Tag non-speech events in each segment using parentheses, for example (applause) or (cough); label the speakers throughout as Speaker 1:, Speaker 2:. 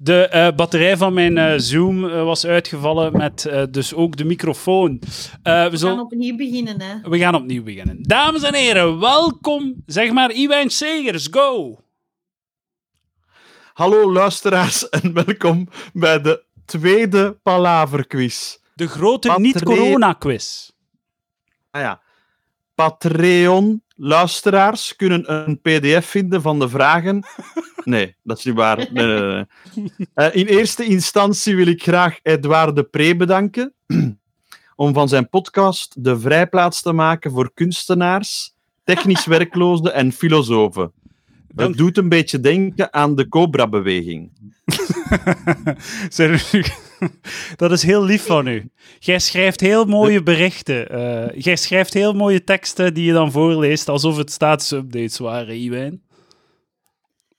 Speaker 1: De eh, batterij van mijn eh, Zoom eh, was uitgevallen met eh, dus ook de microfoon. Eh, we,
Speaker 2: We gaan
Speaker 1: zullen,
Speaker 2: opnieuw beginnen, hè.
Speaker 1: we gaan opnieuw beginnen. Dames en heren, welkom. Zeg maar Iwijn Segers, go!
Speaker 3: Hallo luisteraars (laughs) en welkom bij de tweede Palaverquiz.
Speaker 1: De grote
Speaker 3: Batterij-
Speaker 1: niet-corona-quiz.
Speaker 3: Ah ja. Patreon-luisteraars kunnen een pdf vinden van de vragen. Nee, dat is niet waar. Nee, nee, nee, nee. Eh, in eerste instantie wil ik graag Edouard de Pre bedanken (clears throat) om van zijn podcast de vrijplaats te maken voor kunstenaars, technisch werklozen en filosofen.
Speaker 1: Dank-
Speaker 3: Dat doet een beetje denken aan de Cobra-beweging.
Speaker 1: Zeg, (laughs) Luc, Dat is heel lief van u. Jij schrijft heel mooie berichten. Eh, jij schrijft heel mooie teksten die je dan voorleest alsof het staatsupdates waren, Iwijn.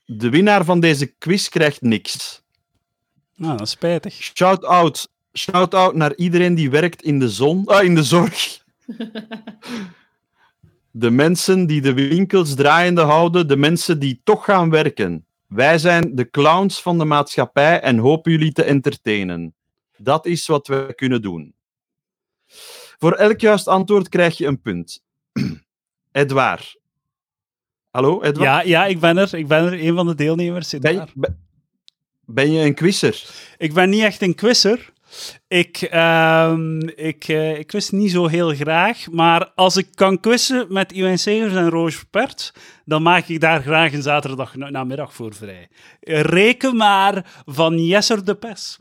Speaker 3: De winnaar van deze quiz krijgt niks.
Speaker 1: Nou, dat is spijtig.
Speaker 3: Shout-out. Shout-out naar iedereen die werkt in de zon. Ah, in de zorg. De mensen die de winkels draaiende houden, de mensen die toch gaan werken. Wij zijn de clowns van de maatschappij en hopen jullie te entertainen. Dat is wat we kunnen doen. Voor elk juist antwoord krijg je een punt. (clears throat) Edouard. Hallo, Edouard?
Speaker 1: Ja, ja, ik ben er. Ik ben er. Een van de deelnemers zit
Speaker 3: ben,
Speaker 1: daar.
Speaker 3: ben- ben je een quizzer?
Speaker 1: Ik ben niet echt een quizzer. Ik, ehm, ik, eh, ik quiz niet zo heel graag. Maar als ik kan quizzen met Iwijn Segers en Roos Pert, dan maak ik daar graag een zaterdag na- namiddag voor vrij. Reken maar van Jesser de Pers.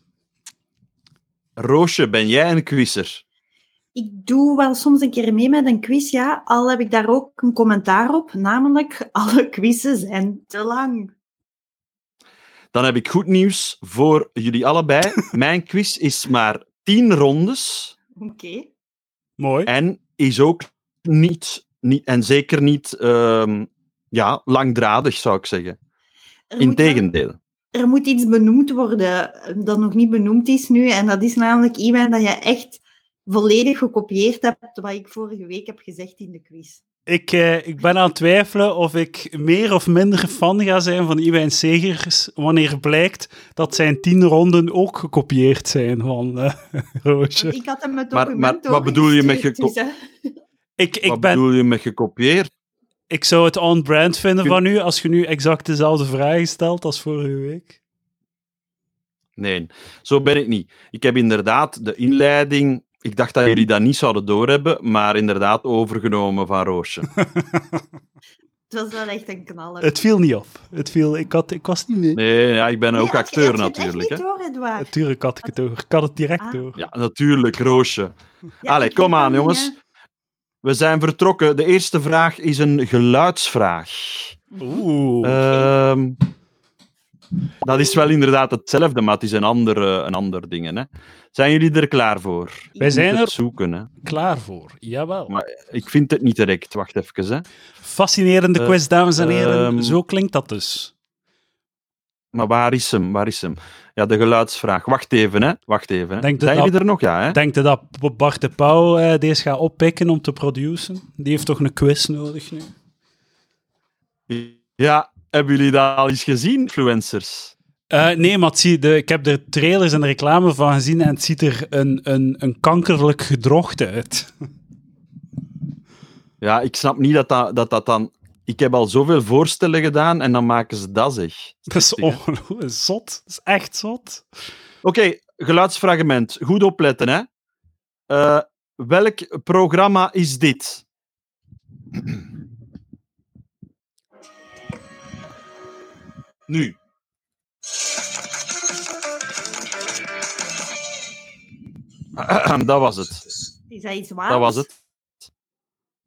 Speaker 3: Roosje, ben jij een quizzer?
Speaker 2: Ik doe wel soms een keer mee met een quiz, ja. Al heb ik daar ook een commentaar op, namelijk (laughs) alle quizzen zijn te lang.
Speaker 3: Dan heb ik goed nieuws voor jullie
Speaker 2: (laughs)
Speaker 3: allebei. Mijn quiz is maar 10 rondes
Speaker 2: Oké.
Speaker 1: Mooi.
Speaker 3: en is ook niet, niet en zeker niet ehm, ja, langdradig, zou ik zeggen.
Speaker 2: Er moet wel-
Speaker 3: Integendeel.
Speaker 2: er moet iets benoemd worden dat nog niet benoemd is nu. En dat is namelijk, Iwan, dat je echt volledig gekopieerd hebt wat ik vorige week heb gezegd in de quiz.
Speaker 1: Ik, eh, ik ben aan het twijfelen of ik meer of minder fan ga zijn van Iwijn Segers wanneer blijkt dat zijn tien ronden ook gekopieerd zijn van eh, (laughs)
Speaker 2: Want
Speaker 1: Roosje.
Speaker 2: ik had hem het
Speaker 3: Maar-
Speaker 2: document
Speaker 3: maar wat bedoel je met
Speaker 2: overgestuurd,
Speaker 3: geko-
Speaker 2: dus, hè.
Speaker 1: Ik, ik,
Speaker 3: Wat
Speaker 1: ben,
Speaker 3: bedoel je met gekopieerd?
Speaker 1: ik zou het on-brand vinden
Speaker 3: Kun-
Speaker 1: van u als je nu exact dezelfde vragen stelt als vorige week.
Speaker 3: Nee, zo ben ik niet. Ik heb inderdaad de inleiding. Ik dacht dat jullie dat niet zouden doorhebben, maar inderdaad overgenomen van
Speaker 2: (laughs)
Speaker 3: Roosje.
Speaker 2: Het was wel echt een knaller.
Speaker 1: Het viel niet op. Het viel, ik, had, ik was niet mee.
Speaker 3: Nee, ja, ik ben
Speaker 2: Nee,
Speaker 3: ook
Speaker 2: had je- had
Speaker 3: acteur
Speaker 2: je het
Speaker 3: natuurlijk.
Speaker 2: Echt
Speaker 3: Hè?
Speaker 2: niet hoor, Edouard.
Speaker 1: Natuurlijk had ik het door. Ik had het direct
Speaker 2: Ah.
Speaker 1: door.
Speaker 3: Ja, natuurlijk, Roosje.
Speaker 2: Ja,
Speaker 3: Allee,
Speaker 2: ik weet
Speaker 3: kom aan,
Speaker 2: dat niet,
Speaker 3: jongens.
Speaker 2: hè.
Speaker 3: We zijn vertrokken. De eerste vraag is een geluidsvraag.
Speaker 1: Oeh.
Speaker 3: Ehm, dat is wel inderdaad hetzelfde, maar het is een ander, een ander ding. Hè. Zijn jullie er klaar voor?
Speaker 1: Wij
Speaker 3: Ik
Speaker 1: zijn
Speaker 3: moet het
Speaker 1: er
Speaker 3: zoeken. Hè.
Speaker 1: klaar voor. Jawel.
Speaker 3: Maar- Ik vind het niet direct. Wacht even. Hè.
Speaker 1: Fascinerende
Speaker 3: Eh,
Speaker 1: quiz, dames en heren.
Speaker 3: ehm,
Speaker 1: Zo klinkt dat dus.
Speaker 3: Maar waar is hem? Waar is hem? Ja, de geluidsvraag. Wacht even. Hè. Wacht even. Hè.
Speaker 1: Denk dat
Speaker 3: zijn jullie
Speaker 1: dat-
Speaker 3: er nog? Ja, hè?
Speaker 1: Denk je dat B- Bart de Pauw eh, deze gaat oppikken om te produceren? Die heeft toch een quiz nodig nu?
Speaker 3: ja. Hebben jullie dat al eens gezien, influencers?
Speaker 1: Eh, nee, maar het zie- de, ik heb er trailers en reclame van gezien en het ziet er een, een, een kankerlijk gedrocht uit.
Speaker 3: Ja, ik snap niet dat dat, dat dat dan... Ik heb al zoveel voorstellen gedaan en dan maken ze dat, zeg.
Speaker 1: (laughs) Dat is
Speaker 3: Heftig, hè?
Speaker 1: ongelooflijk zot. Dat is echt zot.
Speaker 3: Oké, geluidsfragment. Goed opletten, hè. Eh, welk programma is dit? Nu. (clears throat) Dat was het.
Speaker 2: Is dat iets waar?
Speaker 3: Dat was het.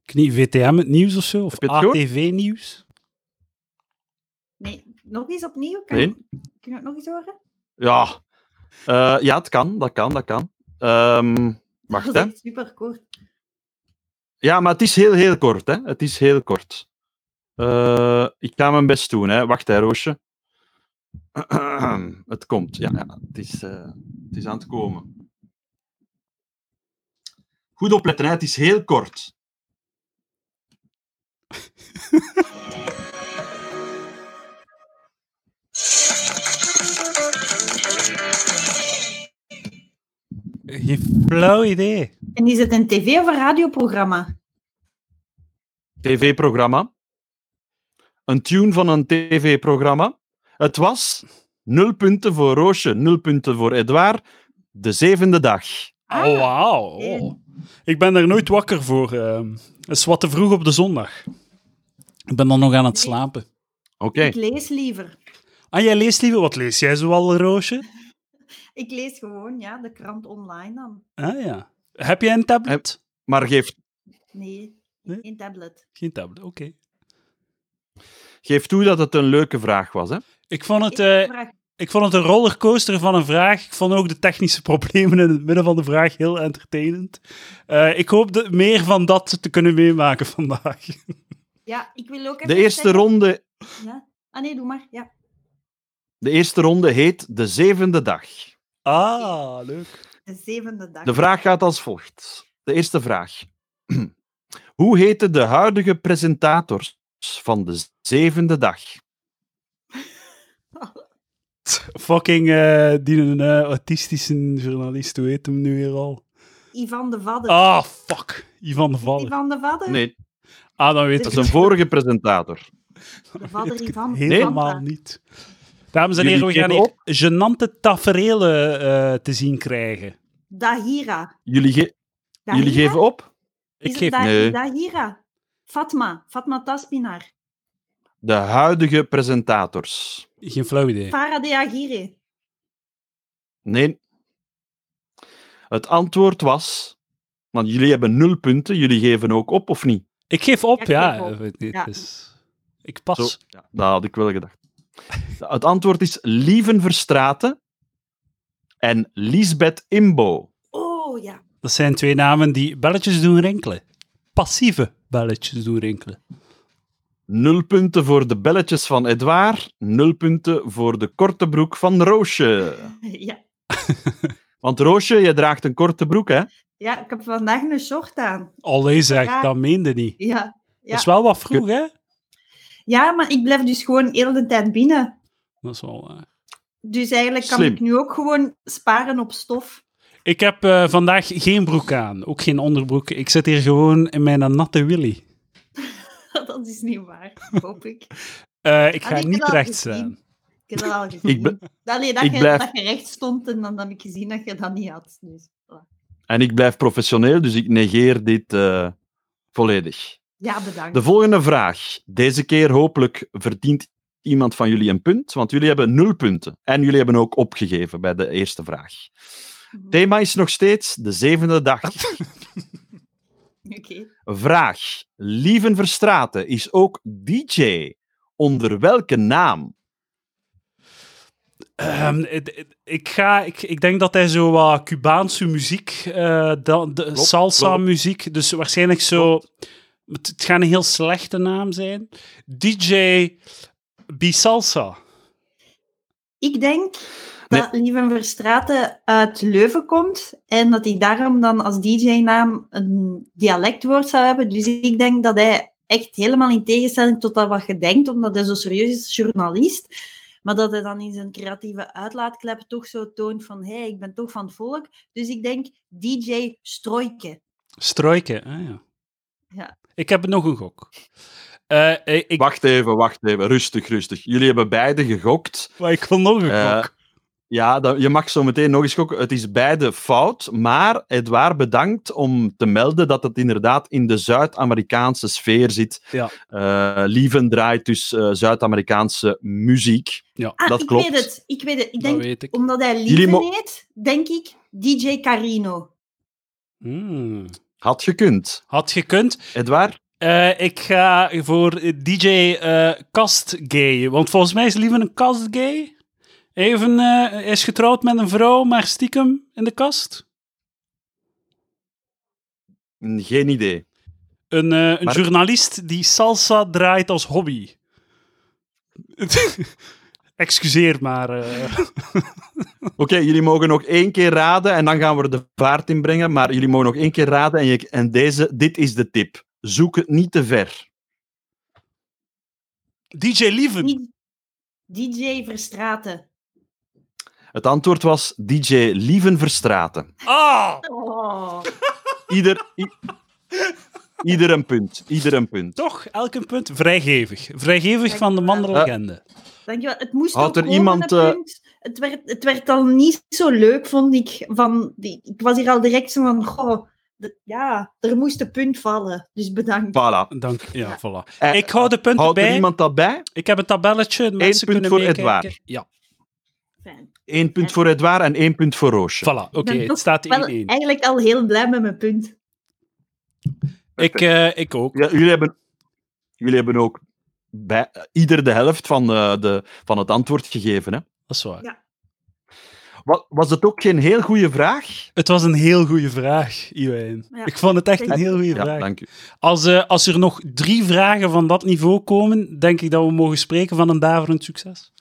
Speaker 1: Ik niet VTM het nieuws of zo? Of
Speaker 3: Heb je het gehoord?
Speaker 1: ATV nieuws?
Speaker 2: Nee, nog eens opnieuw? Kan
Speaker 3: Nee.
Speaker 2: Kun je het nog eens horen?
Speaker 3: Ja. Eh, ja, het kan. Dat kan, dat kan. Ehm, wacht,
Speaker 2: dat
Speaker 3: hè.
Speaker 2: was echt super kort.
Speaker 3: Ja, maar het is heel, heel kort, hè. Het is heel kort. Eh, ik ga mijn best doen, hè. Wacht, hè, Roosje. (clears throat) het komt, ja. ja. Het, is, eh, het is aan het komen. Goed opletten, hè. Het is heel kort.
Speaker 1: Geen flauw idee.
Speaker 2: En is het een tv- of een radioprogramma?
Speaker 3: TV-programma. Een tune van een TV-programma. Het was nul punten voor Roosje, nul punten voor Edouard. De zevende dag.
Speaker 2: Ah,
Speaker 1: oh, wauw. Oh. Ik ben daar nooit wakker voor. ehm. Het is wat te vroeg op de zondag. Ik ben dan nog aan het slapen.
Speaker 3: Oké.
Speaker 2: Ik lees liever.
Speaker 1: Ah, jij leest liever... Wat lees jij zoal, Roosje?
Speaker 2: Ik lees gewoon, ja, de krant online dan.
Speaker 1: Ah ja. Heb jij een tablet?
Speaker 3: Maar geef,
Speaker 2: Nee,
Speaker 1: Nee?
Speaker 2: geen tablet.
Speaker 1: Geen tablet, oké.
Speaker 3: geef toe dat het een leuke vraag was. Hè?
Speaker 1: Ik vond het...
Speaker 2: Ik
Speaker 1: eh,
Speaker 2: vraag-
Speaker 1: Ik vond het een rollercoaster van een vraag. Ik vond ook de technische (laughs) problemen in het midden van de vraag heel entertainend. Eh, ik hoop de- meer van dat te kunnen meemaken vandaag. (laughs)
Speaker 2: Ja, ik wil ook
Speaker 3: De
Speaker 2: even
Speaker 3: eerste
Speaker 2: zeggen-
Speaker 3: ronde
Speaker 2: Ja. Ah nee, doe maar. Ja.
Speaker 3: De eerste ronde heet De Zevende Dag.
Speaker 1: Ah, leuk.
Speaker 2: De zevende dag.
Speaker 3: De vraag gaat als volgt. De eerste vraag. (clears throat) Hoe heten de huidige presentators van De Zevende Dag?
Speaker 1: Fucking eh, die een eh, autistische journalist, hoe heet hem nu weer al?
Speaker 2: Ivan de Vadder.
Speaker 1: Ah, fuck. Ivan de Valle.
Speaker 2: Ivan de Vadder?
Speaker 3: Oh. Nee,
Speaker 1: Ah, dan weet
Speaker 3: dat
Speaker 1: ik
Speaker 3: is een
Speaker 1: het,
Speaker 3: vorige presentator.
Speaker 2: De
Speaker 1: weet
Speaker 2: Vadder
Speaker 1: ik
Speaker 2: Ivan.
Speaker 1: het
Speaker 2: de
Speaker 1: helemaal
Speaker 2: Vanda.
Speaker 1: niet. Dames en heren, we
Speaker 3: Jullie
Speaker 1: gaan
Speaker 3: geven
Speaker 1: hier genante taferelen eh, te zien krijgen.
Speaker 2: Dahira.
Speaker 3: Jullie, ge-
Speaker 2: Dahira?
Speaker 3: jullie geven op?
Speaker 2: Is
Speaker 1: Ik
Speaker 2: het
Speaker 1: geef...
Speaker 2: Da-
Speaker 3: nee.
Speaker 2: Dahira. Fatma. Fatma Taspinar.
Speaker 3: De huidige presentators.
Speaker 1: Geen flauw idee.
Speaker 2: Farah de Agire.
Speaker 3: Nee. Het antwoord was... Want jullie hebben nul punten, jullie geven ook op, of niet?
Speaker 1: Ik geef op,
Speaker 2: Ja, ik
Speaker 1: ja.
Speaker 2: geef op.
Speaker 1: Het- het
Speaker 2: Ja.
Speaker 1: is- Ik
Speaker 3: Zo,
Speaker 1: pas.
Speaker 3: ja, dat had ik wel gedacht. Het antwoord is Lieven Verstraten en Lisbeth Imbo.
Speaker 2: Oh ja. (laughs)
Speaker 1: Dat zijn twee namen die belletjes doen rinkelen. Passieve belletjes doen rinkelen.
Speaker 3: Nul punten voor de belletjes van Edouard, nul punten voor de korte broek van Roosje.
Speaker 2: ja.
Speaker 3: Want Roosje, je draagt een korte broek, hè?
Speaker 2: Ja, ik heb vandaag een short aan.
Speaker 1: Allee zeg,
Speaker 2: Ja.
Speaker 1: dat meende niet.
Speaker 2: Ja. Ja.
Speaker 1: Dat is wel wat vroeg, hè?
Speaker 2: ja, maar ik blijf dus gewoon heel de tijd binnen.
Speaker 1: Dat is wel eh, waar.
Speaker 2: Dus eigenlijk kan
Speaker 3: Slim.
Speaker 2: ik nu ook gewoon sparen op stof. (laughs)
Speaker 1: Ik heb eh, vandaag geen broek aan, ook geen onderbroek. Ik zit hier gewoon in mijn natte willy.
Speaker 2: Dat is niet waar, hoop ik.
Speaker 1: Eh, ik
Speaker 2: Ah,
Speaker 1: ga
Speaker 2: ik heb
Speaker 1: niet
Speaker 2: dat
Speaker 1: recht
Speaker 2: gezien.
Speaker 1: staan.
Speaker 2: Ik heb dat al gezien. (laughs)
Speaker 3: Ik ben-
Speaker 2: Allee, dat,
Speaker 3: ik
Speaker 2: je,
Speaker 3: blijf-
Speaker 2: dat je recht stond en dan heb ik gezien dat je dat niet had. Dus, voilà.
Speaker 3: En ik blijf professioneel, dus ik negeer dit eh, volledig.
Speaker 2: Ja, bedankt.
Speaker 3: De volgende vraag. Deze keer hopelijk verdient iemand van jullie een punt, want jullie hebben nul punten. En jullie hebben ook opgegeven bij de eerste vraag. Thema is nog steeds de zevende (laughs) dag.
Speaker 2: (laughs) Oké.
Speaker 3: Vraag. Lieven Verstraten is ook DJ. Onder welke naam?
Speaker 1: Ehm, het- het- ik, ga, ik, ik denk dat hij zo wat Cubaanse muziek, eh, dan- de
Speaker 3: Klopt, klopt.
Speaker 1: salsa-muziek, dus waarschijnlijk zo... Het, het gaat een heel slechte naam zijn. DJ Bisalsa.
Speaker 2: Ik denk dat Lieven Verstraten uit Leuven komt en dat hij daarom dan als DJ-naam een dialectwoord zou hebben. Dus ik denk dat hij echt helemaal in tegenstelling tot dat wat je denkt, omdat hij zo serieus is, journalist, maar dat hij dan in zijn creatieve uitlaatklep toch zo toont van hé, hey, ik ben toch van het volk. Dus ik denk DJ Strooike.
Speaker 1: Struiken, ah ja.
Speaker 2: Ja.
Speaker 1: Ik heb nog een gok. Eh, eh, ik,
Speaker 3: Wacht even, wacht even. Rustig, rustig. Jullie hebben beide gegokt.
Speaker 1: maar ik wil nog een
Speaker 3: Eh,
Speaker 1: gok.
Speaker 3: Ja, dat, je mag zo meteen nog eens gokken. Het is beide fout, maar Edouard bedankt om te melden dat het inderdaad in de Zuid-Amerikaanse sfeer zit.
Speaker 1: Ja.
Speaker 3: Eh, Lieven draait dus eh, Zuid-Amerikaanse muziek.
Speaker 2: Ah,
Speaker 3: Dat
Speaker 2: ik
Speaker 3: klopt.
Speaker 2: weet het. Ik weet het. Ik
Speaker 1: Dat
Speaker 2: denk,
Speaker 1: weet ik.
Speaker 2: omdat hij
Speaker 3: Jullie
Speaker 2: Lieven
Speaker 3: mo-
Speaker 2: heet, denk ik DJ Carino.
Speaker 1: Hmm.
Speaker 3: Had gekund.
Speaker 1: Had gekund.
Speaker 3: Edouard?
Speaker 1: Eh, ik ga voor eh, DJ eh, Kastgay. Want volgens mij is liever een Kastgay. Even eh, hij is getrouwd met een vrouw, maar stiekem in de kast.
Speaker 3: Geen idee.
Speaker 1: Een, eh, een
Speaker 3: Maar-
Speaker 1: journalist die salsa draait als
Speaker 2: (laughs)
Speaker 1: hobby. Excuseer maar. eh.
Speaker 3: Oké, jullie mogen nog één keer raden en dan gaan we er de vaart in brengen. Maar jullie mogen nog één keer raden en, je, en deze, dit is de tip. Zoek het niet te ver.
Speaker 1: DJ Lieven.
Speaker 2: Niet DJ Verstraten.
Speaker 3: Het antwoord was DJ Lieven Verstraten.
Speaker 1: Ah!
Speaker 2: Oh.
Speaker 3: Ieder, i- ieder een punt. Ieder een punt.
Speaker 1: Toch, elk een punt. Vrijgevig. Vrijgevig van de manderlegende.
Speaker 2: Dankjewel. Het moest
Speaker 3: Had
Speaker 2: ook
Speaker 3: er
Speaker 2: komen,
Speaker 3: iemand,
Speaker 2: dat
Speaker 3: eh,
Speaker 2: punt. Het werd, het werd al niet zo leuk, vond ik. Van, die, ik was hier al direct zo van, goh, d- ja, er moest een punt vallen. Dus bedankt.
Speaker 3: Voilà.
Speaker 1: Dank, ja, voilà.
Speaker 3: Eh,
Speaker 1: Ik hou de punten
Speaker 3: Houdt er
Speaker 1: bij.
Speaker 3: iemand dat bij?
Speaker 1: Ik heb een tabelletje. de Mensen
Speaker 3: punt
Speaker 1: kunnen
Speaker 3: voor
Speaker 1: meekijken.
Speaker 3: Edouard.
Speaker 1: Ja,
Speaker 2: Fijn.
Speaker 3: Eén punt voor Edouard en één punt voor Roosje.
Speaker 1: voilà. Oké,
Speaker 2: ben
Speaker 1: het
Speaker 2: toch
Speaker 1: staat 1-1.
Speaker 2: Wel, eigenlijk al heel blij met mijn punt.
Speaker 1: Ik, eh, ik ook.
Speaker 3: Ja, jullie, hebben, jullie hebben ook bij, ieder de helft van, eh, de, van het antwoord gegeven. Hè?
Speaker 1: Dat is waar.
Speaker 2: Ja.
Speaker 3: Wa- Was het ook geen heel goede vraag?
Speaker 1: Het was een heel goede vraag, Iwijn.
Speaker 2: Ja.
Speaker 1: Ik vond het echt een heel goede
Speaker 3: Ja,
Speaker 1: vraag.
Speaker 3: dank u.
Speaker 1: Als, eh, als er nog drie vragen van dat niveau komen, denk ik dat we mogen spreken van een daverend succes.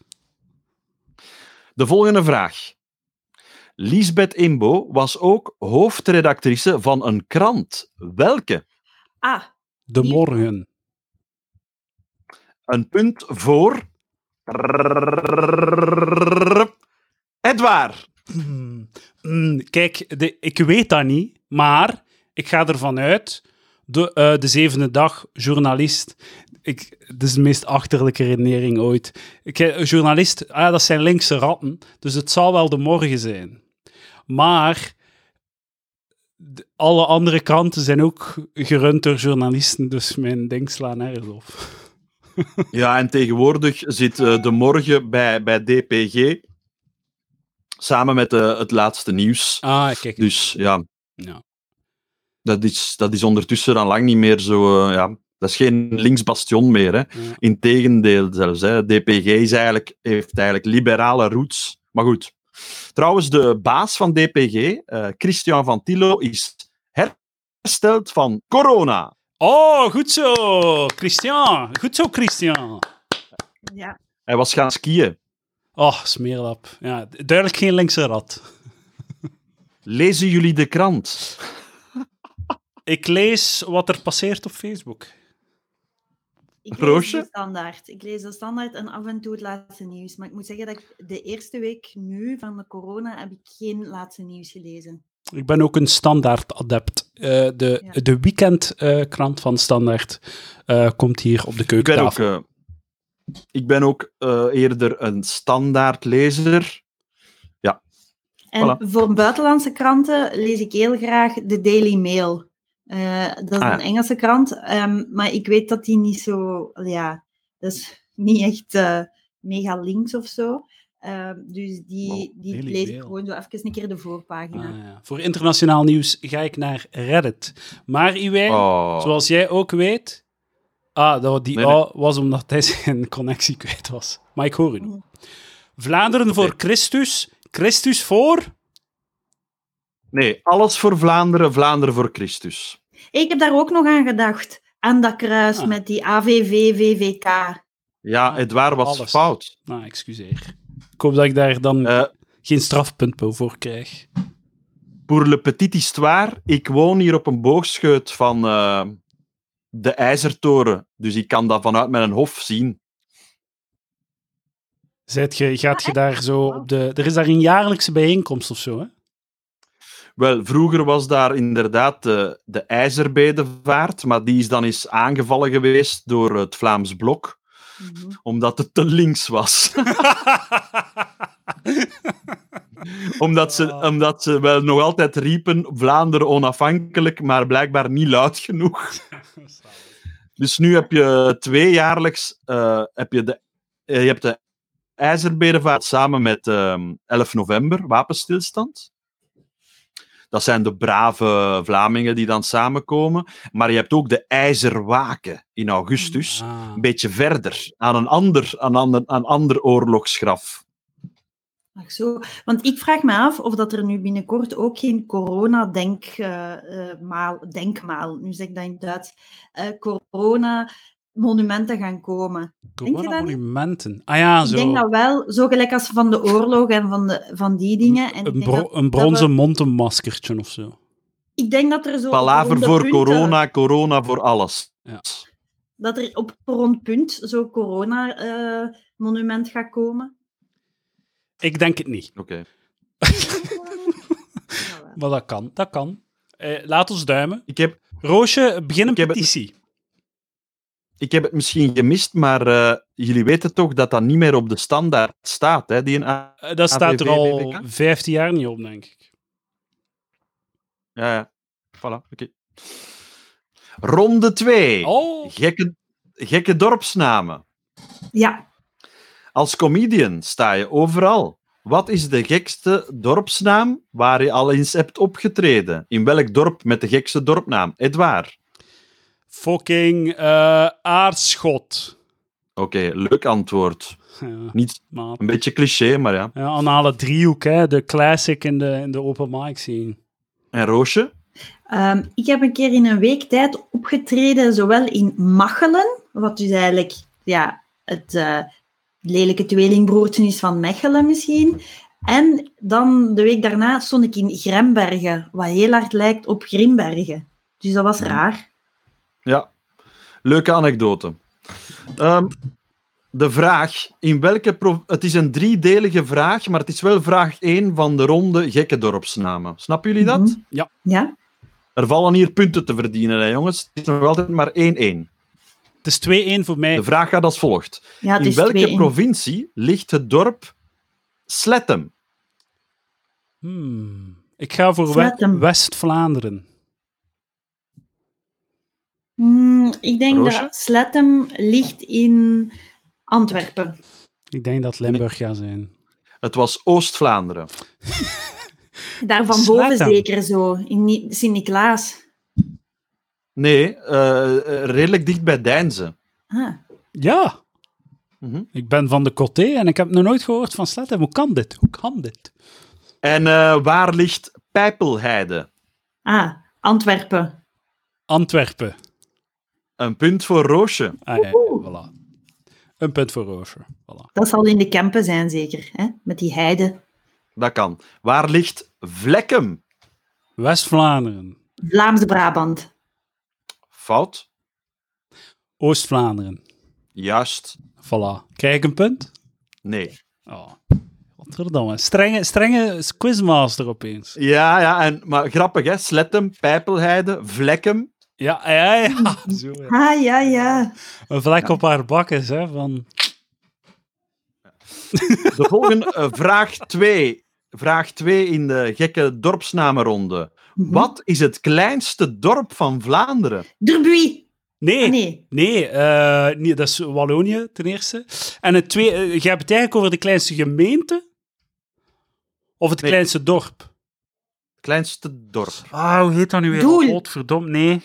Speaker 3: De volgende vraag. Lisbeth Imbo was ook hoofdredactrice van een krant. Welke?
Speaker 2: Ah,
Speaker 1: De
Speaker 2: Die-
Speaker 1: morgen.
Speaker 3: Een punt voor. Edouard.
Speaker 1: Hmm. (clears throat) Hmm, Kijk, de, ik weet dat niet, maar ik ga ervan uit. De, eh, de zevende dag, journalist. Ik, het is de meest achterlijke redenering ooit. Ik, eh, journalist, ah, dat zijn linkse ratten, dus het zal wel de morgen zijn. Maar de- alle andere kranten zijn ook gerund door journalisten, dus mijn ding slaan ergens op.
Speaker 3: Ja, en tegenwoordig zit eh, de morgen bij, bij DPG samen met eh, het laatste nieuws.
Speaker 1: Ah, kijk.
Speaker 3: Dus ja,
Speaker 1: Ja.
Speaker 3: dat is, dat is ondertussen dan lang niet meer zo. eh, ja, dat is geen linksbastion meer. Hè.
Speaker 1: Ja.
Speaker 3: Integendeel zelfs. Hè. DPG is eigenlijk, heeft eigenlijk liberale roots. Maar goed. Trouwens, de baas van DPG, eh, Christian van Tillo, is hersteld van corona.
Speaker 1: Oh, goed zo, Christian. Goed zo, Christian.
Speaker 2: ja.
Speaker 3: Hij was gaan skiën.
Speaker 1: Oh, smeerlap. Ja, duidelijk geen linkse rat.
Speaker 3: Lezen jullie de krant?
Speaker 1: Ik lees wat er passeert op Facebook.
Speaker 2: Ik lees
Speaker 3: Roosje?
Speaker 2: de standaard. Ik lees de standaard en af en toe het laatste nieuws. Maar ik moet zeggen dat ik de eerste week nu van de corona heb ik geen laatste nieuws gelezen.
Speaker 1: Ik ben ook een standaard adept. Eh, de,
Speaker 2: Ja.
Speaker 1: de weekendkrant van Standaard eh, komt hier op de
Speaker 3: Ik ben
Speaker 1: keukentafel.
Speaker 3: ook, eh, ik ben ook eh, eerder een standaard lezer.
Speaker 2: En voor buitenlandse kranten lees ik heel graag de Daily Mail. Eh, dat is
Speaker 3: Ah, ja.
Speaker 2: een Engelse krant, ehm, maar ik weet dat die niet zo... Ja, dat is niet echt eh, mega links of zo. Ehm, dus die,
Speaker 1: Oh,
Speaker 2: die
Speaker 1: Daily
Speaker 2: lees ik
Speaker 1: Mail.
Speaker 2: gewoon zo even een keer de voorpagina.
Speaker 1: Ah, ja. Voor internationaal nieuws ga ik naar Reddit. Maar Iwijn,
Speaker 3: Oh.
Speaker 1: zoals jij ook weet... Ah, dat die
Speaker 3: Nee, nee.
Speaker 1: A was omdat hij zijn connectie kwijt was. Maar ik hoor u nog. Vlaanderen voor
Speaker 3: Oké.
Speaker 1: Christus. Christus voor...
Speaker 3: Nee, alles voor Vlaanderen, Vlaanderen voor Christus.
Speaker 2: Ik heb daar ook nog aan gedacht. Aan dat kruis
Speaker 1: Ah.
Speaker 2: met die AVV, VVK.
Speaker 3: Ja,
Speaker 1: Ah,
Speaker 3: Edouard was
Speaker 1: alles.
Speaker 3: fout.
Speaker 1: Nou, excuseer. Ik hoop dat ik daar dan
Speaker 3: Eh,
Speaker 1: geen strafpunt voor krijg.
Speaker 3: pour le petit histoire, ik woon hier op een boogscheut van eh, de IJzertoren. Dus ik kan dat vanuit mijn hof zien.
Speaker 1: Zet je, gaat je daar
Speaker 2: (laughs)
Speaker 1: zo op de... Er is daar een jaarlijkse bijeenkomst of zo, hè?
Speaker 3: Wel, vroeger was daar inderdaad de, de IJzerbedevaart, maar die is dan eens aangevallen geweest door het Vlaams Blok,
Speaker 2: Mhm.
Speaker 3: omdat het te links was. (laughs) Omdat ze,
Speaker 1: Ah.
Speaker 3: omdat ze wel nog altijd riepen Vlaanderen onafhankelijk, maar blijkbaar niet luid genoeg. Dus nu heb je tweejaarlijks eh, heb je de, eh, je hebt de IJzerbedevaart samen met ehm, 11 november, wapenstilstand. Dat zijn de brave Vlamingen die dan samenkomen. Maar je hebt ook de IJzerwaken in augustus.
Speaker 1: Ah.
Speaker 3: Een beetje verder, aan een ander, aan ander, aan ander oorlogsgraf.
Speaker 2: Ach zo. Want ik vraag me af of dat er nu binnenkort ook geen corona-denkmaal, denkmaal, nu zeg ik dat in het Duits, eh, corona-monumenten gaan komen. Denk je dat niet?
Speaker 1: Corona-monumenten. Ah ja,
Speaker 2: Ik
Speaker 1: zo.
Speaker 2: denk dat wel, zo gelijk als van de oorlog en van, de, van die dingen. En ik,
Speaker 1: een,
Speaker 2: denk
Speaker 1: bro-
Speaker 2: dat,
Speaker 1: een bronzen montenmaskertje of zo.
Speaker 2: ik denk dat er zo... op
Speaker 3: Palaver
Speaker 2: ronde
Speaker 3: voor
Speaker 2: punten-
Speaker 3: corona, corona voor alles.
Speaker 1: Ja.
Speaker 2: Dat er eh,
Speaker 1: (laughs)
Speaker 2: op rond punt zo'n corona-monument gaat komen.
Speaker 1: Ik denk het niet.
Speaker 3: Oké.
Speaker 2: Jawel.
Speaker 1: Maar dat kan, dat kan. Eh, laat ons duimen.
Speaker 3: Ik, heb,
Speaker 1: Roosje, begin een
Speaker 3: Ik heb het-
Speaker 1: petitie.
Speaker 3: ik heb het misschien gemist, maar eh, jullie weten toch dat dat niet meer op de standaard staat, hè? Die een A-
Speaker 1: Eh, dat staat er
Speaker 3: AVV,
Speaker 1: al
Speaker 3: BBK?
Speaker 1: 15 jaar niet op, denk ik.
Speaker 3: Ja, ja. Voilà, oké. Ronde 2.
Speaker 1: Oh,
Speaker 3: Gekke, gekke dorpsnamen.
Speaker 2: Ja,
Speaker 3: Als comedian sta je overal. Wat is de gekste dorpsnaam waar je al eens hebt opgetreden? In welk dorp met de gekste dorpnaam? Edouard.
Speaker 1: fucking eh aardschot.
Speaker 3: Oké, leuk antwoord.
Speaker 1: Ja,
Speaker 3: Niet
Speaker 1: maat.
Speaker 3: een beetje cliché, maar ja.
Speaker 1: Ja, anale driehoek, hè. De classic in de, in de open mic scene.
Speaker 3: En Roosje?
Speaker 2: Ehm, ik heb een keer in een week tijd opgetreden, zowel in Machelen, wat dus eigenlijk ja, het eh, lelijke tweelingbroertje is van Mechelen misschien. En dan de week daarna stond ik in Grembergen, wat heel hard lijkt op Grimbergen. Dus dat was raar.
Speaker 3: Ja, leuke anekdote. Ehm, de vraag, in welke... pro- Het is een driedelige vraag, maar het is wel vraag 1 van de ronde gekke dorpsnamen. Snappen jullie dat?
Speaker 2: Mhm.
Speaker 1: Ja.
Speaker 2: Ja?
Speaker 3: Er vallen hier punten te verdienen, hè, jongens. Het is nog altijd maar 1-1.
Speaker 1: Het is 2-1 voor mij.
Speaker 3: De vraag gaat als volgt.
Speaker 2: ja het
Speaker 3: in
Speaker 2: is
Speaker 3: welke
Speaker 2: 2-1.
Speaker 3: provincie ligt het dorp Slettem?
Speaker 1: Hmm. Ik ga voor we-
Speaker 2: Zetten.
Speaker 1: West-Vlaanderen.
Speaker 2: Hmm, ik denk
Speaker 3: Roosje?
Speaker 2: dat Slettem ligt in Antwerpen.
Speaker 1: Ik denk dat Limburg gaat zijn.
Speaker 3: Het was Oost-Vlaanderen.
Speaker 2: Daar van boven
Speaker 1: Slettem.
Speaker 2: zeker zo, in Ni- Sint-Niklaas.
Speaker 3: Nee, eh, eh, redelijk dicht bij Deinzen.
Speaker 2: Ah.
Speaker 1: Ja,
Speaker 3: Mhm.
Speaker 1: ik ben van de Coté en ik heb nog nooit gehoord van Sletten. Hoe kan dit? Hoe kan dit?
Speaker 3: En eh, waar ligt Pijpelheide?
Speaker 2: ah, Antwerpen.
Speaker 1: Antwerpen.
Speaker 3: Een punt voor Roosje.
Speaker 1: Ah, ja,
Speaker 2: Woehoe.
Speaker 1: voilà. Een punt voor Roosje. Voilà.
Speaker 2: Dat zal in de Kempen zijn, zeker. Hè? Met die heide.
Speaker 3: Dat kan. Waar ligt Vlekkem?
Speaker 1: West-Vlaanderen.
Speaker 2: Vlaamse Brabant.
Speaker 3: Fout.
Speaker 1: Oost-Vlaanderen.
Speaker 3: Juist.
Speaker 1: Voilà. Krijg ik een punt?
Speaker 3: Nee.
Speaker 1: Oh. Godverdomme. Strenge, strenge quizmaster opeens.
Speaker 3: Ja, ja. En, maar grappig, hè? Slettem, Pijpelheide, Vlekkem.
Speaker 1: Ja, ja, ja. Zo, ja.
Speaker 2: Ah, ja, ja.
Speaker 1: Een vlek op haar bakkes, hè. Van...
Speaker 3: De volgende eh, (laughs) vraag 2. Vraag 2 in de gekke dorpsnamenronde.
Speaker 2: Mhm.
Speaker 3: Wat is het kleinste dorp van Vlaanderen?
Speaker 2: Derbuy.
Speaker 1: Nee,
Speaker 2: Ah,
Speaker 1: nee.
Speaker 2: nee.
Speaker 1: eh, nee, dat is Wallonië ten eerste. En het tweede, eh, je hebt het eigenlijk over de kleinste gemeente? Of het
Speaker 3: Nee.
Speaker 1: kleinste dorp?
Speaker 3: Het kleinste dorp.
Speaker 1: Ah, hoe heet dat nu weer?
Speaker 2: Doel.
Speaker 1: Godverdomme, nee.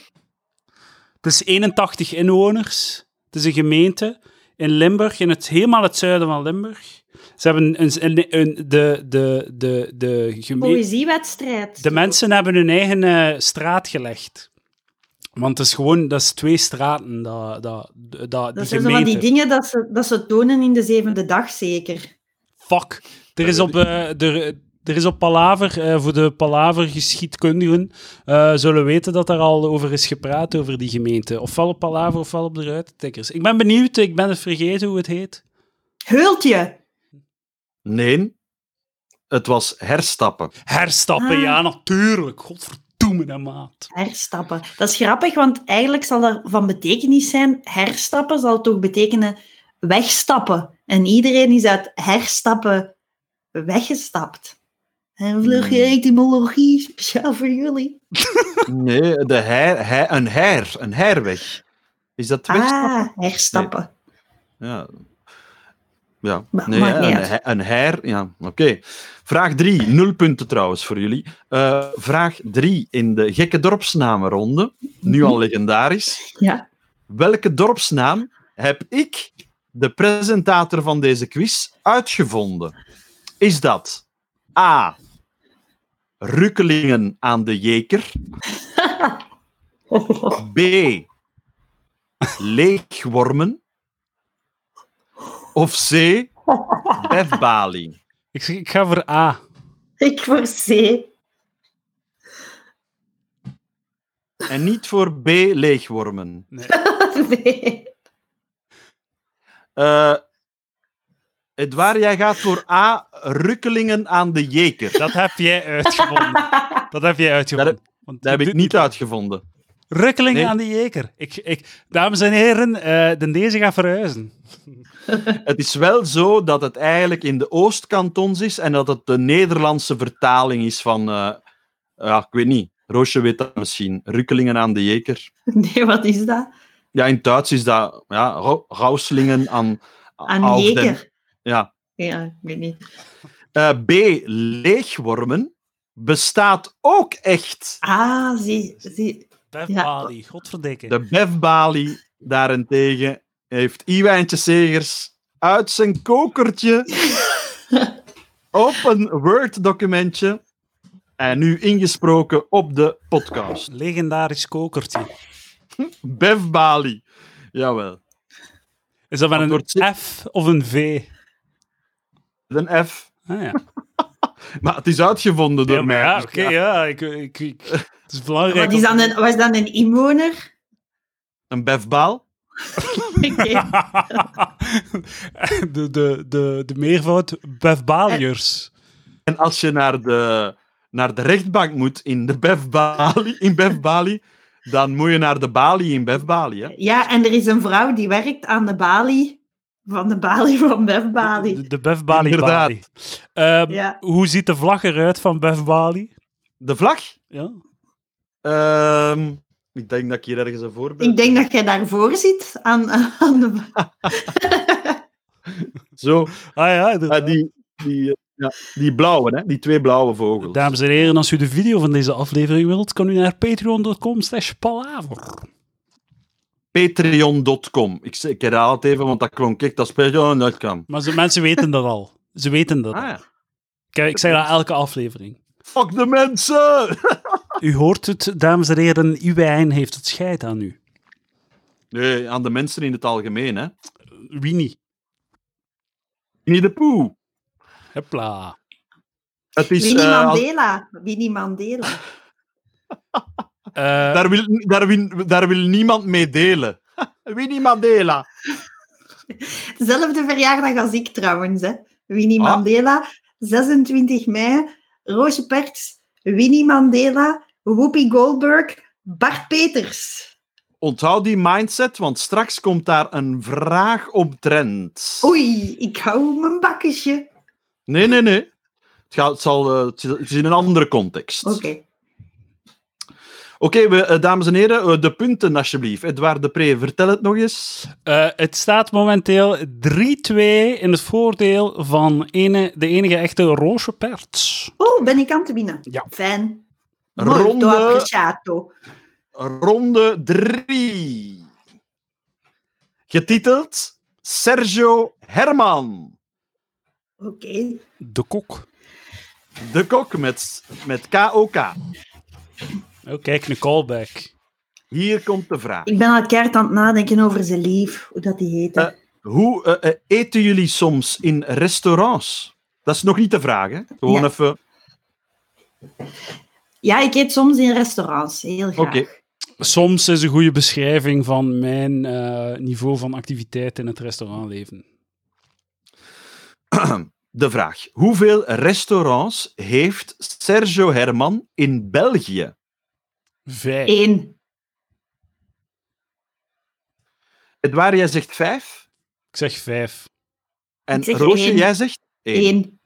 Speaker 1: Het is 81 inwoners. Het is een gemeente in Limburg, in het, helemaal het zuiden van Limburg. Ze hebben een, een, een- de, de, de, de gemeente...
Speaker 2: Poëziewedstrijd.
Speaker 1: De mensen hebben hun eigen eh, straat gelegd. Want het is gewoon, dat is twee straten, dat, dat, dat, die
Speaker 2: Dat zijn zo van
Speaker 1: gemeente.
Speaker 2: die dingen dat ze, dat ze tonen in de zevende dag, zeker.
Speaker 1: Fuck. Er is op, eh, er, er is op Palaver, eh, voor de Palaver-geschiedkundigen, eh, zullen weten dat daar al over is gepraat, over die gemeente. Ofwel op Palaver, ofwel op de Ruitentikkers. Ik ben benieuwd, ik ben het vergeten hoe het heet.
Speaker 2: Heultje.
Speaker 3: Nee, het was herstappen.
Speaker 1: Herstappen,
Speaker 2: Ah.
Speaker 1: ja, natuurlijk. Godverdomme, hè, maat.
Speaker 2: Herstappen. Dat is grappig, want eigenlijk zal dat van betekenis zijn. Herstappen zal toch betekenen wegstappen. En iedereen is uit herstappen weggestapt. En vlug je etymologie, (laughs) speciaal voor jullie.
Speaker 3: Nee, de hei, hei- een her, een herweg. Is dat wegstappen?
Speaker 2: Ah, herstappen.
Speaker 3: Ja. Ja,
Speaker 2: Ma-
Speaker 3: nee,
Speaker 2: maakt
Speaker 3: hè,
Speaker 2: niet
Speaker 3: een,
Speaker 2: uit.
Speaker 3: he- een her. Ja, oké. Vraag 3, nul punten trouwens voor jullie. Eh, vraag 3 in de gekke dorpsnamenronde, nu
Speaker 2: Mhm.
Speaker 3: al legendarisch.
Speaker 2: Ja.
Speaker 3: Welke dorpsnaam heb ik, de presentator van deze quiz, uitgevonden? Is dat A. Rukkelingen aan de Jeker. B. Leegwormen. Of C. Befbaling.
Speaker 1: Ik, zeg, ik ga voor A.
Speaker 2: Ik voor C.
Speaker 3: En niet voor B. Leegwormen.
Speaker 2: Nee.
Speaker 3: Eh, Edouard, jij gaat voor A, rukkelingen aan de jeker.
Speaker 1: Dat heb jij
Speaker 3: (laughs)
Speaker 1: uitgevonden. Dat heb jij uitgevonden.
Speaker 3: Dat
Speaker 1: Want
Speaker 3: Dat
Speaker 1: je
Speaker 3: heb ik
Speaker 1: doet
Speaker 3: niet uitgevonden.
Speaker 1: Rukkeling
Speaker 3: Nee.
Speaker 1: aan de jeker. Ik, ik, dames en heren, eh de deze gaat verhuizen.
Speaker 3: Het is wel zo dat het eigenlijk in de Oostkantons is en dat het de Nederlandse vertaling is van... eh, ja, ik weet niet. Roosje weet dat misschien. Rukkelingen aan de jeker.
Speaker 2: Nee, wat is dat?
Speaker 3: Ja, in het Duits is dat ja, rau- rauslingen aan...
Speaker 2: Aan
Speaker 3: auf den-
Speaker 2: jeker.
Speaker 3: Ja,
Speaker 2: Ja, ik weet niet.
Speaker 3: Eh, B. Leegwormen bestaat ook echt.
Speaker 2: Ah, zie, zie.
Speaker 1: Bev
Speaker 2: Ja.
Speaker 1: Bali, godverdikke.
Speaker 3: De befbalie daarentegen heeft Iwijntje Segers uit zijn kokertje op een Word-documentje en nu ingesproken op de podcast.
Speaker 1: Legendarisch kokertje.
Speaker 3: Befbalie. Jawel.
Speaker 1: Is dat met
Speaker 3: Antwoord C.
Speaker 1: een F of een V?
Speaker 3: Met Een F.
Speaker 1: Ah, ja.
Speaker 3: Maar het is uitgevonden door
Speaker 1: ja, maar
Speaker 3: mij.
Speaker 1: ja,
Speaker 3: dus
Speaker 1: oké, ja. Ik, ik, ik- het is belangrijk.
Speaker 2: Wat is
Speaker 1: om-
Speaker 2: dan een, was dan een inwoner?
Speaker 3: (laughs) Een befbaal.
Speaker 2: Oké.
Speaker 1: (laughs) de, de, de, de meervoud Befbaliërs.
Speaker 3: En als je naar de, naar de rechtbank moet in, de Bef Bali, in Bef Bali, dan moet je naar de Bali in Bef Bali. Hè?
Speaker 2: Ja, en er is een vrouw die werkt aan de balie. Van de balie van Bev Eh, Bali.
Speaker 1: De, de Bev Bali
Speaker 3: Inderdaad.
Speaker 1: Bali. Ehm,
Speaker 2: Ja.
Speaker 1: Hoe ziet de vlag eruit van Bev Bali?
Speaker 3: De vlag?
Speaker 1: Ja.
Speaker 3: Ehm, ik denk dat ik hier ergens een voorbeeld
Speaker 2: Ik denk dat jij daarvoor zit aan, aan de
Speaker 3: Zo,
Speaker 1: Ah ja,
Speaker 3: ah,
Speaker 1: inderdaad.
Speaker 3: die, die, eh, ja, die blauwe, hè? die twee blauwe vogels.
Speaker 1: Dames en heren, als u de video van deze aflevering wilt, kan u naar patreon.com slash palaver.
Speaker 3: Patreon.com. Ik, zeg- ik herhaal het even, want dat klonk echt als Patreon.com.
Speaker 1: Maar ze, mensen weten dat al. Ze weten dat.
Speaker 3: Ah,
Speaker 1: al.
Speaker 3: ja.
Speaker 1: Ik, ik zeg dat elke aflevering.
Speaker 3: Fuck de mensen! (laughs)
Speaker 1: U hoort het, dames en heren, uw wijn heeft het scheid aan u.
Speaker 3: Nee, aan de mensen in het algemeen. Hè?
Speaker 1: Wie niet?
Speaker 3: Niet de poe.
Speaker 1: Hepla.
Speaker 3: Het is,
Speaker 2: Winnie
Speaker 3: eh, als-
Speaker 2: Mandela. Winnie Mandela.
Speaker 1: Eh,
Speaker 3: Daar wil, daar, wil, daar wil niemand mee
Speaker 2: (laughs)
Speaker 3: delen. Winnie Mandela.
Speaker 2: Zelfde verjaardag als ik trouwens. Hè. Winnie
Speaker 3: Ah.
Speaker 2: Mandela, 26 mei. Roosje Perks, Winnie Mandela, Whoopi Goldberg, Bart Peters.
Speaker 3: Onthoud die mindset, want straks komt daar een vraag omtrent.
Speaker 2: Oei, ik hou mijn bakkesje.
Speaker 3: Nee, nee, nee. Het, gaat, het, zal, eh, het is- het is in een andere context.
Speaker 2: Oké.
Speaker 3: Oké, we, eh, dames en heren, eh, de punten alsjeblieft. Edouard Depree, vertel het nog eens.
Speaker 1: eh, het staat momenteel 3-2 in het voordeel van ene, de enige echte roze perts.
Speaker 2: Oh, ben ik aan te winnen?
Speaker 1: Ja.
Speaker 2: Fijn.
Speaker 3: Ronde-
Speaker 2: Molto appreciato.
Speaker 3: Ronde 3. Getiteld Sergio Herman.
Speaker 2: Oké.
Speaker 1: De kok.
Speaker 3: De kok met, met KOK.
Speaker 1: Oh, kijk, een callback.
Speaker 3: Hier komt de vraag.
Speaker 2: Ik ben al keihard aan het nadenken over zijn lief, hoe dat die heette.
Speaker 3: Eh. Hoe eh, eh, eten jullie soms in restaurants? Dat is nog niet de vraag, hè? Gewoon
Speaker 2: Ja.
Speaker 3: even.
Speaker 2: Ja, ik eet soms in restaurants, heel graag.
Speaker 3: Oké.
Speaker 1: Soms is een goede beschrijving van mijn eh, niveau van activiteit in het restaurantleven.
Speaker 3: De vraag. Hoeveel restaurants heeft Sergio Herman in België?
Speaker 1: Vijf.
Speaker 2: Eén.
Speaker 3: Edouard, jij zegt vijf.
Speaker 1: Ik zeg vijf.
Speaker 3: En
Speaker 2: Ik zeg
Speaker 3: Roosje,
Speaker 2: één.
Speaker 3: jij zegt één.
Speaker 2: Eén.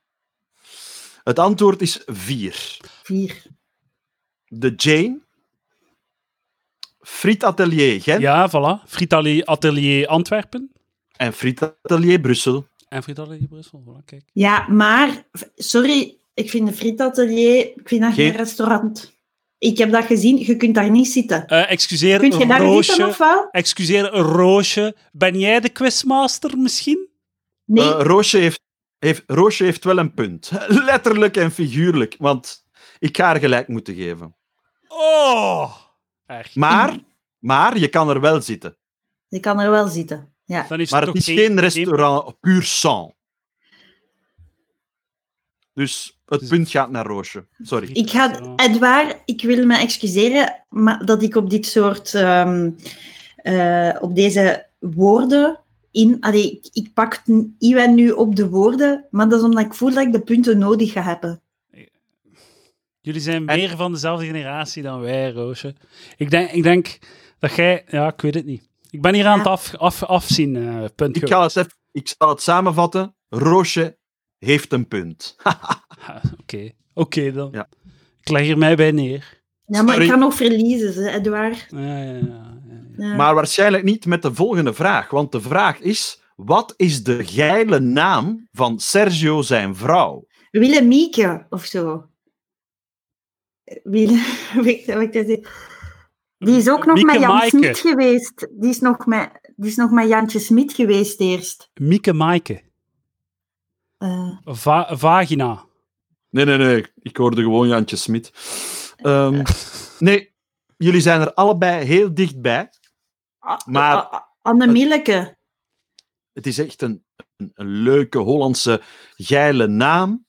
Speaker 3: Het antwoord is vier.
Speaker 2: Vier.
Speaker 3: De Jane. Friet Atelier Gent
Speaker 1: Ja, voilà. Frietali Atelier Antwerpen.
Speaker 3: en Friet Atelier Brussel. Eh,
Speaker 1: En Frietali Brussel. Voilà, kijk.
Speaker 2: Ja, maar, f- sorry, ik vind een frietatelier, ik vind dat geen,
Speaker 3: Geen-
Speaker 2: restaurant. Ik heb dat gezien, je kunt daar niet zitten.
Speaker 1: Eh, excuseer,
Speaker 2: Kun je daar zitten of
Speaker 1: Roosje.
Speaker 2: wel?
Speaker 1: Excuseer, Roosje. Ben jij de quizmaster misschien?
Speaker 2: Nee,
Speaker 3: Eh, Roosje, heeft, heeft, Roosje heeft wel een punt. (laughs) Letterlijk en figuurlijk. Want ik ga haar gelijk moeten geven.
Speaker 1: Oh! Erg.
Speaker 3: Maar, maar je kan er wel zitten.
Speaker 2: je kan er wel zitten. Ja.
Speaker 1: Dan
Speaker 3: Maar het
Speaker 1: ook
Speaker 3: is geen restaurant puur sang. Dus het
Speaker 1: Dus-
Speaker 3: punt gaat naar Roosje. Sorry.
Speaker 2: Ik ga,
Speaker 1: Ja.
Speaker 2: Edouard, ik wil me excuseren maar dat ik op dit soort, ehm, eh, op deze woorden in. Allee, ik, ik pak n- Iwan nu op de woorden, maar dat is omdat ik voel dat ik de punten nodig ga hebben.
Speaker 1: Jullie zijn meer van dezelfde generatie dan wij, Roosje. Ik denk, ik denk dat jij... Ja, ik weet het niet. Ik ben hier aan
Speaker 2: Ja.
Speaker 1: het af, af, afzien, eh, punt.
Speaker 3: Ik, ga eens even, ik zal het samenvatten. Roosje heeft een punt.
Speaker 1: Ah, Oké, Oké dan.
Speaker 3: Ja.
Speaker 1: Ik leg hier mij bij neer.
Speaker 2: Ja, maar
Speaker 3: Sorry.
Speaker 2: ik kan nog verliezen, ze, Edouard.
Speaker 1: Ja, ja, ja, ja.
Speaker 2: Ja.
Speaker 3: Maar waarschijnlijk niet met de volgende vraag. Want de vraag is: wat is de geile naam van Sergio zijn vrouw?
Speaker 2: Willemieke of zo. Willem, (laughs) weet je wat ik dat zeg? Die is ook nog
Speaker 1: Mieke
Speaker 2: met Jan
Speaker 1: Maaike.
Speaker 2: Smit geweest. Die is, nog met, die is nog met Jantje Smit geweest eerst.
Speaker 1: Mieke Maaike.
Speaker 2: Eh,
Speaker 1: Va- vagina.
Speaker 3: Nee, nee, nee. Ik hoorde gewoon Jantje Smit. Ehm, nee, jullie zijn er allebei heel dichtbij.
Speaker 1: Ah,
Speaker 3: Maar-
Speaker 2: A- A- Anne Milleke.
Speaker 3: Het is echt een, een, een leuke Hollandse geile naam.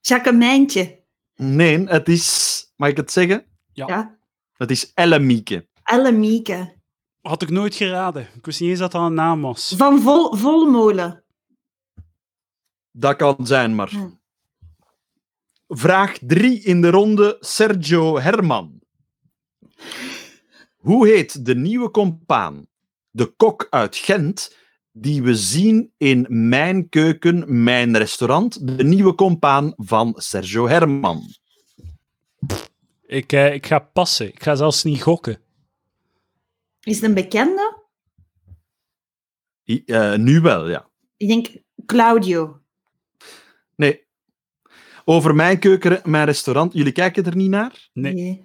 Speaker 2: Jacquemijntje.
Speaker 3: Nee, het is, mag ik het zeggen?
Speaker 1: Ja.
Speaker 2: Ja.
Speaker 3: Het is Ellemieke.
Speaker 2: Elle Mieke.
Speaker 1: Had ik nooit geraden. Ik wist niet eens dat dat een naam was.
Speaker 2: Van Vol, Volmolen.
Speaker 3: Dat kan zijn, maar.
Speaker 2: Hm.
Speaker 3: Vraag 3 in de ronde: Sergio Herman. Hoe heet de nieuwe compaan, de kok uit Gent, die we zien in Mijn Keuken, Mijn Restaurant, de nieuwe compaan van Sergio Herman?
Speaker 1: Ik, eh, ik ga passen. Ik ga zelfs niet gokken.
Speaker 2: Is het een bekende?
Speaker 3: I- eh, nu wel, ja.
Speaker 2: Ik denk Claudio.
Speaker 3: Nee. Over Mijn Keuken, Mijn Restaurant, jullie kijken er niet naar,
Speaker 1: Nee.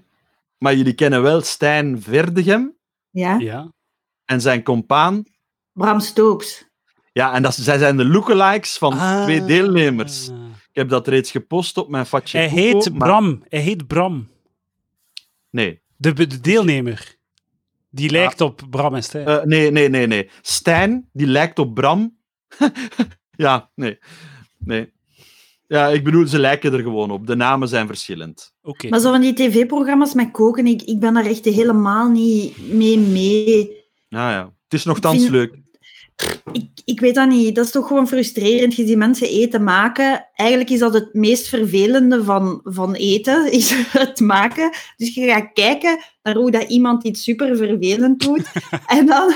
Speaker 3: maar jullie kennen wel Stijn Verdegem
Speaker 2: Ja.
Speaker 1: Ja.
Speaker 3: en zijn compaan
Speaker 2: Bram Stoops.
Speaker 3: Ja, en dat, zij zijn de lookalikes van
Speaker 1: Ah.
Speaker 3: twee deelnemers. Ik heb dat reeds gepost op mijn Fatje
Speaker 1: Hij
Speaker 3: Poepo,
Speaker 1: heet
Speaker 3: maar-
Speaker 1: Bram. Hij heet Bram.
Speaker 3: Nee.
Speaker 1: De, be- de deelnemer. Die lijkt op Bram en Stijn.
Speaker 3: Ah. Eh, nee, nee, nee, nee. Stijn, die lijkt op Bram. (laughs) ja, nee. Nee. Ja, ik bedoel, ze lijken er gewoon op. De namen zijn verschillend.
Speaker 1: Oké.
Speaker 2: Maar zo van die tv-programma's met koken, ik, ik ben daar echt helemaal niet mee mee.
Speaker 3: Nou ja, het is nogthans
Speaker 2: vind-
Speaker 3: leuk.
Speaker 2: Ik, ik weet dat niet. Dat is toch gewoon frustrerend. Je ziet mensen eten maken. Eigenlijk is dat het meest vervelende van, van eten, (laughs) is het maken. Dus je gaat kijken naar hoe dat iemand iets super vervelend doet. en, dan,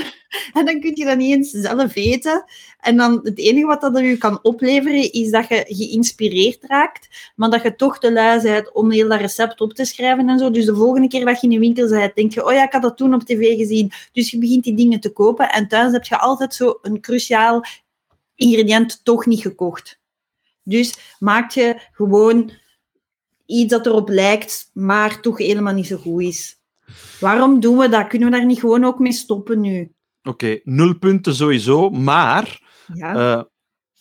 Speaker 2: en dan kun je dat niet eens zelf eten. En dan het enige wat dat je kan opleveren, is dat je geïnspireerd raakt, maar dat je toch te lui bent om heel dat recept op te schrijven en zo. Dus de volgende keer dat je in de winkel bent, denk je, oh ja, ik had dat toen op tv gezien. Dus je begint die dingen te kopen en thuis heb je altijd zo een cruciaal ingrediënt toch niet gekocht. Dus maak je gewoon iets dat erop lijkt, maar toch helemaal niet zo goed is. Waarom doen we dat? Kunnen we daar niet gewoon ook mee stoppen nu?
Speaker 3: Oké, nul punten sowieso. Maar
Speaker 2: Ja,
Speaker 3: eh,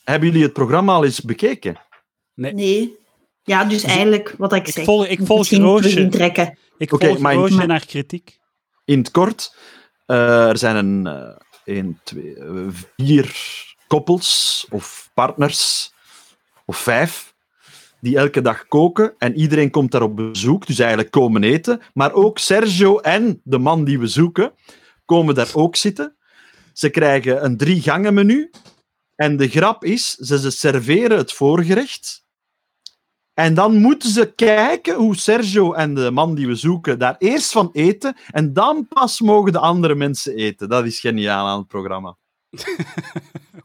Speaker 3: hebben jullie het programma al eens bekeken?
Speaker 2: nee. Ja, dus eigenlijk wat ik,
Speaker 1: ik,
Speaker 2: zeg.
Speaker 1: volg, ik volg
Speaker 2: Misschien
Speaker 1: Roosje.
Speaker 2: terugtrekken.
Speaker 1: Ik
Speaker 3: Oké,
Speaker 1: volg
Speaker 3: maar-
Speaker 1: Roosje
Speaker 2: maar-
Speaker 1: naar kritiek. (laughs)
Speaker 3: In het kort, eh, er zijn een, eh, één, twee, eh, vier koppels of partners, of vijf, die elke dag koken en iedereen komt daar op bezoek, dus eigenlijk komen eten. Maar ook Sergio en de man die we zoeken komen daar ook zitten. Ze krijgen een drie gangen menu en de grap is, ze, ze serveren het voorgerecht. En dan moeten ze kijken hoe Sergio en de man die we zoeken daar eerst van eten. En dan pas mogen de andere mensen eten. Dat is geniaal aan het programma.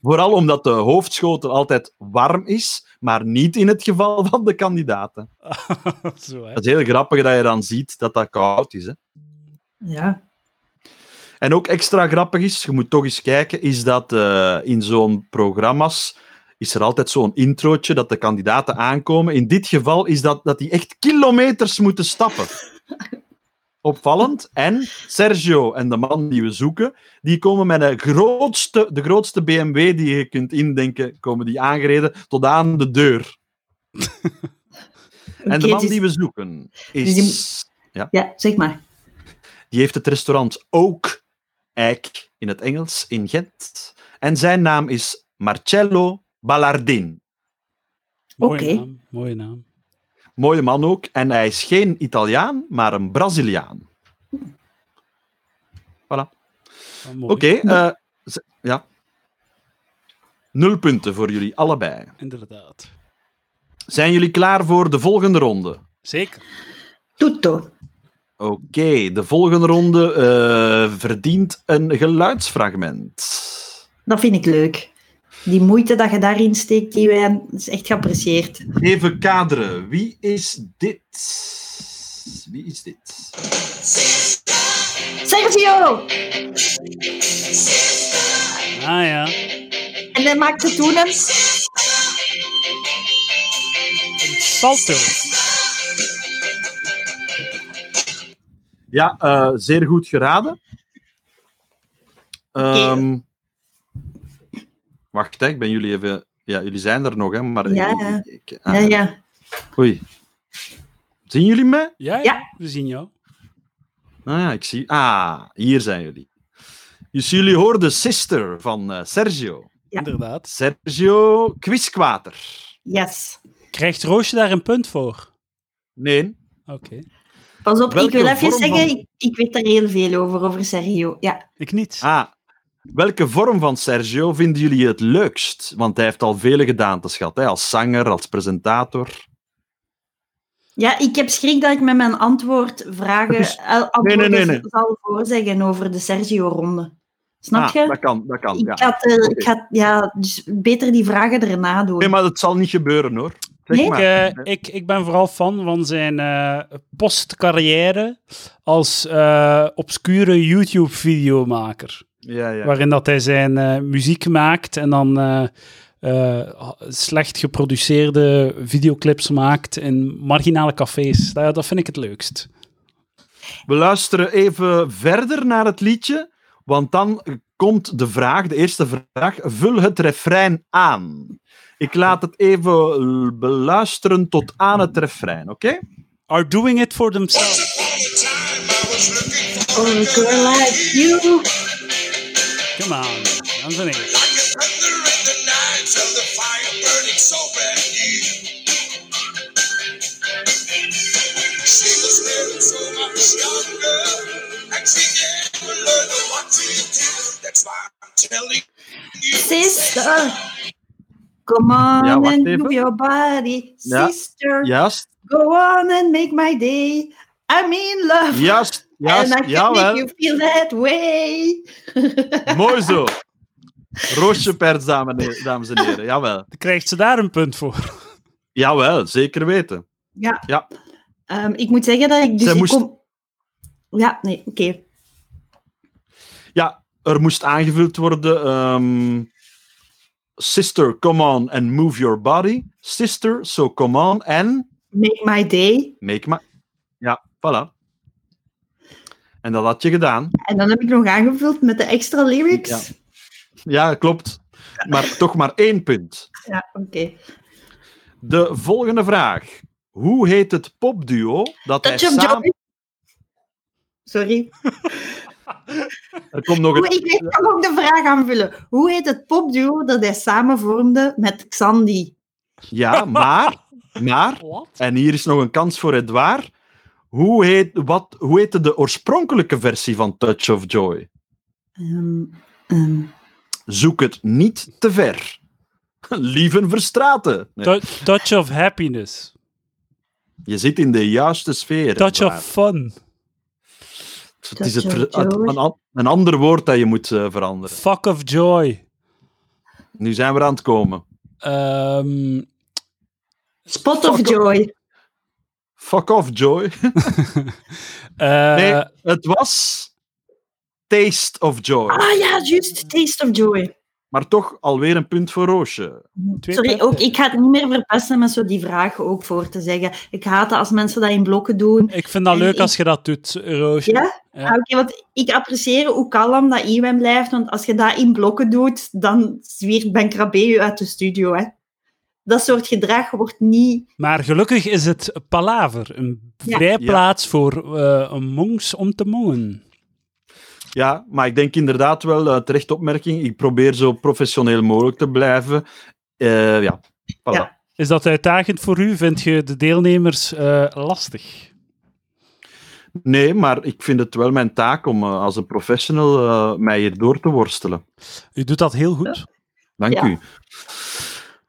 Speaker 3: Vooral omdat de hoofdschotel altijd warm is, maar niet in het geval van de kandidaten.
Speaker 1: zo, hè.
Speaker 3: Het is heel grappig dat je dan ziet dat dat koud is. Hè?
Speaker 2: Ja.
Speaker 3: En ook extra grappig is, je moet toch eens kijken, is dat eh, in zo'n programma's is er altijd zo'n introotje dat de kandidaten aankomen. In dit geval is dat dat die echt kilometers moeten
Speaker 2: (laughs)
Speaker 3: stappen. Opvallend. En Sergio en de man die we zoeken, die komen met de grootste, de grootste BMW die je kunt indenken, komen die aangereden tot aan de deur. en de
Speaker 2: Oké,
Speaker 3: man
Speaker 2: dus-
Speaker 3: die we zoeken
Speaker 2: dus die
Speaker 3: is...
Speaker 2: Ja, zeg maar.
Speaker 3: Die heeft het restaurant ook Eik in het Engels in Gent. En zijn naam is Marcello Ballardin.
Speaker 1: Mooie
Speaker 2: Oké.
Speaker 1: naam. Mooie naam.
Speaker 3: Mooie man ook. En hij is geen Italiaan, maar een Braziliaan.
Speaker 1: Ah, mooi.
Speaker 3: Oké, eh, Z- Ja. Nul punten voor jullie allebei.
Speaker 1: Inderdaad.
Speaker 3: Zijn jullie klaar voor de volgende ronde?
Speaker 1: Zeker.
Speaker 2: Tutto.
Speaker 3: Oké, de volgende ronde eh, verdient een geluidsfragment.
Speaker 2: Dat vind ik leuk. Die moeite dat je daarin steekt, die wij, is echt geapprecieerd.
Speaker 3: Even kaderen. Wie is dit? Wie is dit?
Speaker 2: Sergio!
Speaker 1: Ah ja.
Speaker 2: En hij maakte toen een...
Speaker 1: Een salto.
Speaker 3: Ja, eh, zeer goed geraden. Ehm, wacht, hè, ik ben jullie even. Ja, jullie zijn er nog, hè? Maar
Speaker 2: Ja,
Speaker 3: ik-
Speaker 2: ja.
Speaker 3: ik- ik-
Speaker 2: Ja,
Speaker 3: ah,
Speaker 2: ja.
Speaker 3: Oei. Zien jullie mij?
Speaker 1: Ja, ja,
Speaker 2: Ja.
Speaker 1: we zien jou.
Speaker 3: Ah, ja, ik zie. Ah, hier zijn jullie. Dus jullie hoorden Sister van eh, Sergio.
Speaker 2: Ja.
Speaker 1: Inderdaad.
Speaker 3: Sergio Quiskwater.
Speaker 2: Yes.
Speaker 1: Krijgt Roosje daar een punt voor?
Speaker 3: Nee.
Speaker 1: Oké.
Speaker 2: Pas op,
Speaker 3: Welke
Speaker 2: ik wil even
Speaker 3: vorm van-
Speaker 2: zeggen, ik, ik weet er heel veel over, over Sergio. Ja.
Speaker 1: Ik niet.
Speaker 3: Ah, welke vorm van Sergio vinden jullie het leukst? Want hij heeft al vele gedaantes gehad, hè? als zanger, als presentator.
Speaker 2: ja, ik heb schrik dat ik met mijn antwoord
Speaker 3: (laughs)
Speaker 2: vragen...
Speaker 3: is-
Speaker 2: eh, antwoorden
Speaker 3: Dus- nee, nee, nee.
Speaker 2: zal voorzeggen over de Sergio-ronde. Snap
Speaker 3: Ah,
Speaker 2: je?
Speaker 3: Dat kan, dat kan.
Speaker 2: Ik
Speaker 3: Ja.
Speaker 2: had, eh,
Speaker 3: Oké.
Speaker 2: ik had, ja, dus beter die vragen erna doen.
Speaker 3: Nee, maar dat zal niet gebeuren hoor. Zeg
Speaker 2: Nee?
Speaker 1: Ik,
Speaker 3: maar.
Speaker 1: eh, ik, ik ben vooral fan van zijn eh postcarrière als eh, obscure YouTube-videomaker.
Speaker 3: Ja, ja.
Speaker 1: Waarin dat hij zijn eh, muziek maakt en dan eh, eh, slecht geproduceerde videoclips maakt in marginale cafés. Dat, dat vind ik het leukst.
Speaker 3: We luisteren even verder naar het liedje, want dan komt de vraag, de eerste vraag, vul het refrein aan. Ik laat het even l- beluisteren tot aan het refrein, oké?
Speaker 1: Are doing it for themselves.
Speaker 2: Oh, a girl like you.
Speaker 1: Come on, dames en heren.
Speaker 2: Sister. Come on
Speaker 3: Ja, wacht
Speaker 2: and
Speaker 3: even.
Speaker 2: move your body.
Speaker 3: Ja.
Speaker 2: Sister.
Speaker 3: Juist,
Speaker 2: Go on and make my day. I'm in love. (laughs)
Speaker 3: juist,
Speaker 2: and I
Speaker 3: juist,
Speaker 2: can
Speaker 3: jawel.
Speaker 2: make you feel that way.
Speaker 3: Mooi zo. Roosje pers, dames dames en heren. Jawel.
Speaker 1: Krijgt ze daar een punt voor?
Speaker 3: Jawel, zeker weten.
Speaker 2: Ja.
Speaker 3: Ja.
Speaker 2: Ehm, ik moet zeggen dat ik dus...
Speaker 3: Zij
Speaker 2: ik
Speaker 3: moest-
Speaker 2: kom- Ja, nee, oké.
Speaker 3: Ja, er moest aangevuld worden. ehm, sister, come on and move your body. Sister, so come on and
Speaker 2: Make my day.
Speaker 3: make my... Ja, voilà. En dat had je gedaan.
Speaker 2: En dan heb ik nog aangevuld met de extra lyrics.
Speaker 3: Ja. Ja, klopt. Maar toch maar één punt.
Speaker 2: Ja, oké.
Speaker 3: De volgende vraag. Hoe heet het popduo dat hij
Speaker 2: Touch of
Speaker 3: samen...
Speaker 2: Joy. Sorry.
Speaker 3: Er komt nog
Speaker 2: Oeh,
Speaker 3: een...
Speaker 2: ik weet- ik kan ook de vraag aanvullen. Hoe heet het popduo dat hij samen vormde met Xandi?
Speaker 3: Ja, maar... Maar...
Speaker 1: Wat?
Speaker 3: En hier is nog een kans voor Edouard. Hoe, heet, wat, hoe heette de oorspronkelijke versie van Touch of Joy?
Speaker 2: Ehm, ehm,
Speaker 3: Zoek het niet te ver. (laughs) Lieven Verstraten. Nee,
Speaker 1: Tou- Touch of happiness.
Speaker 3: je zit in de juiste sfeer.
Speaker 1: Touch
Speaker 3: Edouard.
Speaker 1: of fun.
Speaker 3: het is het
Speaker 2: Touch
Speaker 3: ver-
Speaker 2: of
Speaker 3: het-
Speaker 2: Joy.
Speaker 3: een, an- een ander woord dat je moet eh, veranderen.
Speaker 1: Fuck of joy.
Speaker 3: Nu zijn we aan het komen.
Speaker 1: Ehm,
Speaker 2: Spot of Joy.
Speaker 3: Fuck off, Joy.
Speaker 1: eh,
Speaker 3: Nee, het was Taste of Joy.
Speaker 2: Ah ja, juist. Taste of Joy.
Speaker 3: Maar toch alweer een punt voor Roosje.
Speaker 1: Twee
Speaker 2: Sorry,
Speaker 1: punten.
Speaker 2: ook, ik ga het niet meer verpesten met zo die vragen ook voor te zeggen. Ik haat dat als mensen dat in blokken doen.
Speaker 1: Ik vind dat
Speaker 2: En
Speaker 1: leuk
Speaker 2: ik-
Speaker 1: als je dat doet, Roosje.
Speaker 2: Ja?
Speaker 1: Ja.
Speaker 2: Ah, Oké, want ik apprecieer hoe kalm dat Iwan blijft, want als je dat in blokken doet, dan zwiert Ben Krabbe je uit de studio. Hè. Dat soort gedrag wordt niet...
Speaker 1: Maar gelukkig is het palaver, een
Speaker 2: Ja.
Speaker 1: vrijplaats voor eh, een monks om te mongen.
Speaker 3: Ja, maar ik denk inderdaad wel, eh, terecht opmerking, ik probeer zo professioneel mogelijk te blijven. Eh, ja, voilà.
Speaker 2: Ja.
Speaker 1: Is dat uitdagend voor u? Vind je de deelnemers eh, lastig?
Speaker 3: Nee, maar ik vind het wel mijn taak om eh, als een professional eh, mij hier door te worstelen.
Speaker 1: U doet dat heel
Speaker 2: Eh,
Speaker 1: goed.
Speaker 3: Dank
Speaker 2: Ja.
Speaker 3: u.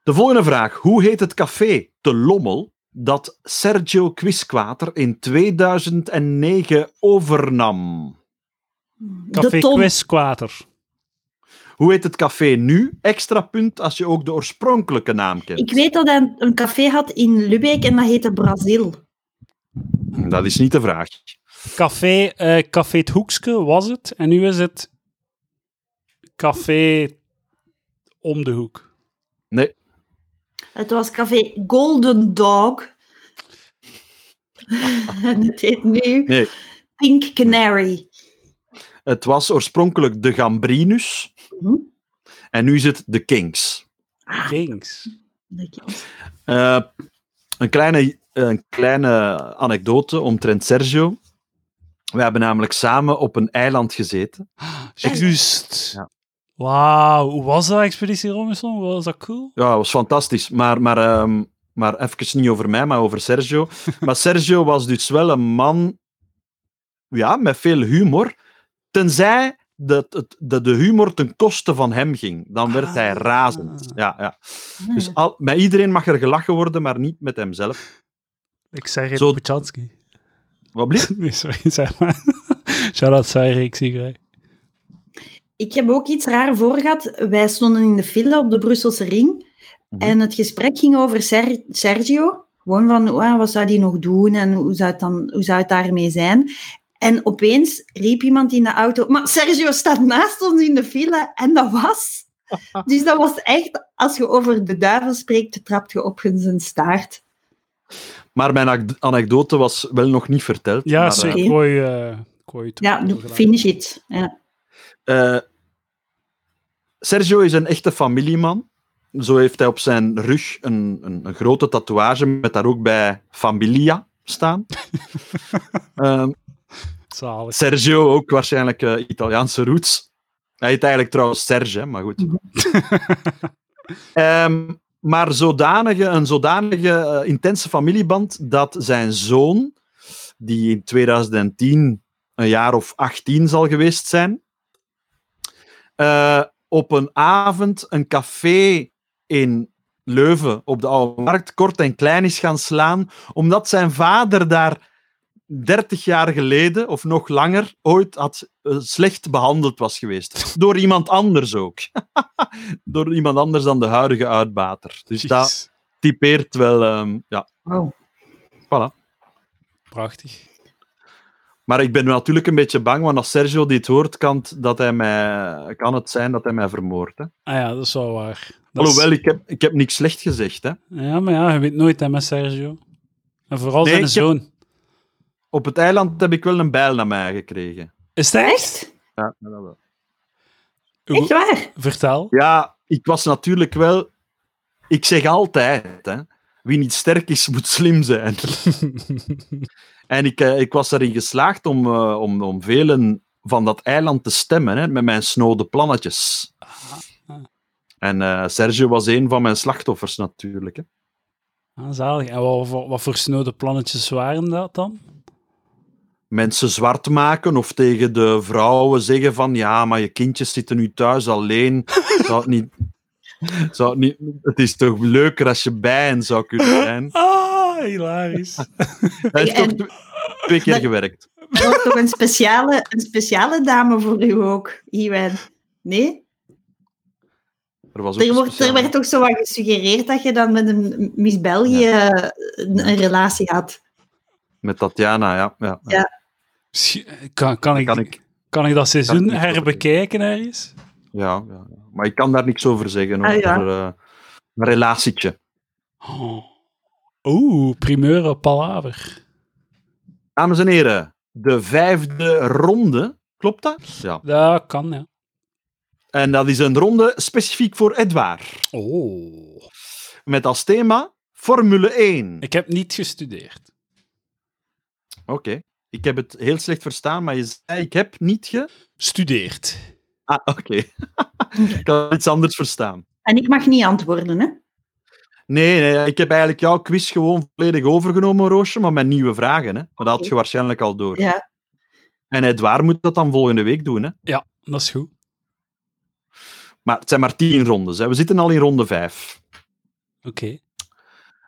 Speaker 3: De volgende vraag. Hoe heet het café te Lommel dat Sergio Quisquater in 2009 overnam?
Speaker 1: Café
Speaker 2: de Tom.
Speaker 1: Quizquater.
Speaker 3: Hoe heet het café nu? Extra punt als je ook de oorspronkelijke naam kent.
Speaker 2: Ik weet dat hij een, een café had in Lubeek en dat heette Brazil.
Speaker 3: Dat is niet de vraag.
Speaker 1: Café, eh, Café het Hoekske was het. En nu is het Café om de hoek.
Speaker 3: Nee.
Speaker 2: Het was café Golden Dog. (laughs) en het heet nu
Speaker 3: Nee.
Speaker 2: Pink Canary.
Speaker 3: Het was oorspronkelijk de Gambrinus
Speaker 2: Mhm.
Speaker 3: en nu is het de Kings.
Speaker 1: Kings.
Speaker 3: Eh, een, kleine, een kleine anekdote omtrent Sergio. We hebben namelijk samen op een eiland gezeten.
Speaker 2: Ah.
Speaker 1: Juist.
Speaker 3: Ja.
Speaker 1: Wauw, hoe was dat Expeditie Robinson? Was dat cool?
Speaker 3: Ja, dat was fantastisch. Maar, maar, ehm, maar even niet over mij, maar
Speaker 1: (laughs)
Speaker 3: over Sergio. Maar Sergio was dus wel een man ja, met veel humor. Tenzij dat het, dat de humor ten koste van hem ging. Dan werd hij
Speaker 1: Ah. Hmm.
Speaker 3: razend. Ja, ja.
Speaker 2: Ah.
Speaker 3: Dus al, met iedereen mag er gelachen worden, maar niet met hemzelf.
Speaker 1: Ik zeg het,
Speaker 3: Zo-
Speaker 1: Puchansky.
Speaker 3: Wat blieft?
Speaker 1: (laughs) Nee, sorry, (laughs) zeg maar. Shout-out Sarah, ik zie graag.
Speaker 2: Ik heb ook iets raar voor gehad. Wij stonden in de file op de Brusselse ring.
Speaker 3: Mhm.
Speaker 2: En het gesprek ging over Ser- Sergio. Gewoon van, "Ah, wat zou die nog doen en hoe zou, het dan, hoe zou het daarmee zijn? En opeens riep iemand in de auto, maar Sergio staat naast ons in de file. En dat was... Dus dat was echt, als je over de duivel spreekt, trapt je op zijn staart.
Speaker 3: Maar mijn ac- anekdote was wel nog niet verteld.
Speaker 1: Ja,
Speaker 3: maar, ehm,
Speaker 1: zeker.
Speaker 2: eh,
Speaker 1: Ik hoor je, eh, ik hoor je toe.
Speaker 2: Ja,
Speaker 1: Heel graag.
Speaker 2: finish it. Ja.
Speaker 3: eh, eh, Sergio is een echte familieman. Zo heeft hij op zijn rug een, een, een grote tatoeage met daar ook bij Familia staan. Ehm,
Speaker 1: Zalig.
Speaker 3: Sergio ook waarschijnlijk eh, Italiaanse roots. Hij heet eigenlijk trouwens Serge, hè, maar goed. (laughs) Ehm, maar zodanige, een zodanige eh, intense familieband dat zijn zoon, die in 2010 een jaar of 18 zal geweest zijn, eh, op een avond een café in Leuven op de Oude Markt kort en klein is gaan slaan, omdat zijn vader daar 30 jaar geleden of nog langer ooit had, eh, slecht behandeld was geweest. Door iemand anders ook. (laughs) Door iemand anders dan de huidige uitbater. Dus dat
Speaker 1: Jeez.
Speaker 3: typeert wel. ehm, ja.
Speaker 2: Wow.
Speaker 1: Prachtig.
Speaker 3: Maar ik ben natuurlijk een beetje bang, want als Sergio dit hoort, kan het, dat hij mij, kan het zijn dat hij mij vermoordt. hè.
Speaker 1: Ah ja, dat is wel waar. Dat is-
Speaker 3: Alhoewel, ik heb, ik heb niks slecht gezegd. Hè.
Speaker 1: Ja, maar ja, je weet nooit hè, met Sergio. En vooral
Speaker 3: Nee,
Speaker 1: zijn
Speaker 3: ik heb-
Speaker 1: zoon.
Speaker 3: Op het eiland heb ik wel een bijl naar mij gekregen.
Speaker 1: Is dat echt?
Speaker 2: Echt?
Speaker 3: Ja, dat wel.
Speaker 1: Hoe-
Speaker 2: Echt waar?
Speaker 1: Vertel.
Speaker 3: Ja, ik was natuurlijk wel. Ik zeg altijd, hè, wie niet sterk is, moet slim zijn. (laughs) en ik, eh, ik was erin geslaagd om, eh, om, om velen van dat eiland te stemmen hè, met mijn snode plannetjes.
Speaker 1: ah.
Speaker 3: En eh, Sergio was een van mijn slachtoffers natuurlijk. Hè.
Speaker 1: (laughs) Ah, zalig. En wat, voor- wat voor snode plannetjes waren dat dan?
Speaker 3: Mensen zwart maken of tegen de vrouwen zeggen van ja, maar je kindjes zitten nu thuis alleen. (laughs) Zou het, niet, zou het, niet, het is toch leuker als je bij hen zou
Speaker 2: (laughs)
Speaker 3: kunnen zijn.
Speaker 1: Ah, hilarisch.
Speaker 3: Hij heeft
Speaker 2: En-
Speaker 3: toch twee, twee keer
Speaker 2: Maar-
Speaker 3: gewerkt.
Speaker 2: Er was toch een speciale, een speciale dame voor u ook, Iwan? Nee?
Speaker 3: Er, was ook
Speaker 2: Er,
Speaker 3: een
Speaker 2: wordt, er
Speaker 3: speciale-
Speaker 2: werd toch zo wat gesuggereerd dat je dan met een Miss België een, een relatie had.
Speaker 3: Met Tatjana, ja. ja.
Speaker 2: Ja.
Speaker 1: Misschien- Kan, kan, ik,
Speaker 3: Kan
Speaker 1: kan,
Speaker 3: ik-
Speaker 1: ik, dat
Speaker 3: kan
Speaker 1: seizoen
Speaker 3: ik niet
Speaker 1: herbekijken ergens?
Speaker 3: Ja, ja. Maar ik kan daar niks over zeggen.
Speaker 2: Ah, ja.
Speaker 3: over eh, een relatietje.
Speaker 1: Oh. Oeh, primeur op palaver.
Speaker 3: Dames en heren, de vijfde ronde. Klopt dat? Ja.
Speaker 1: Dat kan, ja.
Speaker 3: En dat is een ronde specifiek voor Edouard.
Speaker 1: Oh.
Speaker 3: Met als thema Formule 1.
Speaker 1: Ik heb niet gestudeerd.
Speaker 3: Oké. Ik heb het heel slecht verstaan, maar je zei ik heb niet ge...
Speaker 1: Studeert.
Speaker 3: (laughs) Ah, oké. ik had iets anders verstaan.
Speaker 2: En ik mag niet antwoorden, hè?
Speaker 3: Nee, nee, ik heb eigenlijk jouw quiz gewoon volledig overgenomen, Roosje, maar met nieuwe vragen. Hè? Maar dat had je waarschijnlijk al door.
Speaker 2: Ja.
Speaker 3: En Edouard moet dat dan volgende week doen. Hè?
Speaker 1: Dat is goed.
Speaker 3: Maar het zijn maar tien rondes. Hè? We zitten al in ronde vijf.
Speaker 1: Oké.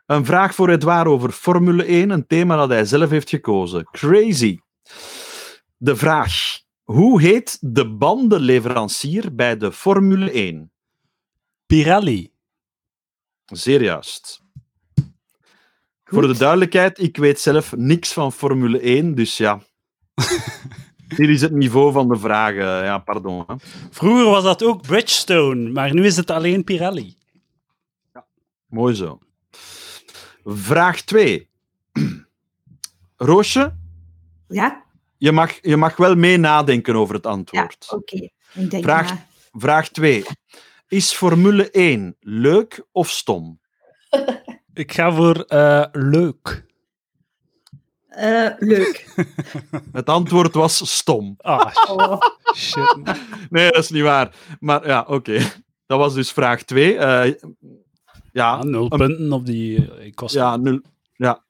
Speaker 3: Een vraag voor Edouard over Formule 1, een thema dat hij zelf heeft gekozen. Crazy. De vraag: hoe heet de bandenleverancier bij de Formule 1?
Speaker 1: Pirelli.
Speaker 3: Zeer juist. Voor de duidelijkheid, ik weet zelf niks van Formule 1, dus ja. Dit is het niveau van de vragen. Ja, pardon. Hè.
Speaker 1: Vroeger was dat ook Bridgestone, maar nu is het alleen Pirelli.
Speaker 3: Mooi zo. Vraag 2. (clears throat) Roosje,
Speaker 2: Ja,
Speaker 3: je mag, je mag wel mee nadenken over het antwoord.
Speaker 2: oké. Ik denk
Speaker 3: Vraag-
Speaker 2: maar.
Speaker 3: Vraag 2. Is Formule 1 leuk of stom?
Speaker 1: Ik ga voor eh, leuk.
Speaker 2: Eh, leuk.
Speaker 3: Het antwoord was stom.
Speaker 1: Ah, (laughs)
Speaker 2: Oh.
Speaker 1: shit.
Speaker 3: Nee, dat is niet waar. Maar ja, oké. Dat was dus vraag 2. ja,
Speaker 1: Ah, nul punten op die... eh, Ik was...
Speaker 3: ja, nul. Ja.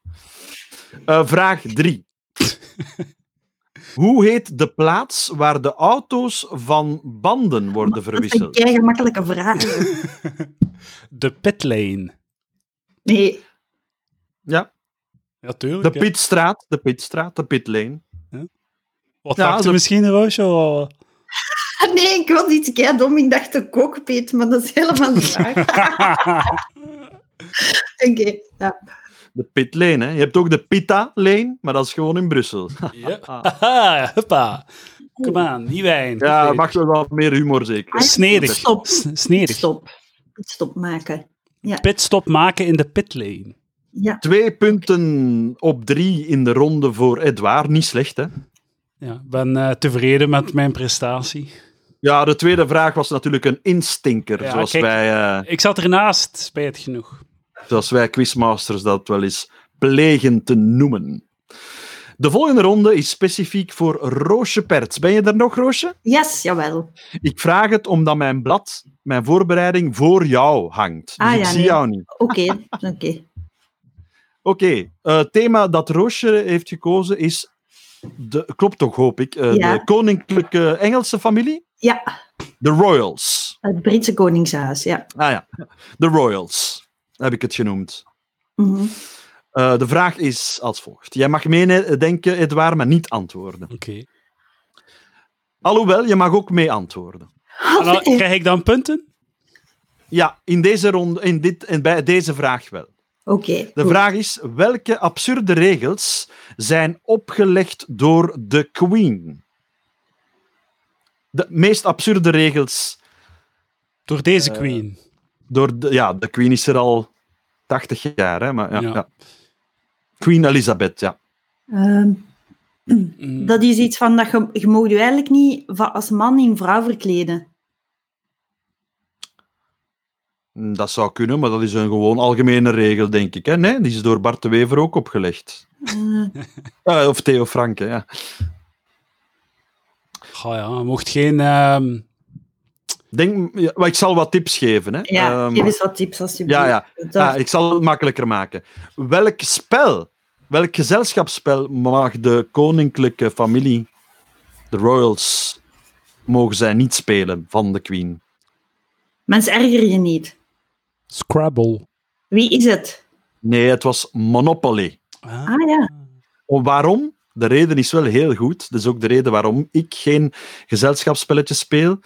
Speaker 3: Eh, vraag
Speaker 1: (laughs)
Speaker 3: 3. Hoe heet de plaats waar de auto's van banden worden
Speaker 2: Dat is een
Speaker 3: verwisseld?
Speaker 2: kei gemakkelijke vraag.
Speaker 1: De pitlane.
Speaker 2: Nee,
Speaker 1: Ja, tuurlijk.
Speaker 3: De
Speaker 1: hè.
Speaker 3: pitstraat, de pitstraat, de pitlane.
Speaker 1: Wat
Speaker 3: Ja,
Speaker 1: dacht je
Speaker 3: de-
Speaker 1: misschien, Roosje? (laughs) Oh.
Speaker 2: Ah, nee ik was iets kei dom. Ik dacht een kookpeet, maar dat is helemaal niet
Speaker 3: (laughs)
Speaker 2: waar. Oké, ja.
Speaker 3: De pitlane, hè. Je hebt ook de pita-lane, maar dat is gewoon in
Speaker 1: (laughs)
Speaker 3: Brussel.
Speaker 1: Yep. Haha, huppa. Kom aan, die wijn.
Speaker 3: Ja, er
Speaker 1: Oké.
Speaker 3: mag wel wat meer humor
Speaker 2: Ah,
Speaker 3: zeker.
Speaker 1: Snedig.
Speaker 2: Stop.
Speaker 1: S- Snedig.
Speaker 2: Stop. Stop maken.
Speaker 1: Pitstop maken in de pitlane.
Speaker 2: Ja,
Speaker 3: Twee punten op drie in de ronde voor Edouard. Niet slecht, hè?
Speaker 1: Ja, ik ben eh, tevreden met mijn prestatie.
Speaker 3: Ja, de tweede vraag was natuurlijk een instinker,
Speaker 1: Ja,
Speaker 3: zoals,
Speaker 1: kijk.
Speaker 3: wij, eh
Speaker 1: Ik zat ernaast, spijt genoeg.
Speaker 3: zoals wij quizmasters dat wel eens plegen te noemen. De volgende ronde is specifiek voor Roosje Perts. Ben je er nog, Roosje?
Speaker 2: yes, jawel.
Speaker 3: Ik vraag het omdat mijn blad, mijn voorbereiding, voor jou hangt. Dus
Speaker 2: Ah,
Speaker 3: ik
Speaker 2: ja,
Speaker 3: zie
Speaker 2: nee.
Speaker 3: jou niet.
Speaker 2: Oké, oké.
Speaker 3: Oké, eh, het thema dat Roosje heeft gekozen is. De, klopt toch, hoop ik? eh,
Speaker 2: Ja.
Speaker 3: De koninklijke Engelse familie?
Speaker 2: Ja,
Speaker 3: De Royals.
Speaker 2: het Britse Koningshuis, ja.
Speaker 3: Ah ja, de Royals heb ik het genoemd.
Speaker 2: Mhm.
Speaker 3: Eh, de vraag is als volgt. Jij mag meedenken, Edouard, maar niet antwoorden.
Speaker 1: Oké.
Speaker 3: Alhoewel, je mag ook mee antwoorden.
Speaker 1: En dan krijg ik dan punten?
Speaker 3: Ja, in deze ronde, in dit, en bij deze vraag wel.
Speaker 2: Oké.
Speaker 3: De vraag is, welke absurde regels zijn opgelegd door de Queen? De meest absurde regels
Speaker 1: Door deze
Speaker 3: Eh,
Speaker 1: queen.
Speaker 3: door de... Ja, de Queen is er al 80 jaar, hè? Maar, ja,
Speaker 1: Ja.
Speaker 3: ja. Queen Elizabeth, ja.
Speaker 2: Ehm,
Speaker 1: Mm.
Speaker 2: dat is iets van dat je, je mag je eigenlijk niet va- als man in vrouw verkleden.
Speaker 3: Mm, Dat zou kunnen, maar dat is een gewoon algemene regel, denk ik. Hè? Nee, die is door Bart de Wever ook opgelegd.
Speaker 2: Eh,
Speaker 3: Eh, of Theo Franke, ja.
Speaker 1: Goh, ja, je mocht geen... ehm,
Speaker 3: Denk, ja, maar ik zal wat tips geven. Hè?
Speaker 2: ja,
Speaker 3: Ehm,
Speaker 2: geef eens wat tips alsjeblieft.
Speaker 3: ja, ja.
Speaker 2: Dat-
Speaker 3: Ah, ik zal het makkelijker maken. Welk spel, welk gezelschapsspel mag de koninklijke familie, de royals, mogen zij niet spelen van de queen?
Speaker 2: Mensen erger je niet.
Speaker 1: Scrabble.
Speaker 2: Wie is het?
Speaker 3: Nee, het was Monopoly.
Speaker 1: Ah.
Speaker 2: Ah ja,
Speaker 3: Om- Oh, Waarom? De reden is wel heel goed. Dat is ook de reden waarom ik geen gezelschapsspelletjes speel.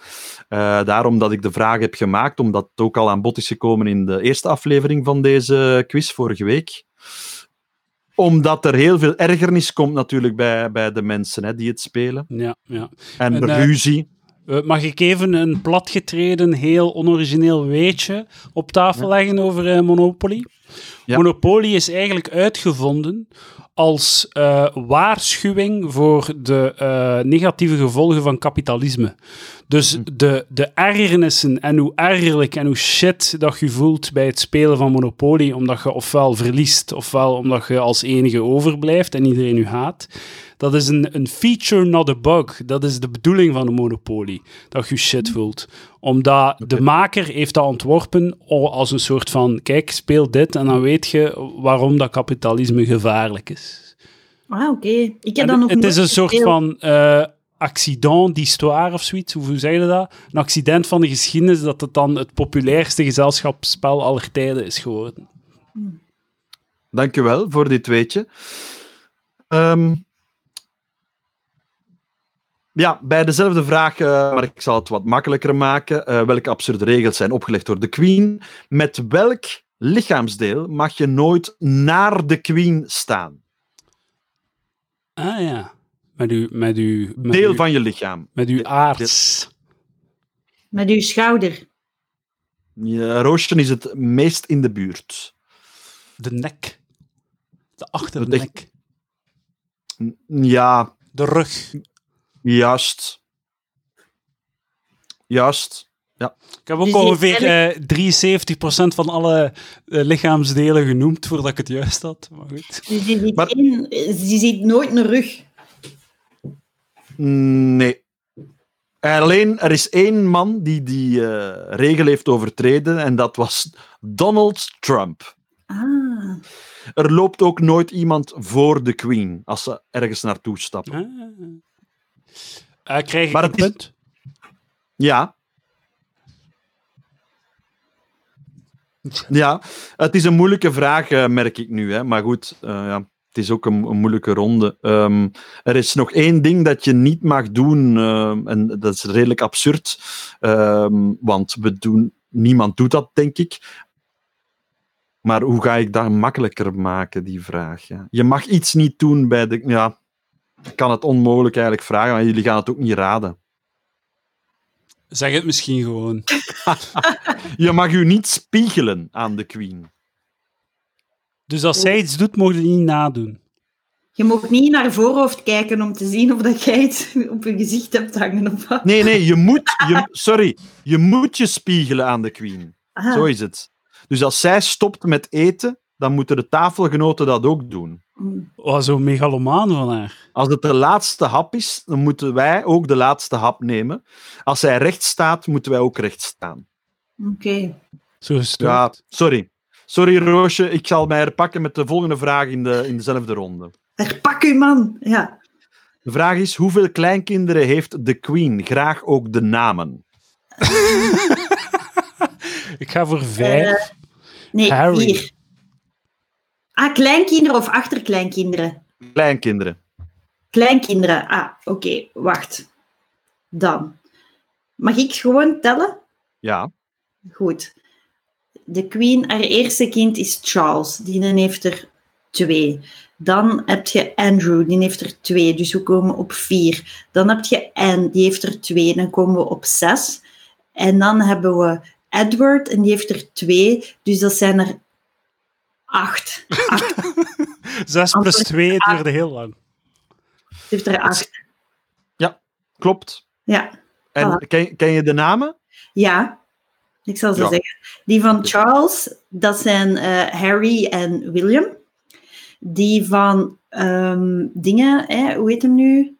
Speaker 3: Eh, daarom dat ik de vraag heb gemaakt, omdat het ook al aan bod is gekomen in de eerste aflevering van deze quiz vorige week. Omdat er heel veel ergernis komt natuurlijk bij, bij de mensen hè, die het spelen.
Speaker 1: Ja, ja.
Speaker 3: En,
Speaker 1: En, eh,
Speaker 3: ruzie.
Speaker 1: Eh, mag ik even een platgetreden, heel onorigineel weetje op tafel leggen over eh, Monopoly?
Speaker 3: Ja.
Speaker 1: Monopoly is eigenlijk uitgevonden als eh, waarschuwing voor de eh, negatieve gevolgen van kapitalisme. Dus de, de ergernissen en hoe ergerlijk en hoe shit dat je voelt bij het spelen van Monopoly, omdat je ofwel verliest, ofwel omdat je als enige overblijft en iedereen je haat, dat is een, een feature, not a bug. Dat is de bedoeling van een Monopoly, dat je shit voelt. Omdat de
Speaker 3: Oké.
Speaker 1: maker heeft dat ontworpen o- als een soort van, kijk, speel dit en dan weet je waarom dat kapitalisme gevaarlijk is.
Speaker 2: Ah, oké. Ik heb
Speaker 1: En
Speaker 2: dan nog
Speaker 1: het
Speaker 2: nooit
Speaker 1: is een soort
Speaker 2: gespeeld.
Speaker 1: van eh, accident d'histoire of zoiets. Hoe hoe zeg je dat? Een accident van de geschiedenis dat het dan het populairste gezelschapsspel aller tijden is geworden.
Speaker 3: Dankjewel voor dit weetje. Ehm, ja, bij dezelfde vraag, eh, maar ik zal het wat makkelijker maken. eh, welke absurde regels zijn opgelegd door de Queen? Met welk lichaamsdeel mag je nooit naar de Queen staan?
Speaker 1: Ah ja. Met uw, met uw, met
Speaker 3: Deel
Speaker 1: uw-
Speaker 3: van je lichaam.
Speaker 1: met uw aards.
Speaker 2: Met uw schouder.
Speaker 3: Ja, Roosje is het meest in de buurt.
Speaker 1: De nek. De
Speaker 3: Dat is-
Speaker 1: achternek.
Speaker 3: N- Ja,
Speaker 1: De rug.
Speaker 3: Juist. Juist.
Speaker 1: Ik heb ook
Speaker 2: Dus die-
Speaker 1: ongeveer eh, 73% van alle eh, lichaamsdelen genoemd voordat ik het juist had. Maar goed.
Speaker 2: Dus die ziet,
Speaker 3: Maar-
Speaker 2: geen- die ziet nooit een rug.
Speaker 3: Nee. En alleen, er is één man die die eh, regel heeft overtreden en dat was Donald Trump.
Speaker 2: Ah.
Speaker 3: Er loopt ook nooit iemand voor de Queen als ze ergens naartoe stappen.
Speaker 1: Ah. Eh, krijg ik
Speaker 3: Maar
Speaker 1: een
Speaker 3: het is-
Speaker 1: punt?
Speaker 3: Ja. Ja, het is een moeilijke vraag, eh, merk ik nu. Hè. Maar goed, eh, ja, het is ook een, een moeilijke ronde. Ehm, er is nog één ding dat je niet mag doen. ehm, en dat is redelijk absurd. ehm, want we doen, niemand doet dat, denk ik. Maar hoe ga ik dat makkelijker maken, die vraag? Ja. Je mag iets niet doen bij de... Ja, ik kan het onmogelijk eigenlijk vragen, maar jullie gaan het ook niet raden.
Speaker 1: Zeg het misschien gewoon.
Speaker 3: Je mag u niet spiegelen aan de queen.
Speaker 1: Dus als zij iets doet, mogen je niet nadoen.
Speaker 2: Je mag niet naar voorhoofd kijken om te zien of dat jij het op je gezicht hebt hangen of wat.
Speaker 3: Nee, nee, je moet... Je, sorry, je moet je spiegelen aan de queen.
Speaker 2: Ah,
Speaker 3: Zo is het. Dus als zij stopt met eten, dan moeten de tafelgenoten dat ook doen.
Speaker 2: mm.
Speaker 1: Oh, zo megalomaan van haar.
Speaker 3: Als het de laatste hap is, dan moeten wij ook de laatste hap nemen. Als zij recht staat, moeten wij ook recht staan.
Speaker 2: Oké.
Speaker 1: Zo gestoord.
Speaker 3: Ja, sorry. Sorry, Roosje. Ik zal mij herpakken met de volgende vraag in, de, in dezelfde ronde.
Speaker 2: Daar pak uw man. Ja.
Speaker 3: De vraag is, hoeveel kleinkinderen heeft de queen? Graag ook de namen.
Speaker 1: Ik ga voor vijf.
Speaker 2: Eh, Nee,
Speaker 1: Harry.
Speaker 2: vier. Ah, kleinkinderen of achterkleinkinderen?
Speaker 3: Kleinkinderen.
Speaker 2: Kleinkinderen. Ah, oké. Wacht. Dan. Mag ik gewoon tellen?
Speaker 3: Ja,
Speaker 2: Goed. De Queen, haar eerste kind is Charles. Die heeft er twee. Dan heb je Andrew, die heeft er twee. Dus we komen op vier. Dan heb je Anne, die heeft er twee. Dan komen we op zes. En dan hebben we Edward, en die heeft er twee. Dus dat zijn er acht. acht. Die
Speaker 1: Zes plus twee het duurde heel lang.
Speaker 2: heeft er acht.
Speaker 3: klopt.
Speaker 2: Ja.
Speaker 3: En
Speaker 2: Voilà.
Speaker 3: ken, ken je de namen?
Speaker 2: ja. Ik zal ze
Speaker 3: Ja.
Speaker 2: zeggen. Die van Charles, dat zijn eh, Harry en William. Die van ehm, dingen, hè, hoe heet hem nu?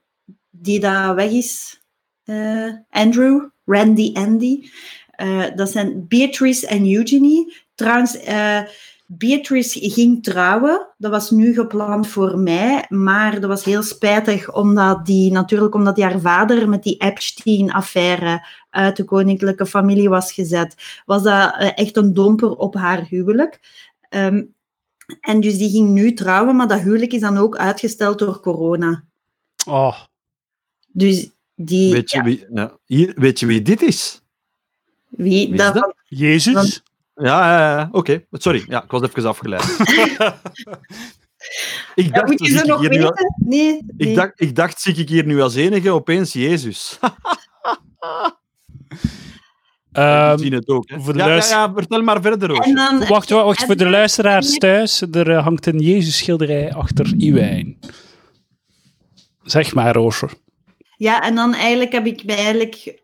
Speaker 2: Die daar weg is. eh, Andrew, Randy, Andy. Eh, dat zijn Beatrice en Eugenie. Trouwens, eh, Beatrice ging trouwen. Dat was nu gepland voor mij, maar dat was heel spijtig, omdat die natuurlijk omdat die haar vader met die Epstein-affaire uit de koninklijke familie was gezet, was dat eh, echt een domper op haar huwelijk. Ehm, en dus die ging nu trouwen, maar dat huwelijk is dan ook uitgesteld door corona.
Speaker 1: Oh,
Speaker 2: Dus die,
Speaker 3: Weet je,
Speaker 2: ja,
Speaker 3: wie, ja. Hier, weet je wie dit is?
Speaker 2: wie,
Speaker 3: is
Speaker 2: dat,
Speaker 3: dat?
Speaker 1: Jezus.
Speaker 2: Want-
Speaker 3: Ja, ja, ja, oké. Sorry, ja, ik was even
Speaker 2: (laughs)
Speaker 3: afgeleid. ik,
Speaker 2: Ja,
Speaker 3: dacht,
Speaker 2: moet je
Speaker 3: zie
Speaker 2: ze
Speaker 3: ik
Speaker 2: nog
Speaker 3: hier nu
Speaker 2: weten?
Speaker 3: al-
Speaker 2: Nee, nee.
Speaker 3: ik, dacht, ik dacht, zie ik hier nu als enige opeens Jezus. (laughs)
Speaker 1: Ehm,
Speaker 3: We zien het ook. Hè.
Speaker 1: voor de
Speaker 3: Ja, ja,
Speaker 1: luister-
Speaker 3: ja, vertel maar verder,
Speaker 2: en eh,
Speaker 3: Roosje.
Speaker 2: dan,
Speaker 1: wacht, wacht, wacht, voor de luisteraars thuis. Er eh, hangt een Jezus-schilderij achter Iwijn. Zeg maar, Roosje.
Speaker 2: Ja, en dan eigenlijk heb ik mij eigenlijk...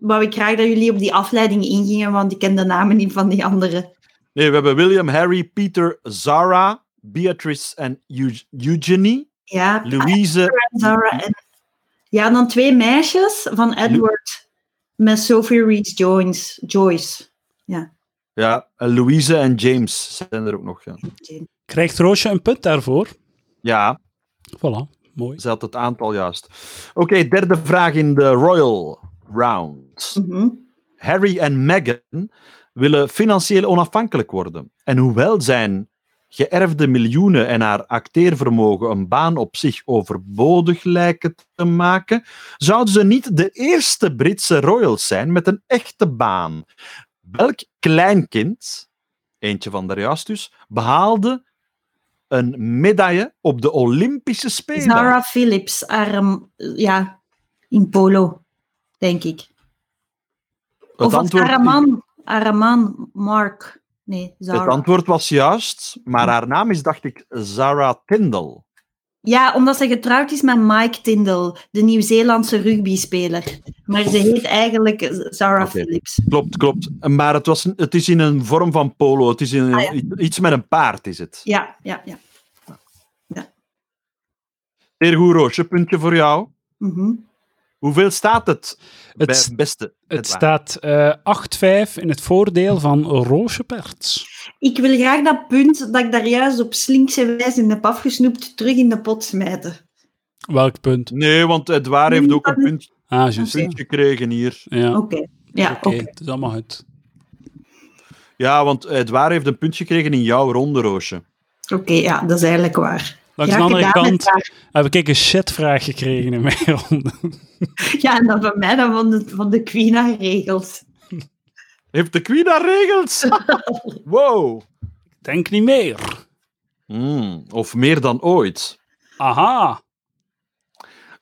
Speaker 2: Wou ik graag dat jullie op die afleiding ingingen, want ik ken de namen niet van die anderen.
Speaker 3: Nee, we hebben William, Harry, Peter, Zara, Beatrice en Eu- Eugenie,
Speaker 2: Ja,
Speaker 3: Louise,
Speaker 2: Sarah en... Ja, en dan twee meisjes van Edward. Met Sophie Rees-Joyce. Joyce.
Speaker 3: Ja, en Louise en James zijn er ook nog. Ja,
Speaker 1: Krijgt Roosje een punt daarvoor?
Speaker 3: ja
Speaker 1: Voilà, mooi.
Speaker 3: ze had het aantal juist. Oké, derde vraag in de Royal Round.
Speaker 2: Mhm.
Speaker 3: Harry en Meghan willen financieel onafhankelijk worden. En hoewel zijn geërfde miljoenen en haar acteervermogen een baan op zich overbodig lijken te maken, zouden ze niet de eerste Britse royals zijn met een echte baan. Welk kleinkind, eentje van daarjuist dus, behaalde een medaille op de Olympische Spelen?
Speaker 2: Zara Phillips, haar, ehm, ja, in polo, denk ik.
Speaker 3: Het
Speaker 2: of
Speaker 3: antwoord-
Speaker 2: haar man, haar man, Mark. Nee, Zara.
Speaker 3: Het antwoord was juist, maar haar naam is, dacht ik, Zara Tyndall.
Speaker 2: Ja, omdat ze getrouwd is met Mike Tindall, de Nieuw-Zeelandse rugbyspeler. Maar ze heet eigenlijk Zara
Speaker 3: Oké.
Speaker 2: Phillips.
Speaker 3: Klopt, klopt. Maar het, was, het is in een vorm van polo. Het is in
Speaker 2: Ah,
Speaker 3: een- iets met een paard, is het.
Speaker 2: Ja, ja, ja.
Speaker 3: Zeer goed, Roosje. Puntje voor jou.
Speaker 2: Mhm.
Speaker 3: Hoeveel staat het?
Speaker 1: Het
Speaker 3: bij
Speaker 1: s-
Speaker 3: het beste.
Speaker 1: Het
Speaker 3: Met waar.
Speaker 1: staat eh 8-5 in het voordeel van Roosje Perts.
Speaker 2: Ik wil graag dat punt dat ik daar juist op slinkse wijze in heb afgesnoept, terug in de pot smijten.
Speaker 1: Welk punt?
Speaker 3: Nee, want Edouard heeft
Speaker 2: Nee,
Speaker 3: ook een
Speaker 2: dat is-
Speaker 3: punt,
Speaker 1: Ah, juist.
Speaker 3: punt gekregen hier.
Speaker 1: Ja,
Speaker 2: Oké.
Speaker 1: oké.
Speaker 2: Ja, oké.
Speaker 1: Het is allemaal goed.
Speaker 3: Ja, want Edouard heeft een punt gekregen in jouw ronde, Roosje.
Speaker 2: Oké, ja, dat is eigenlijk waar.
Speaker 1: Langs de
Speaker 2: Ja,
Speaker 1: andere
Speaker 2: gedaan
Speaker 1: kant
Speaker 2: met haar.
Speaker 1: heb ik een shitvraag gekregen in mijn ronde.
Speaker 2: Ja, en dan van mij, dan van de, van de Queen haar regels.
Speaker 3: Heeft de Queen haar
Speaker 2: (laughs)
Speaker 3: regels? wow.
Speaker 1: (laughs) Denk niet meer.
Speaker 3: Hmm, of meer dan ooit.
Speaker 1: Aha.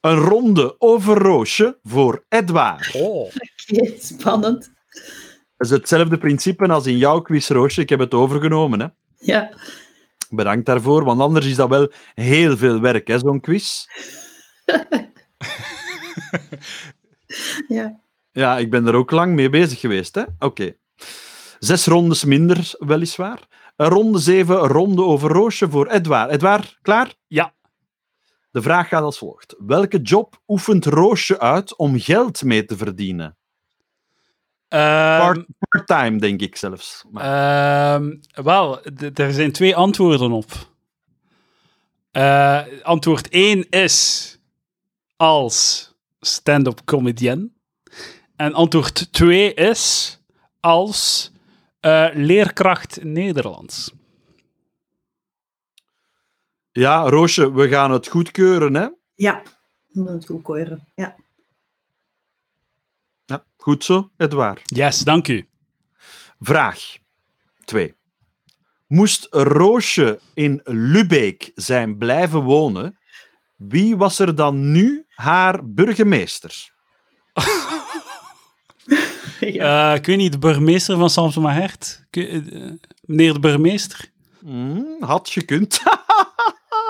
Speaker 3: Een ronde over Roosje voor Edouard.
Speaker 1: Oh.
Speaker 2: Oké, spannend.
Speaker 3: Dat is hetzelfde principe als in jouw quiz, Roosje. Ik heb het overgenomen, hè.
Speaker 2: Ja.
Speaker 3: Bedankt daarvoor, want anders is dat wel heel veel werk, hè, zo'n quiz.
Speaker 2: Ja.
Speaker 3: Ja, ik ben er ook lang mee bezig geweest, hè. Oké. Zes rondes minder, weliswaar. Een Ronde zeven, een ronde over Roosje voor Edouard. Edouard, klaar?
Speaker 1: Ja.
Speaker 3: De vraag gaat als volgt. Welke job oefent Roosje uit om geld mee te verdienen?
Speaker 1: Ehm,
Speaker 3: Part-time, denk ik zelfs. Maar,
Speaker 1: ehm, wel, d- er zijn twee antwoorden op. Eh, antwoord 1 is als stand-up comedian. En antwoord 2 is als eh, leerkracht Nederlands.
Speaker 3: Ja, Roosje, we gaan het goedkeuren, hè.
Speaker 2: Ja. Moet het goed horen. Ja.
Speaker 3: Ja, goed zo, Edouard.
Speaker 1: Yes, dank u.
Speaker 3: Vraag 2. Moest Roosje in Lubeek zijn blijven wonen, wie was er dan nu haar burgemeester?
Speaker 2: Ja.
Speaker 1: Eh, ik weet niet, de burgemeester van Samson Hert? meneer de burgemeester?
Speaker 3: Hmm, had gekund.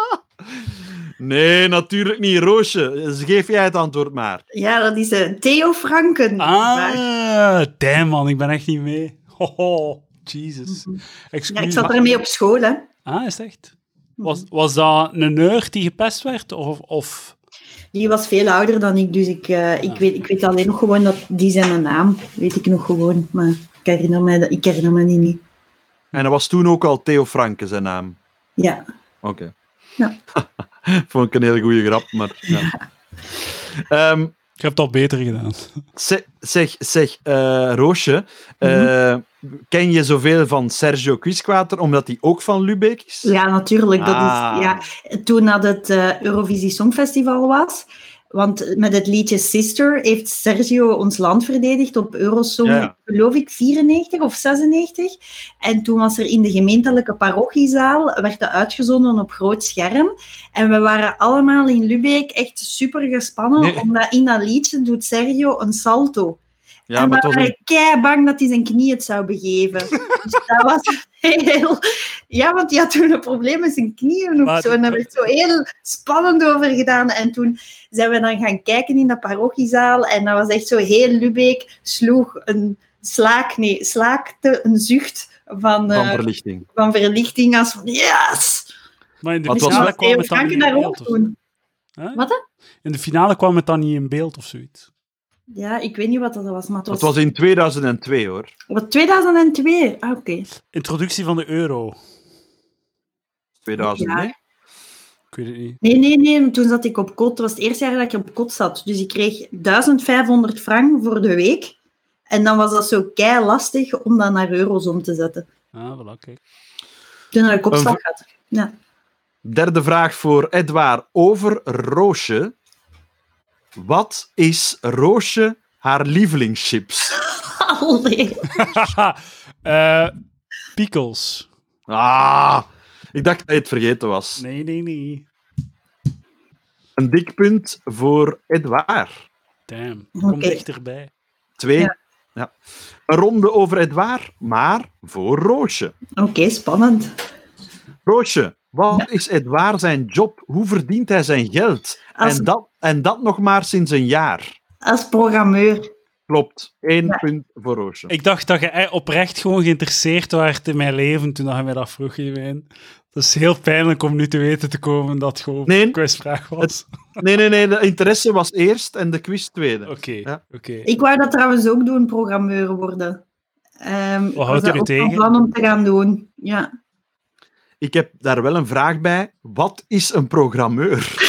Speaker 3: (laughs) nee, natuurlijk niet, Roosje. Dus geef jij het antwoord maar.
Speaker 2: ja, dat is eh, Theo Franken. Maar-
Speaker 1: Ah, damn man, ik ben echt niet mee. (laughs) Hoho, Jesus.
Speaker 2: Mhm. Ja,
Speaker 1: Excuus.
Speaker 2: ik zat Mhm. ermee op school, hè.
Speaker 1: Ah, is het echt? Was, was dat een nerd die gepest werd? Of, of...
Speaker 2: Die was veel ouder dan ik, dus ik, eh, ik,
Speaker 1: Ah.
Speaker 2: weet, ik weet alleen nog gewoon dat die zijn naam, weet ik nog gewoon. Maar ik herinner me, dat- ik herinner me die niet.
Speaker 3: En dat was toen ook al Theo Franke zijn naam.
Speaker 2: Ja.
Speaker 3: Oké.
Speaker 2: Ja.
Speaker 3: (laughs) Vond ik een hele goede grap, maar. Ja. Ehm,
Speaker 1: Ik heb dat beter gedaan.
Speaker 3: Zeg, zeg, zeg eh, Roosje, eh,
Speaker 2: Mhm.
Speaker 3: ken je zoveel van Sergio Quisquater, omdat hij ook van Lubeek is?
Speaker 2: Ja, natuurlijk. Dat
Speaker 3: Ah.
Speaker 2: is, ja, toen dat het eh, Eurovisie Songfestival was, want met het liedje Sister heeft Sergio ons land verdedigd op Eurosong,
Speaker 3: Ja.
Speaker 2: geloof ik, 94 of 96. En toen was er in de gemeentelijke parochiezaal, werd dat uitgezonden op groot scherm. En we waren allemaal in Lubeek echt super gespannen,
Speaker 3: Nee.
Speaker 2: omdat in dat liedje doet Sergio een salto.
Speaker 3: Ja,
Speaker 2: en
Speaker 3: maar
Speaker 2: we
Speaker 3: het was een-
Speaker 2: waren kei bang dat hij zijn knie het zou begeven. dus dat was (laughs) heel... Ja, want die had toen een probleem met zijn knieën
Speaker 1: Maar-
Speaker 2: of zo. En daar werd zo heel spannend over gedaan. En toen zijn we dan gaan kijken in de parochiezaal. En dat was echt zo heel Lubeek sloeg een slaak... Nee, slaakte een zucht van,
Speaker 3: van
Speaker 2: eh,
Speaker 3: verlichting.
Speaker 2: van verlichting als van yes! Dus
Speaker 1: Maar in de
Speaker 3: Wat was
Speaker 1: finale
Speaker 3: dat?
Speaker 1: kwam
Speaker 2: Theo
Speaker 1: het dan
Speaker 2: Franken
Speaker 1: niet in
Speaker 2: daar
Speaker 1: beeld.
Speaker 2: ook
Speaker 1: of-
Speaker 2: doen.
Speaker 1: Hè?
Speaker 2: Wat
Speaker 1: In de finale kwam het dan niet in beeld of zoiets.
Speaker 2: Ja, ik weet niet wat dat was, maar het was...
Speaker 3: Dat was in 2002 hoor.
Speaker 2: Wat, 2002? Ah, oké.
Speaker 1: Introductie van de euro.
Speaker 3: 2002.
Speaker 2: Ja.
Speaker 1: Ik weet het niet.
Speaker 2: Nee, nee, nee. Toen zat ik op kot. Het was het eerste jaar dat ik op kot zat. Dus ik kreeg 1500 frank voor de week. En dan was dat zo kei lastig om dat naar euro's om te zetten.
Speaker 1: Ah, voilà, kijk.
Speaker 2: Toen had ik op
Speaker 3: Een
Speaker 2: slag had. Ja.
Speaker 3: Derde vraag voor Edouard over Roosje. Wat is Roosje haar lievelingschips?
Speaker 2: Allee.
Speaker 1: (laughs) Eh pickles.
Speaker 3: Ah, ik dacht dat je het vergeten was.
Speaker 1: Nee, nee, nee.
Speaker 3: Een dik punt voor Edouard.
Speaker 1: Damn. Kom
Speaker 2: Oké.
Speaker 1: dichterbij.
Speaker 3: Twee.
Speaker 2: Ja.
Speaker 3: Ja. Een ronde over Edouard, maar voor Roosje.
Speaker 2: Oké, spannend.
Speaker 3: Roosje, wat is Edouard zijn job? Hoe verdient hij zijn geld?
Speaker 2: Als-
Speaker 3: En, dat, en dat nog maar sinds een jaar.
Speaker 2: Als programmeur.
Speaker 3: Klopt. Eén
Speaker 2: Ja.
Speaker 3: punt voor Roosje.
Speaker 1: Ik dacht dat je eh, oprecht gewoon geïnteresseerd waart in mijn leven toen dat je mij dat vroeg, Jewijn. Dat is heel pijnlijk om nu te weten te komen dat het gewoon
Speaker 3: Nee.
Speaker 1: een quizvraag was.
Speaker 3: Nee, nee, nee. De interesse was eerst en de quiz tweede.
Speaker 1: Oké,
Speaker 3: Ja.
Speaker 1: oké.
Speaker 2: Ik wou dat trouwens ook doen, programmeur worden. Ehm, ik
Speaker 1: houdt
Speaker 2: was
Speaker 1: u
Speaker 2: dat ook
Speaker 1: tegen?
Speaker 2: van plan om te gaan doen. Ja.
Speaker 3: Ik heb daar wel een vraag bij. Wat is een programmeur?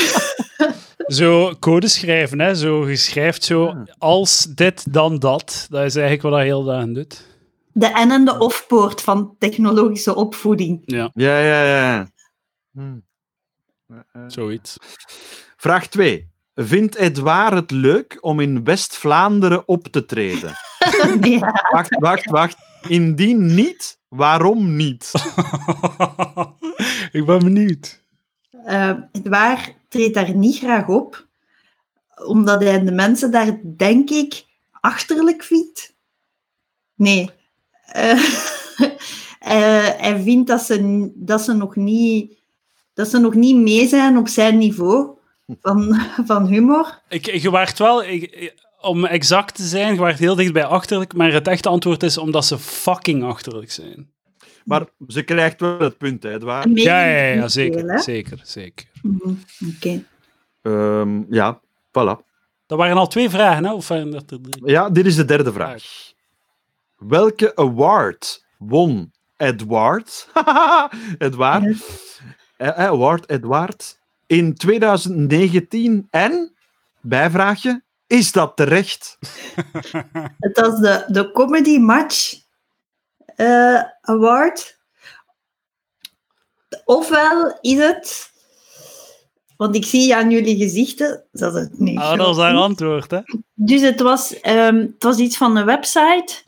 Speaker 1: Zo code schrijven, hè? Zo, je schrijft zo
Speaker 3: Ah.
Speaker 1: als dit, dan dat. Dat is eigenlijk wat dat heel dagen doet.
Speaker 2: De en en de ofpoort van technologische opvoeding. (laughs)
Speaker 1: Ja,
Speaker 3: Ja, ja, ja.
Speaker 1: Hmm.
Speaker 3: Hm.
Speaker 1: zoiets.
Speaker 3: Vraag 2. Vindt Edouard het leuk om in West-Vlaanderen op te treden?
Speaker 2: ja.
Speaker 3: Wacht, wacht, wacht. Indien niet, waarom niet?
Speaker 1: (laughs) ik ben benieuwd.
Speaker 2: Ehm, het waar treedt daar niet graag op, omdat hij de mensen daar, denk ik, achterlijk vindt. Nee. Eh, (laughs) eh, hij vindt dat ze, n- dat, ze nog niet, dat ze nog niet mee zijn op zijn niveau van, van humor.
Speaker 1: Ik, je waart wel, ik- om exact te zijn, je waart heel dicht bij achterlijk, maar het echte antwoord is omdat ze fucking achterlijk zijn.
Speaker 3: Maar ze krijgt wel het punt, hè, Edouard.
Speaker 2: Een
Speaker 1: Ja, ja,
Speaker 2: mening
Speaker 1: ja,
Speaker 2: niet delen,
Speaker 1: zeker,
Speaker 2: hè?
Speaker 1: zeker, zeker.
Speaker 2: Mhm, Oké.
Speaker 3: Ehm, ja, voilà.
Speaker 1: Dat waren al twee vragen, hè? Of waren dat er drie?
Speaker 3: Ja, dit is de derde vraag. Welke award won (laughs) Edward? Edward. Eh, eh, Award Edward in 2019 en bijvraagje is dat terecht?
Speaker 2: Het was de, de Comedy Match eh, Award. Ofwel is het, want ik zie aan jullie gezichten dat het niet.
Speaker 1: Ah, dat was haar antwoord, hè?
Speaker 2: Dus het was, ehm, het was iets van een website.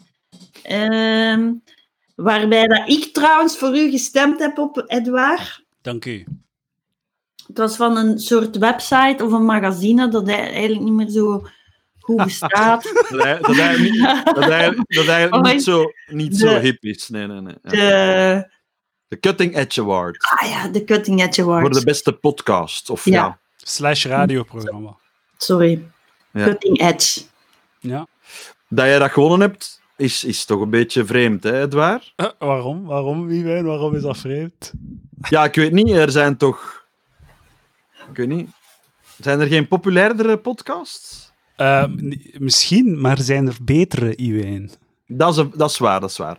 Speaker 2: ehm, waarbij dat ik trouwens voor u gestemd heb op Edouard.
Speaker 1: Dank u.
Speaker 2: Het was van een soort website of een magazine dat hij eigenlijk niet meer zo goed
Speaker 1: (laughs)
Speaker 2: bestaat.
Speaker 3: Dat hij, dat hij niet, dat hij, dat
Speaker 2: (laughs)
Speaker 3: hij
Speaker 2: Oh,
Speaker 3: niet, zo, niet zo
Speaker 2: de-
Speaker 3: hip is. Nee, nee, nee. Ja.
Speaker 2: De,
Speaker 3: De Cutting Edge Award
Speaker 2: ah ja, de Cutting Edge
Speaker 3: voor de
Speaker 2: Awards.
Speaker 3: beste podcast. Of
Speaker 2: Ja.
Speaker 3: ja.
Speaker 1: Slash radioprogramma.
Speaker 2: Sorry.
Speaker 3: Ja.
Speaker 2: Cutting edge.
Speaker 1: Ja.
Speaker 3: dat jij dat gewonnen hebt, is, is toch een beetje vreemd, hè, Edouard?
Speaker 1: Eh, waarom? Waarom, Wien? Waarom is dat vreemd?
Speaker 3: Ja, ik weet niet. Er zijn toch... Ik weet niet. Zijn er geen populairdere podcasts?
Speaker 1: Eh, n- misschien, maar zijn er betere Iwijn?
Speaker 3: Dat is, een- dat is waar, dat is waar.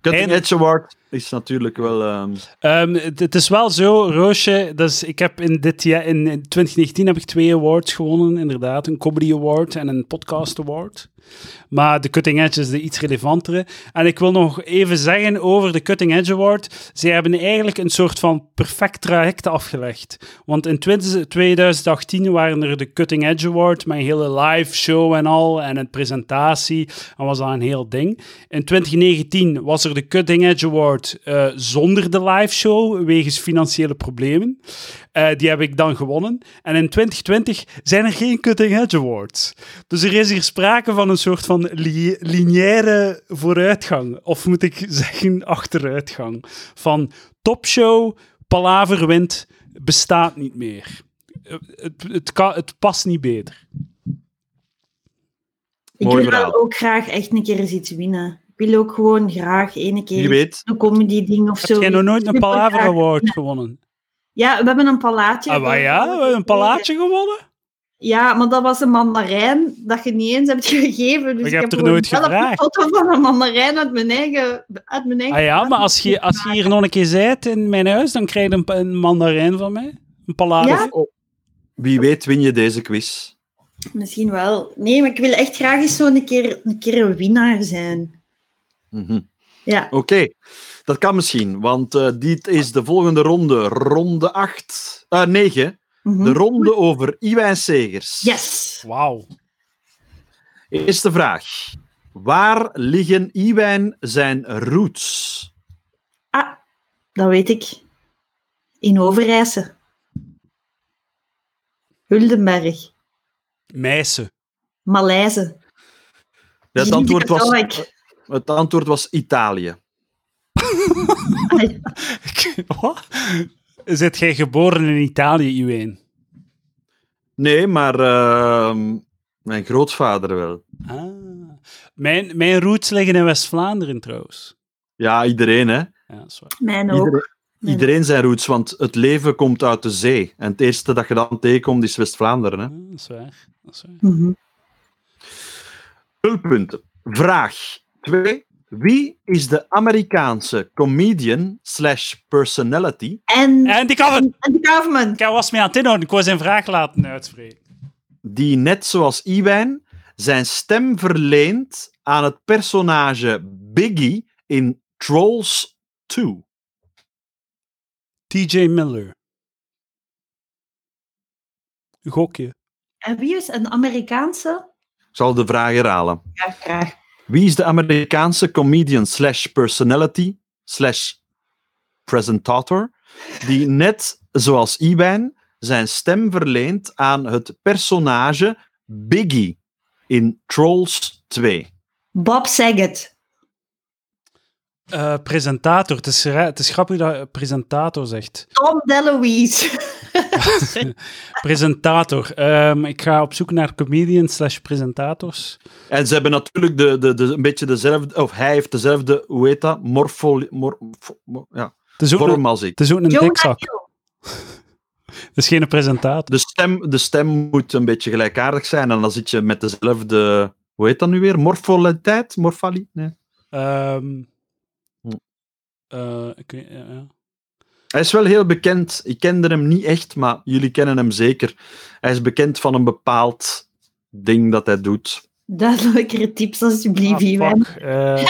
Speaker 3: Cutting
Speaker 1: En-
Speaker 3: Edge Award is natuurlijk wel... ehm,
Speaker 1: Ehm, het, het is wel zo, Roosje. Dus ik heb in, dit jaar, in, in 2019 heb ik twee awards gewonnen, inderdaad. Een Comedy Award en een Podcast Award. Maar de Cutting Edge is de iets relevantere. En ik wil nog even zeggen over de Cutting Edge Award. Zij hebben eigenlijk een soort van perfect traject afgelegd. Want in 20 2018 waren er de Cutting Edge Award, mijn hele live show en al, en een presentatie. En was dat een heel ding. In 2019 was er de Cutting Edge Award eh, zonder de live show, wegens financiële problemen. Eh, die heb ik dan gewonnen. En in 2020 zijn er geen Cutting Edge Awards. Dus er is hier sprake van een soort van li- lineaire vooruitgang. Of moet ik (laughs) zeggen, achteruitgang. Van topshow, palaver wint, bestaat niet meer. Eh, Het, het, kan, het past niet beter.
Speaker 2: Ik
Speaker 3: Mooi
Speaker 2: wil
Speaker 3: verhaal.
Speaker 2: ook graag echt een keer eens iets winnen. Ik wil ook gewoon graag ene
Speaker 3: wie
Speaker 2: keer
Speaker 3: weet.
Speaker 2: een comedy ding of zo.
Speaker 1: Heb jij nog nooit een
Speaker 2: Ik wil
Speaker 1: Palaver
Speaker 2: graag-
Speaker 1: Award gewonnen?
Speaker 2: Ja, we hebben een palaatje.
Speaker 1: Ah, maar ja, een palaatje gewonnen?
Speaker 2: Ja, maar dat was een mandarijn dat je niet eens hebt gegeven. Dus
Speaker 1: je
Speaker 2: ik
Speaker 1: hebt
Speaker 2: heb
Speaker 1: er
Speaker 2: gewoon
Speaker 1: nooit
Speaker 2: zelf
Speaker 1: gevraagd.
Speaker 2: een foto van een mandarijn uit mijn eigen... Uit mijn eigen
Speaker 1: Ah ja, maar als je, als je hier nog een keer zijt in mijn huis, dan krijg je een, pa- een mandarijn van mij. Een palade.
Speaker 2: Ja?
Speaker 3: Wie weet win je deze quiz.
Speaker 2: Misschien wel. Nee, maar ik wil echt graag eens zo een keer een, keer een winnaar zijn.
Speaker 3: Mhm.
Speaker 2: Ja.
Speaker 3: Oké, dat kan misschien, want eh, dit is de volgende ronde. Ronde 8, 9.
Speaker 2: Mhm.
Speaker 3: Oh, De ronde over Iwijn Segers.
Speaker 2: Yes.
Speaker 1: Wauw.
Speaker 3: Eerste vraag. Waar liggen Iwijn zijn roots?
Speaker 2: Ah, dat weet ik. In Overijse. Huldenberg.
Speaker 1: Meisje.
Speaker 2: Maleise.
Speaker 3: Het
Speaker 2: Gini
Speaker 3: antwoord was,
Speaker 2: (laughs) Katowijk.
Speaker 3: het antwoord was Italië.
Speaker 1: (laughs)
Speaker 2: Ah,
Speaker 1: Wat? Zit jij geboren in Italië, Iwijn?
Speaker 3: Nee, maar ehm, mijn grootvader wel.
Speaker 1: Ah. Mijn, mijn roots liggen in West-Vlaanderen trouwens.
Speaker 3: Ja, iedereen, hè?
Speaker 1: Ja, dat is waar.
Speaker 2: Mijn ook.
Speaker 3: Iedereen,
Speaker 2: Mijn
Speaker 3: iedereen zijn roots, want het leven komt uit de zee. En het eerste dat je dan tegenkomt is West-Vlaanderen. Hè?
Speaker 1: Ah, dat is waar. Dat is waar.
Speaker 2: Mhm.
Speaker 3: Hulpunten. Vraag 2. Wie is de Amerikaanse comedian slash personality?
Speaker 2: En, en,
Speaker 1: En die kan het.
Speaker 2: de government.
Speaker 1: Ik was mee aan het inhouden. Ik was zijn vraag laten uitspreken.
Speaker 3: die net zoals Iwijn zijn stem verleent aan het personage Biggie in Trolls 2.
Speaker 1: TJ Miller. Gokje.
Speaker 2: En wie is een Amerikaanse?
Speaker 3: Ik zal de vraag herhalen.
Speaker 2: Ja, graag.
Speaker 3: Wie is de Amerikaanse comedian slash personality slash presentator die net zoals Iwijn zijn stem verleent aan het personage Biggie in Trolls 2?
Speaker 2: Bob Saget.
Speaker 1: Eh, presentator. Het is, ra- het is grappig dat je presentator zegt.
Speaker 2: Tom DeLuise. (laughs)
Speaker 1: presentator. Ehm, ik ga op zoek naar comedians slash presentators.
Speaker 3: En ze hebben natuurlijk de, de, de, een beetje dezelfde, of hij heeft dezelfde, hoe heet dat? Morfo, mor, fo- mor- ja,
Speaker 1: Het is ook een,
Speaker 3: vorm als ik.
Speaker 1: het is ook een
Speaker 2: Jonah
Speaker 1: dikzak.
Speaker 2: Hill.
Speaker 1: (laughs) Het is geen presentator.
Speaker 3: De stem, de stem moet een beetje gelijkaardig zijn en dan zit je met dezelfde, hoe heet dat nu weer? Morfoliteit? Morfali? Nee.
Speaker 1: Ehm,
Speaker 3: Hm.
Speaker 1: eh, ik weet- ja, ja.
Speaker 3: Hij is wel heel bekend. Ik kende hem niet echt, maar jullie kennen hem zeker. Hij is bekend van een bepaald ding dat hij doet.
Speaker 2: Duidelijkere tips, alsjeblieft,
Speaker 1: Ah,
Speaker 2: Iwan.
Speaker 1: fuck. Eh,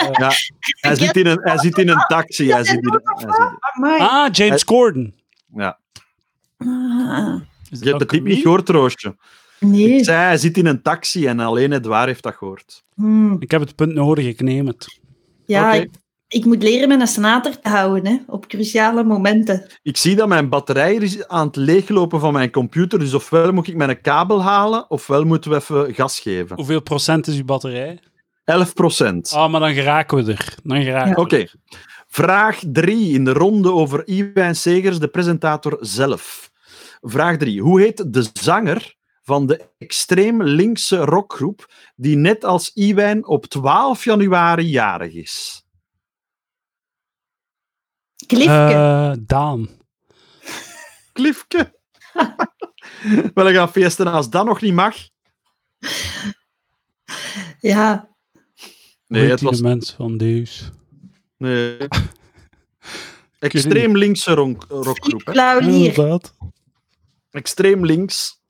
Speaker 3: Hij zit in een, hij zit in een taxi. Hij zit in, hij zit-
Speaker 2: Amai.
Speaker 1: ah, James Corden.
Speaker 3: ja.
Speaker 2: Ah,
Speaker 1: Is
Speaker 3: Je hebt de
Speaker 1: dat
Speaker 3: tip niet
Speaker 1: comedian?
Speaker 3: gehoord, Roosje.
Speaker 2: nee.
Speaker 3: Ik zei, hij zit in een taxi en alleen Edouard heeft dat gehoord.
Speaker 2: Hmm.
Speaker 1: Ik heb het punt nodig, ik neem het.
Speaker 2: Ja,
Speaker 3: Oké.
Speaker 2: ik, ik moet leren mijn senator te houden hè, op cruciale momenten.
Speaker 3: Ik zie dat mijn batterij is aan het leeglopen van mijn computer. Dus ofwel moet ik mijn kabel halen, ofwel moeten we even gas geven. 11%.
Speaker 1: Hoeveel procent is uw batterij? Ah, maar dan geraken we er. Dan geraken
Speaker 3: Oké. Vraag 3 in de ronde over Iwijn Segers, de presentator zelf. Vraag 3. Hoe heet de zanger van de extreem linkse rockgroep die net als Iwijn op 12 januari jarig is?
Speaker 1: we
Speaker 2: Klifke.
Speaker 1: er. Eh, Daan.
Speaker 3: Klifke. Wel, gaan feesten als dat nog niet mag.
Speaker 2: ja,
Speaker 3: Nee, het was
Speaker 1: mens van Deus. (laughs)
Speaker 3: Nee. Extreem linkse ronk- rockgroep. hè.
Speaker 1: Hmm.
Speaker 2: Claudier.
Speaker 1: (laughs)
Speaker 3: Extreem links.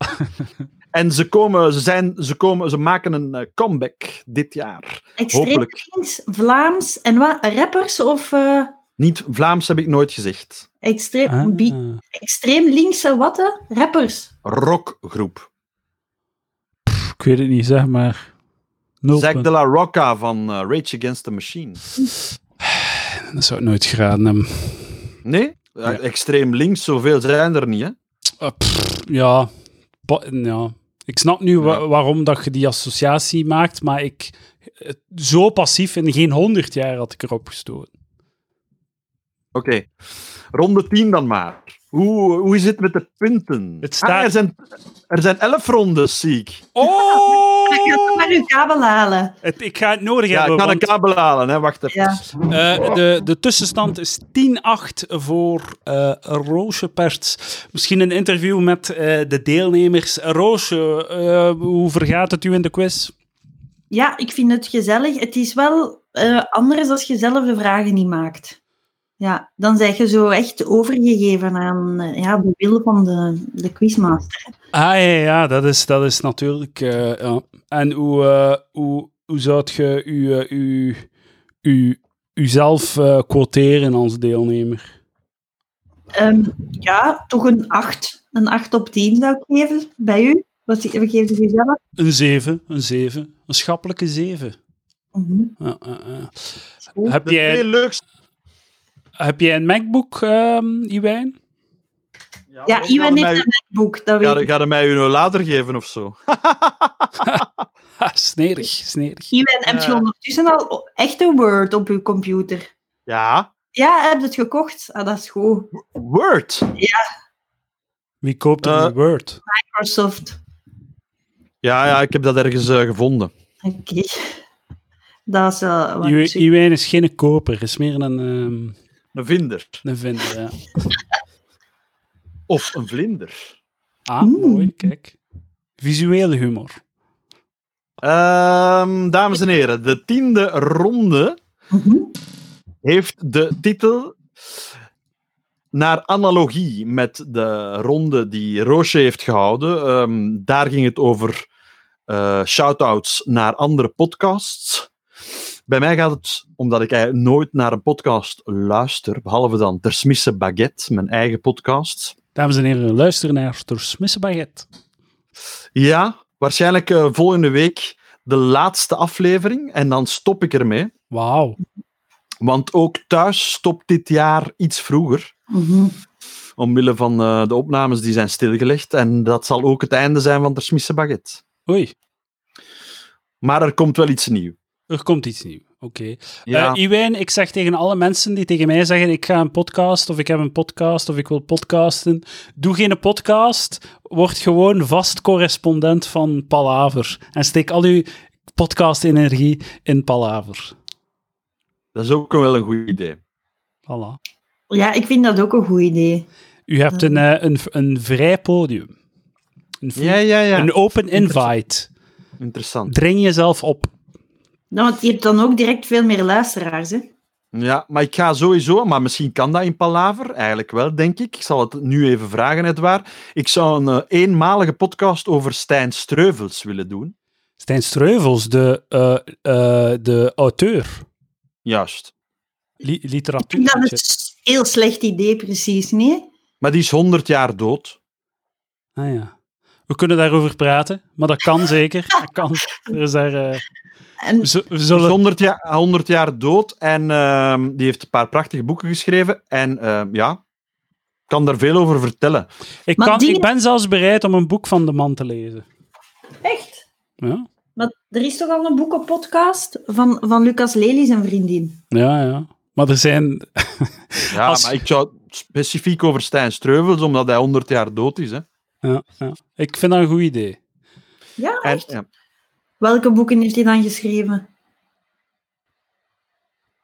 Speaker 3: En ze, komen, ze, zijn, ze, komen, ze maken een eh, comeback dit jaar.
Speaker 2: Extreem
Speaker 3: hopelijk.
Speaker 2: links, Vlaams en wat? Rappers of eh,
Speaker 3: Niet Vlaams heb ik nooit gezegd.
Speaker 2: extreem,
Speaker 1: Hmm.
Speaker 2: bi-
Speaker 1: Ah.
Speaker 2: extreem linkse wat? hè? Rappers.
Speaker 3: Rockgroep.
Speaker 1: ik weet het niet, zeg maar. Nul
Speaker 3: Zack de
Speaker 1: punten.
Speaker 3: la Rocca van eh, Rage Against the Machine.
Speaker 1: Dat zou ik nooit geraden hebben.
Speaker 3: Nee? Ja,
Speaker 1: Ja.
Speaker 3: Extreem links, zoveel zijn er niet. Hè?
Speaker 1: Eh, pff, ja. Ba- ja. Ik snap nu wa-
Speaker 3: Ja.
Speaker 1: waarom dat je die associatie maakt, maar ik... het- Zo passief in geen honderd jaar had ik erop gestoten.
Speaker 3: Oké. Ronde 10 dan maar. Hoe, hoe is het met de punten?
Speaker 1: Het staat-
Speaker 3: Ah, er, zijn, er zijn elf rondes, zie ik.
Speaker 1: Oh!
Speaker 2: Ik ga toch maar uw kabel halen.
Speaker 1: Het, ik ga het nodig
Speaker 3: Ja,
Speaker 1: hebben.
Speaker 3: ik ga de
Speaker 1: want,
Speaker 3: kabel halen, hè. wacht even.
Speaker 2: Ja.
Speaker 1: eh, de, de tussenstand is 10-8 voor eh Roosje Perts. Misschien een interview met eh, de deelnemers. Roosje, eh, hoe vergaat het u in de quiz?
Speaker 2: ja, ik vind het gezellig. Het is wel eh, anders als je zelf de vragen niet maakt. Ja, dan zeg je zo echt overgegeven aan eh, ja, de wil van de, de quizmaster.
Speaker 1: Ah ja, ja dat, is, dat is natuurlijk. eh, ja. En hoe, eh, hoe, hoe zou je u, eh, u, u, uzelf eh, quoteren als deelnemer?
Speaker 2: Ehm, ja, toch een 8. Een 8 op 10 zou ik geven bij u. Wat ge- wat geeft u jezelf?
Speaker 1: Een 7, een 7. Een schappelijke 7.
Speaker 2: Mhm,
Speaker 1: Ja, ja, ja.
Speaker 2: goed.
Speaker 1: Heb,
Speaker 3: De twee
Speaker 1: jij,
Speaker 3: leukste...
Speaker 1: heb jij een MacBook, ehm Iwijn? (laughs)
Speaker 2: Ja, Iwan
Speaker 3: Ga
Speaker 2: heeft
Speaker 3: je
Speaker 2: een boek. Dat weet
Speaker 3: mij-
Speaker 2: ik.
Speaker 3: Ga je mij uw later geven of zo?
Speaker 1: Ha, Ah, snerig, snerig.
Speaker 2: Iwan, heb je
Speaker 3: Ja.
Speaker 2: ondertussen al o- echte Word op uw computer?
Speaker 3: Ja.
Speaker 2: Ja, heb je het gekocht? Ah, dat is goed.
Speaker 3: Word.
Speaker 1: Wie koopt er
Speaker 3: Eh,
Speaker 1: een Word?
Speaker 2: Microsoft.
Speaker 3: Ja, ja, ik heb dat ergens eh, gevonden.
Speaker 2: Oké. Ah, Dat is wel... wat
Speaker 1: Iw-
Speaker 2: super.
Speaker 1: Iwijn is geen koper, is meer een, ehm,
Speaker 3: Een vinder.
Speaker 1: een vinder. Ja.
Speaker 3: Of een vlinder.
Speaker 1: Ah,
Speaker 2: Mm.
Speaker 1: mooi, kijk. Visuele humor.
Speaker 3: Ehm, dames en heren, de tiende ronde
Speaker 2: Mhm.
Speaker 3: heeft de titel naar analogie met de ronde die Roosje heeft gehouden. Ehm, daar ging het over eh shout-outs naar andere podcasts. Bij mij gaat het, omdat ik eigenlijk nooit naar een podcast luister, behalve dan Ter Smisse Baguette, mijn eigen podcast.
Speaker 1: Dames en heren, luister naar Ter Smisse Baguette.
Speaker 3: Ja, waarschijnlijk eh, volgende week de laatste aflevering en dan stop ik ermee.
Speaker 1: Wauw.
Speaker 3: Want ook thuis stopt dit jaar iets vroeger.
Speaker 2: Mhm.
Speaker 3: Omwille van eh, de opnames die zijn stilgelegd. En dat zal ook het einde zijn van Ter Smisse Baguette.
Speaker 1: Oei,
Speaker 3: Maar er komt wel iets nieuws.
Speaker 1: er komt iets nieuws. Oké.
Speaker 3: Ja.
Speaker 1: Eh, Iwijn, ik zeg tegen alle mensen die tegen mij zeggen: ik ga een podcast, of ik heb een podcast, of ik wil podcasten. Doe geen podcast, word gewoon vast correspondent van Palaver. En steek al uw podcast-energie in Palaver.
Speaker 3: Dat is ook wel een goed idee.
Speaker 1: Voilà.
Speaker 2: Ja, ik vind dat ook een goed idee.
Speaker 1: U hebt een, eh, een, een vrij podium. Een, free-
Speaker 3: Ja, ja, ja.
Speaker 1: een open invite.
Speaker 3: Interessant.
Speaker 1: Dring jezelf op.
Speaker 2: Nou, want je hebt dan ook direct veel meer luisteraars, hè?
Speaker 3: Ja, maar ik ga sowieso, maar misschien kan dat in Palaver, eigenlijk wel, denk ik. Ik zal het nu even vragen, Edwaar. Ik zou een eh, eenmalige podcast over Stijn Streuvels willen doen.
Speaker 1: Stijn Streuvels, de, eh, eh, de auteur.
Speaker 3: Juist.
Speaker 1: Li- literatuur.
Speaker 2: Dat is een heel slecht idee, precies, nee?
Speaker 3: Maar die is 100 jaar dood.
Speaker 1: Ah ja. We kunnen daarover praten, maar dat kan zeker. Dat kan. Er is daar, eh,
Speaker 2: En
Speaker 1: we, z- we
Speaker 3: Die is
Speaker 1: zullen...
Speaker 3: 100 jaar, 100 jaar dood en ehm, die heeft een paar prachtige boeken geschreven. En ehm, ja, ik kan daar veel over vertellen.
Speaker 1: ik,
Speaker 2: Maar
Speaker 1: kan,
Speaker 2: dingen-
Speaker 1: ik ben zelfs bereid om een boek van de man te lezen.
Speaker 2: echt?
Speaker 1: Ja,
Speaker 2: Maar er is toch al een boekenpodcast van, van Lucas Lely, zijn vriendin.
Speaker 1: ja. ja. Maar er zijn...
Speaker 3: Ja,
Speaker 1: Als-
Speaker 3: maar ik zou het specifiek over Stijn Streuvels, omdat hij 100 jaar dood is. Hè.
Speaker 1: Ja, ja. Ik vind dat een goed idee.
Speaker 2: Ja,
Speaker 3: En,
Speaker 2: Ah, echt?
Speaker 3: ja.
Speaker 2: Welke boeken heeft hij dan geschreven? (laughs)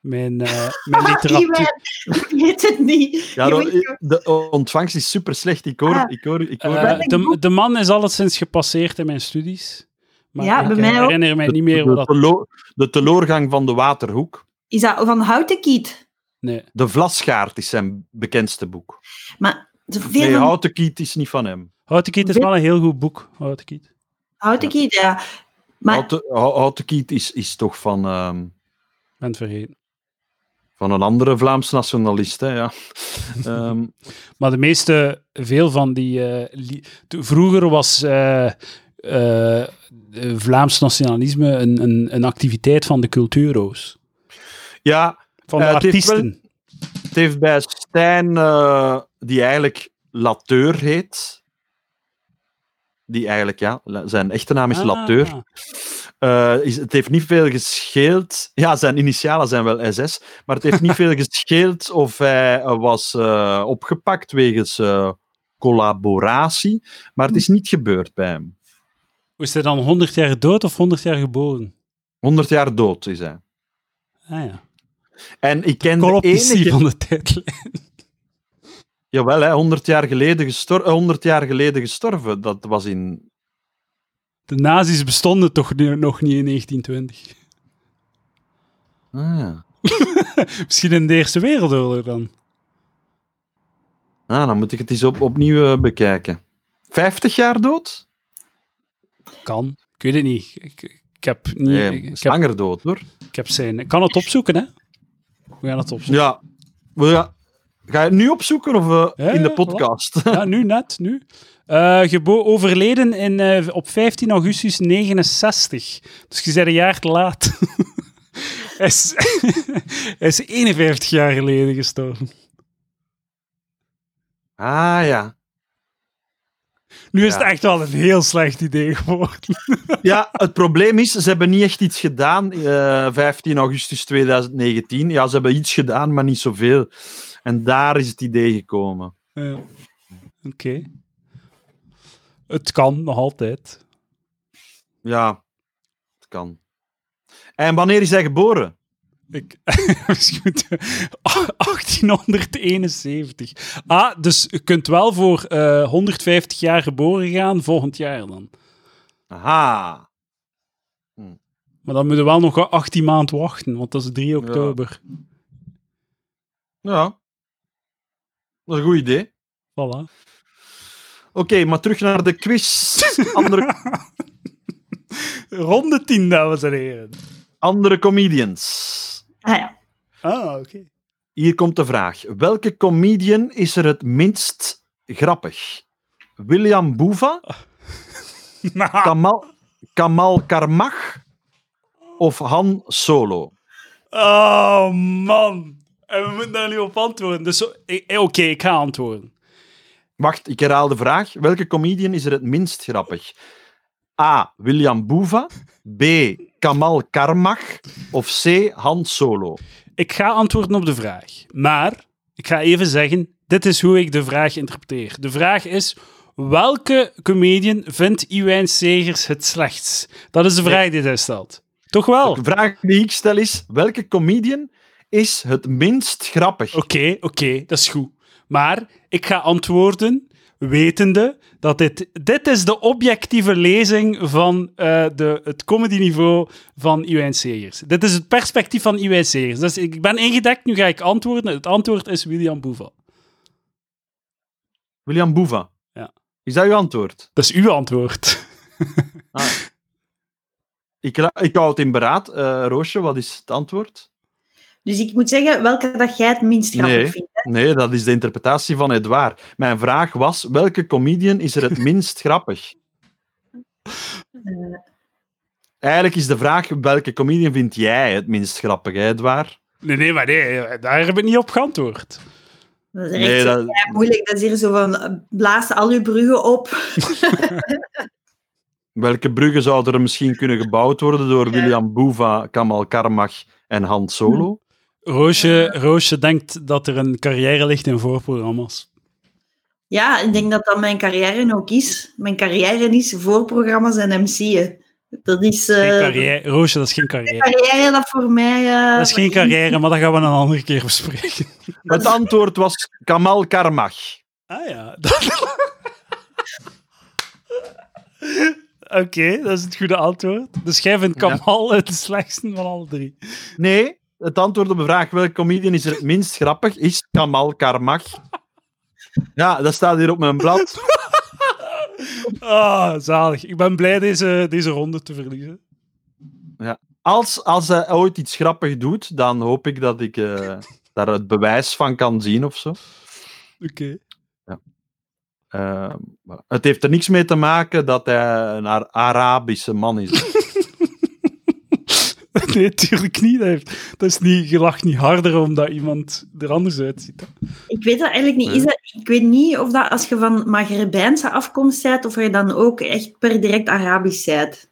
Speaker 1: Mijn, eh,
Speaker 2: (laughs)
Speaker 1: mijn literatuur...
Speaker 2: Iwan, ik weet het niet.
Speaker 3: Ja,
Speaker 2: Je
Speaker 3: dat-
Speaker 2: weet het.
Speaker 3: de ontvangst is super slecht. Ik hoor,
Speaker 2: Ah.
Speaker 3: ik hoor, ik hoor.
Speaker 1: Eh,
Speaker 2: Welk
Speaker 1: de,
Speaker 2: boek?
Speaker 1: de man is alleszins gepasseerd in mijn studies. Maar
Speaker 2: Ja,
Speaker 1: ik
Speaker 2: bij
Speaker 1: eh,
Speaker 2: mij ook.
Speaker 1: herinner mij niet meer
Speaker 3: de,
Speaker 1: wat dat...
Speaker 3: telo- de teloorgang van de Waterhoek.
Speaker 2: Is dat van Houtenkiet?
Speaker 1: Nee.
Speaker 3: De Vlasgaard is zijn bekendste boek.
Speaker 2: Maar de veel
Speaker 3: Nee,
Speaker 2: van
Speaker 3: Houten Kiet is niet van hem.
Speaker 1: Houtekiet is wel een heel goed boek. Houtekiet.
Speaker 2: Houtenkiet, ja. Maar
Speaker 3: Houten, Hou- Houten Kiet is, is toch van... ehm,
Speaker 1: Ik ben het vergeten.
Speaker 3: Van een andere Vlaams nationalist, hè,
Speaker 2: (laughs)
Speaker 3: ja. Ehm,
Speaker 1: Maar de meeste, veel van die. eh, li- to- vroeger was eh, eh, eh, Vlaams nationalisme een, een, een activiteit van de cultuurroos.
Speaker 3: ja,
Speaker 1: Van de
Speaker 3: Eh, het heeft
Speaker 1: artiesten.
Speaker 3: het heeft bij Stijn, eh, die eigenlijk Lateur heet. Die eigenlijk, ja, la- zijn echte naam is
Speaker 1: Ah,
Speaker 3: Lateur. Eh, is, het heeft niet veel gescheeld. Ja, zijn initialen zijn wel SS. Maar het heeft niet veel gescheeld of hij eh, was eh, opgepakt wegens eh, collaboratie. Maar het is niet gebeurd bij hem.
Speaker 1: Is hij dan 100 jaar dood of 100 jaar geboren?
Speaker 3: 100 jaar dood is hij.
Speaker 1: Ah ja.
Speaker 3: En ik ken de
Speaker 1: Coloptici
Speaker 3: enige...
Speaker 1: van de tijdlijn.
Speaker 3: Jawel, hè, 100, jaar geleden gestor... eh, 100 jaar geleden gestorven. Dat was in...
Speaker 1: De nazi's bestonden toch nu, nog niet in 1920.
Speaker 3: Ah, ja.
Speaker 1: Misschien in de Eerste Wereldoorlog dan.
Speaker 3: ah, dan moet ik het eens op, opnieuw eh, bekijken. 50 jaar dood?
Speaker 1: Kan. Ik weet het niet. Ik, ik heb niet...
Speaker 3: Nee,
Speaker 1: ik,
Speaker 3: is
Speaker 1: heb,
Speaker 3: langer dood, hoor.
Speaker 1: ik heb zijn... Ik kan het opzoeken, hè? We gaan het opzoeken.
Speaker 3: Ja. Wil je- Ga je het nu opzoeken of eh,
Speaker 1: Ja,
Speaker 3: in de
Speaker 1: ja,
Speaker 3: podcast? (laughs)
Speaker 1: Ja, nu net, nu. Eh, gebo overleden in, eh, op 15 augustus 69. Dus je bent een jaar te laat. (laughs) hij, is, (laughs) hij is 51 jaar geleden gestorven.
Speaker 3: Ah ja.
Speaker 1: Nu is
Speaker 3: Ja.
Speaker 1: het echt wel een heel slecht idee geworden. (laughs)
Speaker 3: Ja, het probleem is, ze hebben niet echt iets gedaan. eh, 15 augustus 2019. Ja, ze hebben iets gedaan, maar niet zoveel. En daar is het idee gekomen.
Speaker 1: Ja. Oké. Het kan nog altijd.
Speaker 3: Ja, het kan. En wanneer is hij geboren?
Speaker 1: Ik, (laughs) misschien moet- 1871. Ah, dus je kunt wel voor eh, 150 jaar geboren gaan volgend jaar dan.
Speaker 3: Aha.
Speaker 1: Maar dan moeten we wel nog 18 maanden wachten, want dat is 3 oktober.
Speaker 3: Ja. Dat is een goed idee.
Speaker 1: Voilà.
Speaker 3: Oké, maar terug naar de quiz. Andere,
Speaker 1: Ronde 10, dames en heren.
Speaker 3: andere comedians.
Speaker 2: Ah ja.
Speaker 1: Ah, oké.
Speaker 3: Hier komt de vraag. Welke comedian is er het minst grappig? William Boeva,
Speaker 1: Nou,
Speaker 3: Kamal, Kamal Karmach of Han Solo?
Speaker 1: oh, man. En we moeten daar nu op antwoorden. Dus zo- eh, eh, oké, ik ga antwoorden.
Speaker 3: Wacht, ik herhaal de vraag. Welke comedian is er het minst grappig? A. William Boeva, B. Kamal Karmach of C. Han Solo?
Speaker 1: Ik ga antwoorden op de vraag. Maar ik ga even zeggen, dit is hoe ik de vraag interpreteer. De vraag is, welke comedian vindt Iwijn Segers het slechtst? Dat is de vraag die zij stelt. Toch wel?
Speaker 3: De vraag die ik stel is, welke comedian is het minst grappig?
Speaker 1: Oké, oké, dat is goed. Maar ik ga antwoorden, wetende dat dit... Dit is de objectieve lezing van eh, de, het comedyniveau van Iwijn Segers. Dit is het perspectief van Iwijn Segers. Dus ik ben ingedekt, nu ga ik antwoorden. Het antwoord is William Boeva.
Speaker 3: William Boeva.
Speaker 1: Ja.
Speaker 3: Is dat uw antwoord?
Speaker 1: Dat is uw antwoord.
Speaker 3: Ik, ra- ik hou het in beraad. Eh, Roosje, wat is het antwoord?
Speaker 2: Dus ik moet zeggen welke dat jij het minst grappig
Speaker 3: Nee.
Speaker 2: vindt.
Speaker 3: Nee, dat is de interpretatie van Edouard. Mijn vraag was, welke comedian is er het minst grappig?
Speaker 2: Eh,
Speaker 3: Eigenlijk is de vraag, welke comedian vind jij het minst grappig, hè, Edouard?
Speaker 1: Nee, nee, maar nee, daar heb ik niet op geantwoord.
Speaker 2: dat is echt
Speaker 3: Nee,
Speaker 2: zo
Speaker 3: dat,
Speaker 2: vrij moeilijk. Dat is hier zo van, eh, blaas al uw bruggen op.
Speaker 3: welke bruggen zouden er misschien kunnen gebouwd worden door William Boeva, Kamal Karmach en Han Solo?
Speaker 1: Roosje, Roosje denkt dat er een carrière ligt in voorprogramma's.
Speaker 2: Ja, ik denk dat dat mijn carrière ook is. Mijn carrière is voorprogramma's en MC'en. Dat is... eh,
Speaker 1: Geen carrière. Roosje, dat is geen carrière.
Speaker 2: carrière dat voor mij... eh,
Speaker 1: Dat is geen carrière, maar dat gaan we een andere keer bespreken.
Speaker 3: Het antwoord was Kamal Karmach.
Speaker 1: Ah ja. Dat- Oké, dat is het goede antwoord. Dus jij vindt Kamal het slechtste van alle drie.
Speaker 3: Nee, het antwoord op de vraag welke comedian is er het minst grappig is Kamal Karmach. Ja, dat staat hier op mijn blad.
Speaker 1: Ah, zalig. Ik ben blij deze, deze ronde te verliezen.
Speaker 3: Als, als hij ooit iets grappig doet, dan hoop ik dat ik eh, daar het bewijs van kan zien of zo.
Speaker 1: Oké. (laughs)
Speaker 3: Eh, maar het heeft er niks mee te maken dat hij een Ar- Arabische man is.
Speaker 1: Nee, natuurlijk niet. Dat heeft- Dat is niet. Je lacht niet harder omdat iemand er anders uitziet. hè.
Speaker 2: Ik weet dat eigenlijk niet. Is dat, ik weet niet of dat als je van Maghrebijnse afkomst bent, of je dan ook echt per direct Arabisch bent.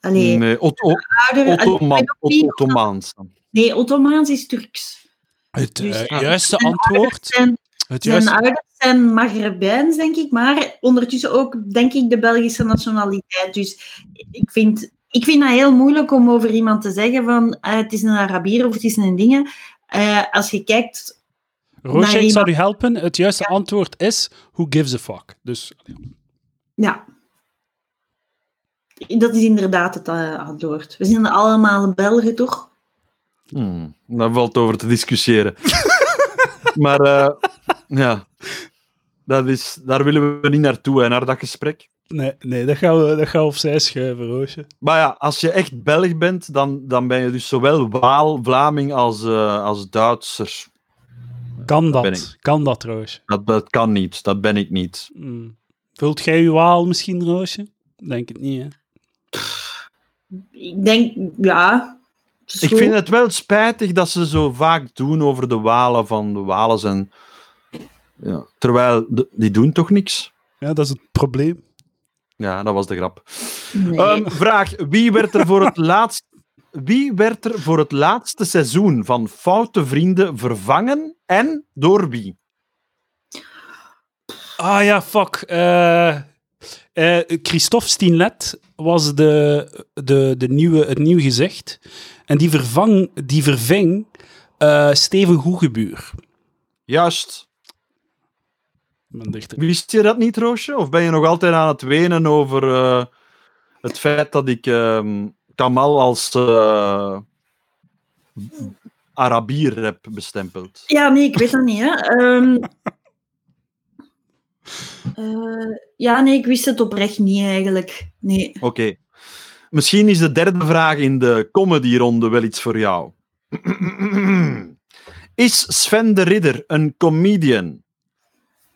Speaker 2: Allee,
Speaker 3: Nee, Otto,
Speaker 2: ouder, allee, ik
Speaker 3: Ottoman,
Speaker 2: weet ook niet-
Speaker 3: Ottomaans.
Speaker 2: nee, Ottomaans is Turks.
Speaker 4: Het
Speaker 2: Dus-
Speaker 4: eh, juiste antwoord.
Speaker 2: Zijn,
Speaker 4: Het
Speaker 2: zijn
Speaker 4: juiste,
Speaker 2: ouders zijn Maghrebijns, denk ik, maar ondertussen ook, denk ik, de Belgische nationaliteit. Dus ik vind, ik vind dat heel moeilijk om over iemand te zeggen van eh, het is een Arabier of het is een dingen. Eh, als je kijkt
Speaker 4: Roosje, ik
Speaker 2: Nee,
Speaker 4: zal u helpen. Het juiste antwoord is who gives a fuck. Dus
Speaker 2: Ja. Dat is inderdaad het eh, antwoord. We zijn allemaal Belgen, toch?
Speaker 3: Hmm, daar valt over te discussiëren. (laughs) maar eh, ja, dat is, daar willen we niet naartoe, hè, naar dat gesprek.
Speaker 1: Nee, nee dat, gaan we, dat gaan we opzij schuiven, Roosje.
Speaker 3: Maar ja, als je echt Belg bent, dan, dan ben je dus zowel Waal, Vlaming als, eh, als Duitser.
Speaker 1: Kan
Speaker 3: ben
Speaker 1: dat?
Speaker 3: ik.
Speaker 1: Kan dat, Roosje?
Speaker 3: Dat, dat kan niet, dat ben ik niet.
Speaker 1: Mm. Vult jij uw waal misschien, Roosje? Denk het niet, hè?
Speaker 2: Ik denk, ja. het is
Speaker 3: Ik
Speaker 2: goed.
Speaker 3: vind het wel spijtig dat ze zo vaak doen over de Walen van de Walen. zijn- Ja, terwijl, de- die doen toch niks?
Speaker 1: Ja, dat is het probleem.
Speaker 3: Ja, dat was de grap.
Speaker 2: Nee.
Speaker 3: Ehm, vraag: wie werd, er voor het laatst, wie werd er voor het laatste seizoen van Foute Vrienden vervangen en door wie?
Speaker 1: Ah ja, fuck. Eh, eh, Christophe Stienlet was de, de, de nieuwe, het nieuw gezicht. En die, vervang, die verving eh, Steven Goegebuur.
Speaker 3: Juist.
Speaker 1: Ik ben dichter.
Speaker 3: Wist je dat niet, Roosje? Of ben je nog altijd aan het wenen over eh, het feit dat ik ehm, Kamal als eh, Arabier heb bestempeld?
Speaker 2: Ja, nee, ik weet dat niet, hè. Ehm, eh, ja, nee, ik wist het oprecht niet, eigenlijk. Nee.
Speaker 3: Oké. Misschien is de derde vraag in de comedyronde wel iets voor jou. Is Sven de Ridder een comedian?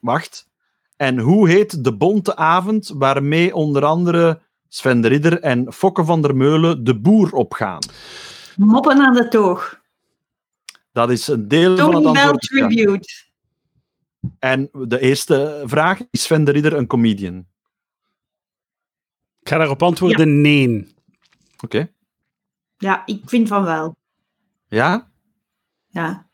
Speaker 3: Wacht. En hoe heet de bonte avond waarmee onder andere Sven de Ridder en Fokke van der Meulen de boer opgaan?
Speaker 2: Moppen aan de toog.
Speaker 3: Dat is een deel van het
Speaker 2: Tony Bell
Speaker 3: antwoord. Ja.
Speaker 2: Tribute.
Speaker 3: En de eerste vraag, is Sven de Ridder een comedian?
Speaker 1: Ik ga daarop antwoorden nee.
Speaker 3: Oké.
Speaker 2: Ja, ik vind van wel.
Speaker 3: Ja?
Speaker 2: Ja.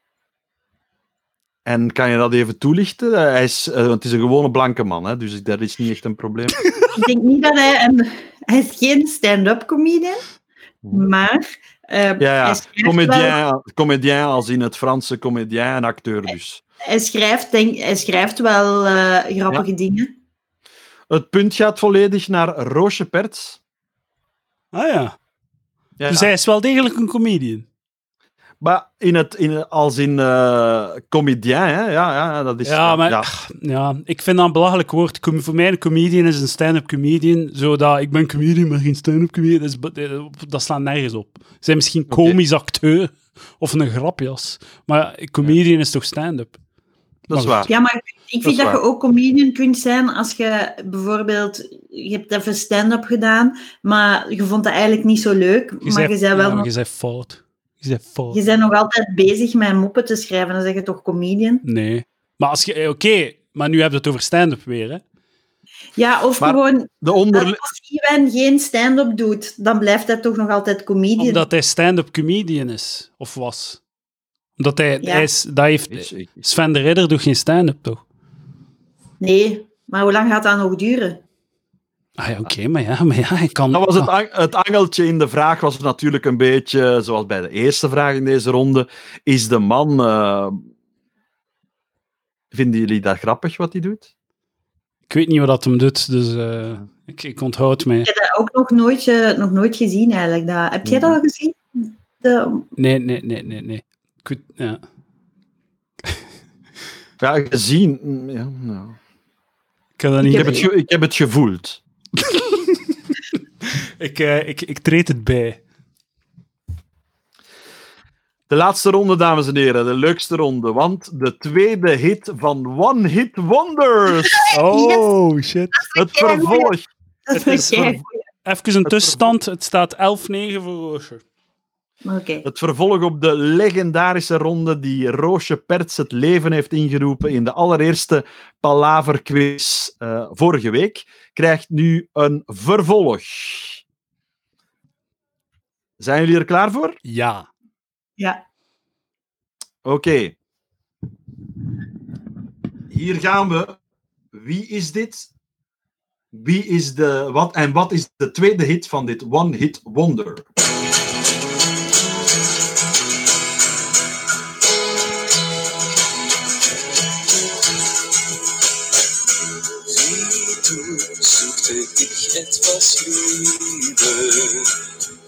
Speaker 3: En kan je dat even toelichten? Hij is, eh, want het is een gewone blanke man, hè? dus dat is niet echt een probleem.
Speaker 2: Ik denk niet dat hij een... Hij is geen stand-up comedian, maar... eh,
Speaker 3: Hmm. Ja,
Speaker 2: hij
Speaker 3: ja.
Speaker 2: schrijft wel-
Speaker 3: Comédien, comédien als in het Franse comédien en acteur dus.
Speaker 2: Hij schrijft, denk, hij schrijft wel eh, grappige dingen.
Speaker 3: Het punt gaat volledig naar Roosje Perts.
Speaker 1: Ah ja.
Speaker 3: Ja,
Speaker 1: Dus hij is wel degelijk een comedian.
Speaker 3: Maar in het, in, als in eh comédien, hè? Ja, ja, dat is... eh,
Speaker 1: Ja, maar
Speaker 3: ja.
Speaker 1: ja, ik vind dat een belachelijk woord. Com- voor mij een comedian is een stand-up comedian. Zodat ik ben comedian, maar geen stand-up comedian. Dat, is be- eh, dat slaat nergens op. Ze zijn misschien komisch acteur of een grapjas. Maar een comedian is toch stand-up?
Speaker 3: Dat is
Speaker 1: Maar
Speaker 3: waar.
Speaker 1: goed.
Speaker 2: Ja, maar ik
Speaker 3: Dat is
Speaker 2: vind dat,
Speaker 3: waar.
Speaker 2: je ook comedian kunt zijn als je bijvoorbeeld... Je hebt even stand-up gedaan, maar je vond dat eigenlijk niet zo leuk. maar je bent wel...
Speaker 1: ja, maar
Speaker 2: nog-
Speaker 1: je bent fout. Je bent fout.
Speaker 2: je bent nog altijd bezig met moppen te schrijven. Dan zeg je toch comedian?
Speaker 1: Nee. Maar als je... eh, Oké, maar nu heb je het over stand-up weer, hè?
Speaker 2: Ja, of
Speaker 3: Maar-
Speaker 2: gewoon...
Speaker 3: De onder...
Speaker 2: Als Iwan geen stand-up doet, dan blijft hij toch nog altijd comedian.
Speaker 1: Omdat hij stand-up comedian is. Of was. Omdat hij...
Speaker 2: Ja.
Speaker 1: hij is, dat heeft... Sven de Ridder doet geen stand-up, toch?
Speaker 2: Nee, maar hoe lang gaat dat nog duren?
Speaker 1: Ah ja, oké, maar ja, (laughs) maar ja, ik kan... Ah,
Speaker 3: Dat was het, ang- het angeltje in de vraag was natuurlijk een beetje, zoals bij de eerste vraag in deze ronde, is de man... eh, Vinden jullie dat grappig wat hij doet?
Speaker 1: Ik weet niet wat dat hem doet, dus eh, ik, ik onthoud mij.
Speaker 2: Ik heb dat ook nog nooit, eh, nog nooit gezien, eigenlijk. Dat, heb jij dat al gezien? De,
Speaker 1: Nee, nee, nee, nee, nee. Ik weet, ja.
Speaker 3: Ja, gezien... mm, Ja, nou.
Speaker 1: Ik kan dat
Speaker 2: Ik
Speaker 1: niet...
Speaker 3: Ik
Speaker 1: Ik,
Speaker 3: heb, het ge- ik heb het gevoeld.
Speaker 1: ik, eh, ik, ik treed het bij.
Speaker 3: De laatste ronde, dames en heren. De leukste ronde. Want de tweede hit van One Hit Wonders.
Speaker 1: Oh, shit.
Speaker 3: Het vervolg.
Speaker 2: dat
Speaker 1: Het is
Speaker 2: (laughs) is wel
Speaker 1: ver- Even een tussenstand. Het staat 11-9 voor Roosje.
Speaker 2: Oké.
Speaker 3: Het vervolg op de legendarische ronde die Roosje Perts het leven heeft ingeroepen in de allereerste Palaver-quiz eh, vorige week, krijgt nu een vervolg. Zijn jullie er klaar voor?
Speaker 4: Ja.
Speaker 2: Ja.
Speaker 3: Oké. Hier gaan we. Wie is dit? Wie is de, wat, en wat is de tweede hit van dit One Hit Wonder?
Speaker 5: Toen zoekte ik etwas Liebe.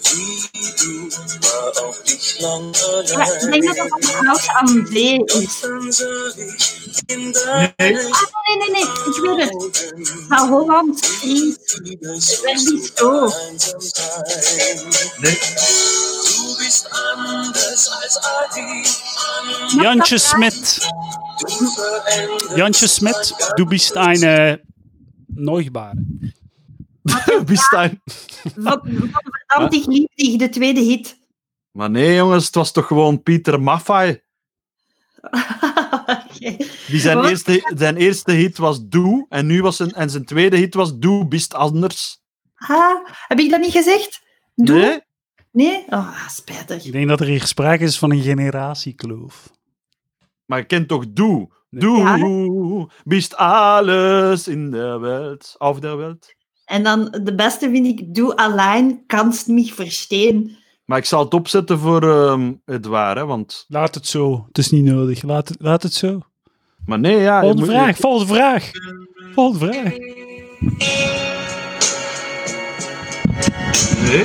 Speaker 5: Wie du war auch nicht lang
Speaker 2: Maar ik denk dat dat
Speaker 5: allein.
Speaker 2: een house aan B is.
Speaker 5: Dann sah ich in
Speaker 3: Nee.
Speaker 5: deine
Speaker 2: Ah, nee, nee, nee. Ik weet het.
Speaker 5: Augen,
Speaker 3: Oh.
Speaker 2: Van Holland Fries.
Speaker 5: wie das
Speaker 2: werd
Speaker 5: musst
Speaker 2: niet
Speaker 5: du
Speaker 2: doof.
Speaker 5: einsam sein.
Speaker 3: Nee.
Speaker 5: Du bist anders als Adi.
Speaker 1: Jantje Smit.
Speaker 5: Du veränderst
Speaker 1: Jantje Smit, du bist eine Neugebaar.
Speaker 3: Wie staat-
Speaker 2: Wat wat verdammt ik liefdig, de tweede hit. (laughs)
Speaker 3: Maar nee, jongens, het was toch gewoon Pieter Maffay.
Speaker 2: Oké.
Speaker 3: Die zijn,
Speaker 2: Wat?
Speaker 3: eerste, zijn eerste hit was Doe, en, nu was zijn, en zijn tweede hit was Doe, bist anders.
Speaker 2: Ah, heb ik dat niet gezegd? Doe?
Speaker 3: Nee?
Speaker 2: Nee? Oh, spijtig.
Speaker 1: Ik denk dat er hier sprake is van een generatiekloof.
Speaker 3: Maar je kent toch Doe?
Speaker 1: Nee.
Speaker 3: Doe,
Speaker 2: Ja.
Speaker 3: bist alles in de wereld, auf der wereld.
Speaker 2: En dan de beste vind ik, doe alleen, kanst mich verstehen.
Speaker 3: Maar ik zal het opzetten voor ehm Edouard, hè, want...
Speaker 1: Laat het zo. Het is niet nodig. Laat het, laat het zo.
Speaker 3: Maar nee, ja... je
Speaker 1: Volgende
Speaker 3: moet-
Speaker 1: vraag. Volgende vraag. Volgende vraag.
Speaker 3: Nee.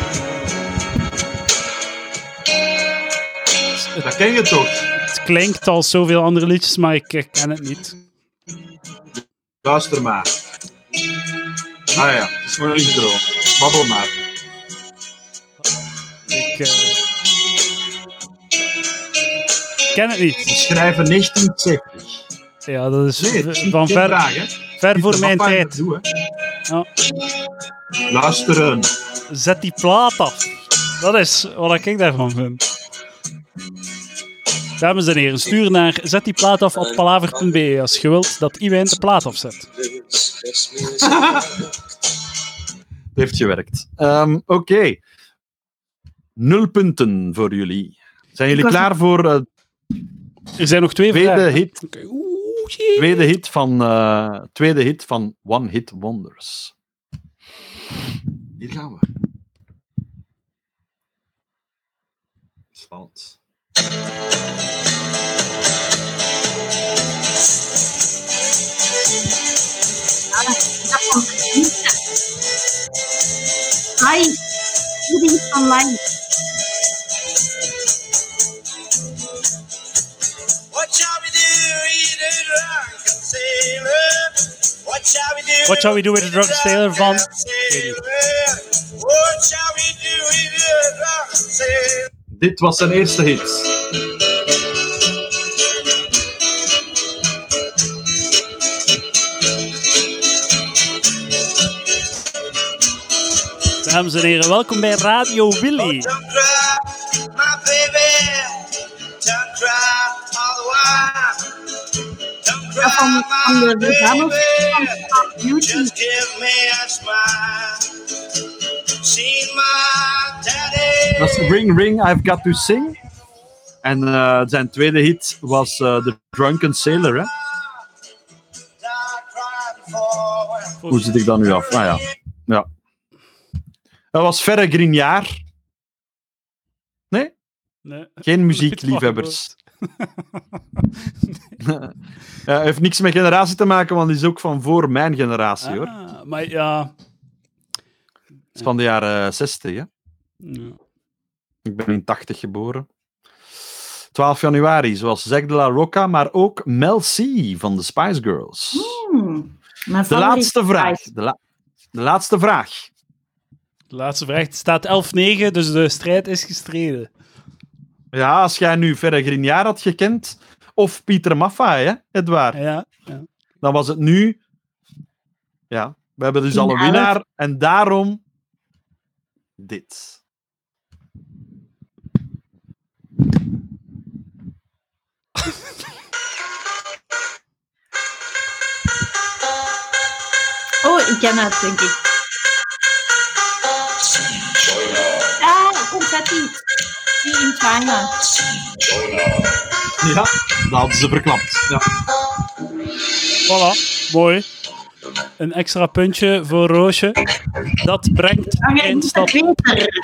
Speaker 3: Dat ken je toch?
Speaker 1: Het klinkt als zoveel andere liedjes, maar ik herken het niet.
Speaker 3: Luister maar. Ah ja, het is gewoon een intro. Babbel maar.
Speaker 1: Ik eh, ken het niet.
Speaker 3: Schrijven 1970.
Speaker 1: Ja, dat is
Speaker 3: Nee,
Speaker 1: v-
Speaker 3: het is
Speaker 1: van
Speaker 3: geen
Speaker 1: ver,
Speaker 3: vraag, hè.
Speaker 1: ver voor
Speaker 3: Pieter
Speaker 1: mijn
Speaker 3: Maffay
Speaker 1: tijd.
Speaker 3: doet, hè.
Speaker 1: Ja.
Speaker 3: Luisteren.
Speaker 1: Zet die plaat af. Dat is wat ik daarvan vind. Dames en heren, stuur naar zet die plaat af op palaver.be als je wilt dat iedereen de plaat afzet.
Speaker 5: Willst, es mir sagt.
Speaker 3: Het heeft gewerkt. Ehm, Oké. Nul punten voor jullie. Zijn jullie
Speaker 2: Ik was-
Speaker 3: klaar voor de
Speaker 1: Er zijn nog twee
Speaker 3: tweede
Speaker 1: vragen.
Speaker 3: hit, tweede hit, van, eh, tweede hit van One Hit Wonders? Hier gaan we. Spannend.
Speaker 2: Dat kan ik niet. Hi, iedereen is online.
Speaker 5: What shall we do? Eat a drunk sailor. What shall we do?
Speaker 1: What shall we do with a drunken sailor van-
Speaker 5: Sailor. What shall we do? Eat a drunk sailor.
Speaker 3: Dit was zijn eerste hit.
Speaker 1: Dames en heren, welkom bij Radio Willy.
Speaker 5: Don't cry, my baby. Don't cry, all the while. Don't
Speaker 2: Dat van, van
Speaker 5: cry, my
Speaker 2: de verzameld van
Speaker 5: baby.
Speaker 2: Star Beauty.
Speaker 5: Just give me a smile. See my daddy.
Speaker 3: Dat is Ring Ring, I've Got To Sing. En eh, zijn tweede hit was eh, The Drunken Sailor. Hè? Hoe zit ik dat nu af? Nou ja. ja. Dat was Verre Grignard.
Speaker 1: Nee.
Speaker 3: Geen muziekliefhebbers. (laughs) Ja, heeft niks met generatie te maken, want die is ook van voor mijn generatie, hoor. Het
Speaker 1: Ah, maar ja.
Speaker 3: is van de jaren 60, hè.
Speaker 1: ja.
Speaker 3: Ik ben in 80 geboren. 12 januari, zoals Zack de la Rocca, maar ook Mel C van de Spice Girls.
Speaker 2: Hmm, mijn
Speaker 3: De
Speaker 2: favoriete
Speaker 3: laatste vraag.
Speaker 2: Spice.
Speaker 3: De, la- de laatste vraag.
Speaker 1: De laatste vraag. Het staat 11-9, dus de strijd is gestreden.
Speaker 3: Ja, als jij nu Verre Grignard had gekend, of Pieter Maffay, hè, Edouard,
Speaker 1: Ah, Ja.
Speaker 3: dan was het nu... Ja, we hebben dus al een
Speaker 2: 10-11.
Speaker 3: winnaar, en daarom dit.
Speaker 2: Oh, ik ken het, denk ik. Ah, kom confetti die in China.
Speaker 6: Ja, dat hadden ze verklapt. Ja.
Speaker 1: Voilà, mooi. Een extra puntje voor Roosje. Dat brengt
Speaker 2: Dan
Speaker 1: in
Speaker 2: is het
Speaker 1: stap.
Speaker 2: beter.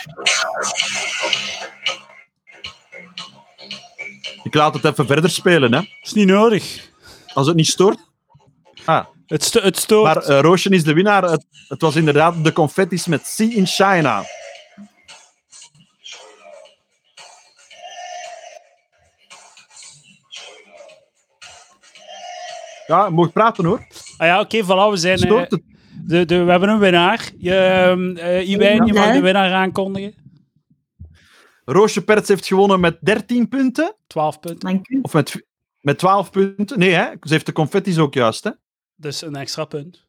Speaker 3: Ik laat het even verder spelen, hè.
Speaker 1: Is niet nodig.
Speaker 3: Als het niet stoort. Ah,
Speaker 1: Het, sto het stoort.
Speaker 3: Maar eh, Roosje is de winnaar. Het, het was inderdaad de confetti's met Sea in China. Ja, je mag praten hoor.
Speaker 1: ah ja, oké, voilà, we zijn... eh,
Speaker 3: Stoort het?
Speaker 1: de, de, we hebben een winnaar. Je, ehm, eh, Iwijn, je mag
Speaker 2: Ja.
Speaker 1: de winnaar aankondigen.
Speaker 3: Roosje Perts heeft gewonnen met 13 punten.
Speaker 1: 12 punten.
Speaker 2: Dan kun
Speaker 3: Of met, met 12 punten. Nee, hè? ze heeft de confetti's ook juist. Hè?
Speaker 1: Dus een extra punt.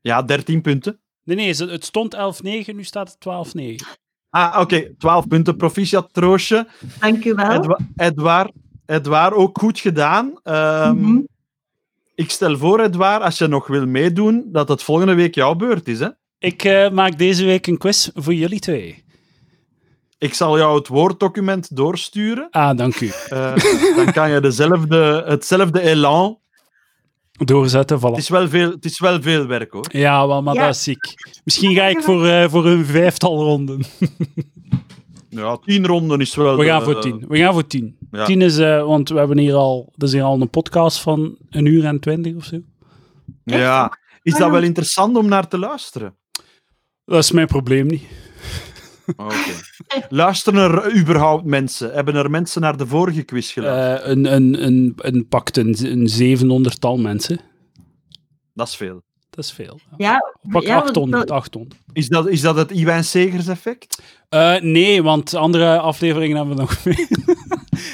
Speaker 3: Ja, 13 punten.
Speaker 1: Nee, nee, ze- het stond 11-9, nu staat het 12-9.
Speaker 3: Ah, oké. 12 punten. Proficiat, Roosje.
Speaker 2: dank u wel.
Speaker 3: Edwa Edouard, Edouard, ook goed gedaan. Ehm,
Speaker 2: Mhm.
Speaker 3: Ik stel voor, Edouard, als je nog wil meedoen, dat het volgende week jouw beurt is. Hè?
Speaker 1: Ik eh, maak deze week een quiz voor jullie twee.
Speaker 3: Ik zal jou het woorddocument doorsturen.
Speaker 1: Ah, dank u.
Speaker 3: Eh, dan kan je dezelfde, hetzelfde elan.
Speaker 1: Doorzetten,
Speaker 3: Het
Speaker 1: voilà.
Speaker 3: is, wel veel, het is wel veel werk hoor.
Speaker 1: Ja, wel, maar
Speaker 2: Ja.
Speaker 1: dat is ziek. Misschien ga ik voor, eh, voor een vijftal ronden.
Speaker 3: Ja, tien ronden is wel.
Speaker 1: We gaan
Speaker 3: eh,
Speaker 1: voor tien. We gaan voor tien.
Speaker 3: ja.
Speaker 1: Tien is, eh, want we hebben hier al, dat is hier al een podcast van een uur en twintig of zo.
Speaker 3: Ja. Is dat wel interessant om naar te luisteren?
Speaker 1: Dat is mijn probleem niet.
Speaker 3: Oké. Luisteren er überhaupt mensen? Hebben er mensen naar de vorige quiz geluisterd?
Speaker 1: Eh, een, een, een, een pakt een, een 700 tal mensen.
Speaker 3: dat is veel.
Speaker 1: Dat is veel.
Speaker 2: Ja,
Speaker 1: Pak
Speaker 2: ja, want-
Speaker 1: 800, 800.
Speaker 3: Is dat, is dat het Iwijn Segers effect?
Speaker 1: Eh, nee, want andere afleveringen hebben we nog (laughs) meer.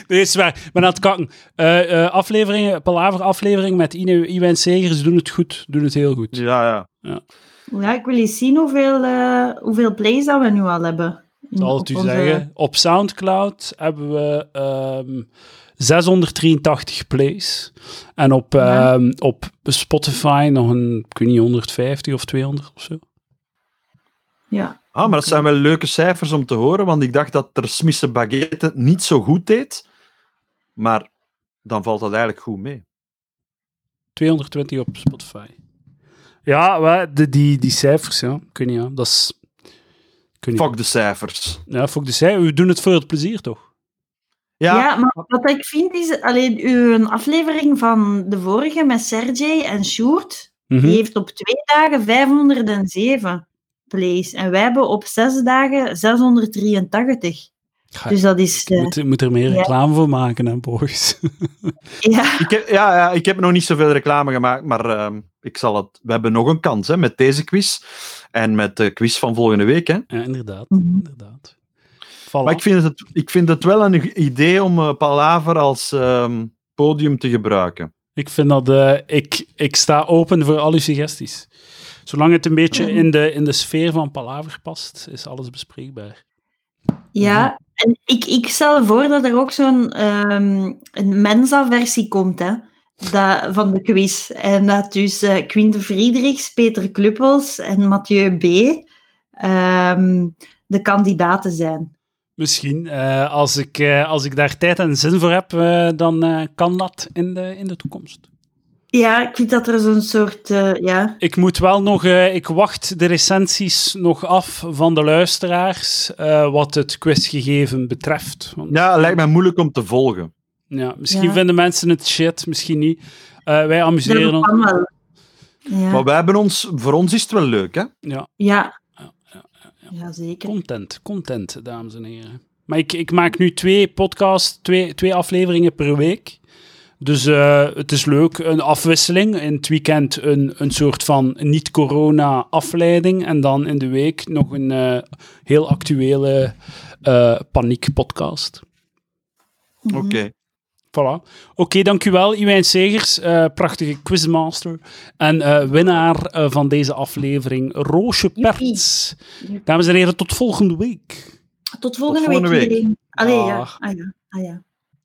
Speaker 1: nee, is waar. Ik ben aan het kakken. Eh, eh, afleveringen, Palaver aflevering met E Ine, Iwijn Segers doen het goed. Doen het heel goed.
Speaker 3: Ja, ja.
Speaker 2: Ja, ik wil eens zien hoeveel, eh, hoeveel plays dat we nu al hebben.
Speaker 1: Ik zal het u zeggen. Op Soundcloud hebben we ehm, 683 plays. En op,
Speaker 2: Ja.
Speaker 1: ehm, op Spotify nog een, ik weet niet, 150 of 200 of zo.
Speaker 2: Ja.
Speaker 3: Ah, maar dat zijn wel leuke cijfers om te horen, want ik dacht dat Ter Smisse Baguette het niet zo goed deed. Maar dan valt dat eigenlijk goed mee.
Speaker 1: 220 op Spotify. Ja, wa- de, die, die cijfers, ja. Ik weet niet, ja. Dat is... Ik weet niet.
Speaker 3: Fuck de cijfers.
Speaker 1: Ja, fuck de cijfers. We doen het voor het plezier, toch?
Speaker 3: Ja,
Speaker 2: Ja. maar wat ik vind is, alleen uw aflevering van de vorige met Sergej en Sjoerd,
Speaker 1: Mhm.
Speaker 2: die heeft op twee dagen 507 plays. En wij hebben op zes dagen 683.
Speaker 1: Ga-
Speaker 2: Dus dat is...
Speaker 1: Je
Speaker 2: eh,
Speaker 1: moet, je moet er meer
Speaker 2: Ja.
Speaker 1: reclame voor maken, hè, Boris. (laughs)
Speaker 2: eh, ja,
Speaker 3: Ik, heb, ja, ja, ik heb nog niet zoveel reclame gemaakt, maar ehm, ik zal het... we hebben nog een kans hè, met deze quiz en met de quiz van volgende week. Hè.
Speaker 1: ja, inderdaad.
Speaker 2: Mhm.
Speaker 1: Inderdaad. Voilà.
Speaker 3: Maar ik vind, het, ik vind het wel een idee om eh, Palaver als ehm, podium te gebruiken.
Speaker 1: Ik vind dat... eh, ik, ik sta open voor alle suggesties. Zolang het een
Speaker 2: Mhm.
Speaker 1: beetje in de, in de sfeer van Palaver past, is alles bespreekbaar.
Speaker 2: ja. En ik, ik stel voor dat er ook zo'n ehm, een Mensa-versie komt, hè. Dat, van de quiz. En dat dus eh Quinte Friedrichs, Peter Kluppels en Mathieu B. ehm, de kandidaten zijn.
Speaker 1: Misschien. eh, als, ik, eh, als ik daar tijd en zin voor heb, eh, dan eh, kan dat in de, in de toekomst.
Speaker 2: Ja, ik vind dat er zo'n soort... eh, ja.
Speaker 1: Ik moet wel nog... eh, ik wacht de recensies nog af van de luisteraars, eh, wat het quizgegeven betreft. Want-
Speaker 3: Ja, lijkt mij moeilijk om te volgen.
Speaker 1: ja, misschien
Speaker 2: Ja.
Speaker 1: vinden mensen het shit, misschien niet. Eh, wij amuseren
Speaker 2: Dat
Speaker 1: ons.
Speaker 2: kan wel.
Speaker 3: Maar
Speaker 2: Ja.
Speaker 3: wij hebben ons, voor ons is het wel leuk, hè?
Speaker 1: Ja.
Speaker 2: Ja. ja, zeker.
Speaker 1: Content, content, dames en heren. Maar ik, ik maak nu twee podcasts, twee, twee afleveringen per week. Dus eh, het is leuk, een afwisseling. In het weekend een, een soort van niet-corona-afleiding. En dan in de week nog een eh, heel actuele eh, paniek-podcast.
Speaker 2: Mhm.
Speaker 3: Oké.
Speaker 1: Voilà. Oké, dankjewel Iwijn Segers, eh, prachtige quizmaster. En eh, winnaar eh, van deze aflevering, Roosje Perts. Dames en heren, tot volgende week.
Speaker 2: Tot volgende,
Speaker 3: volgende
Speaker 2: week,
Speaker 3: week.
Speaker 2: iedereen. Allee, ja.
Speaker 1: Dag.
Speaker 2: Ah, ja. Ah, ja.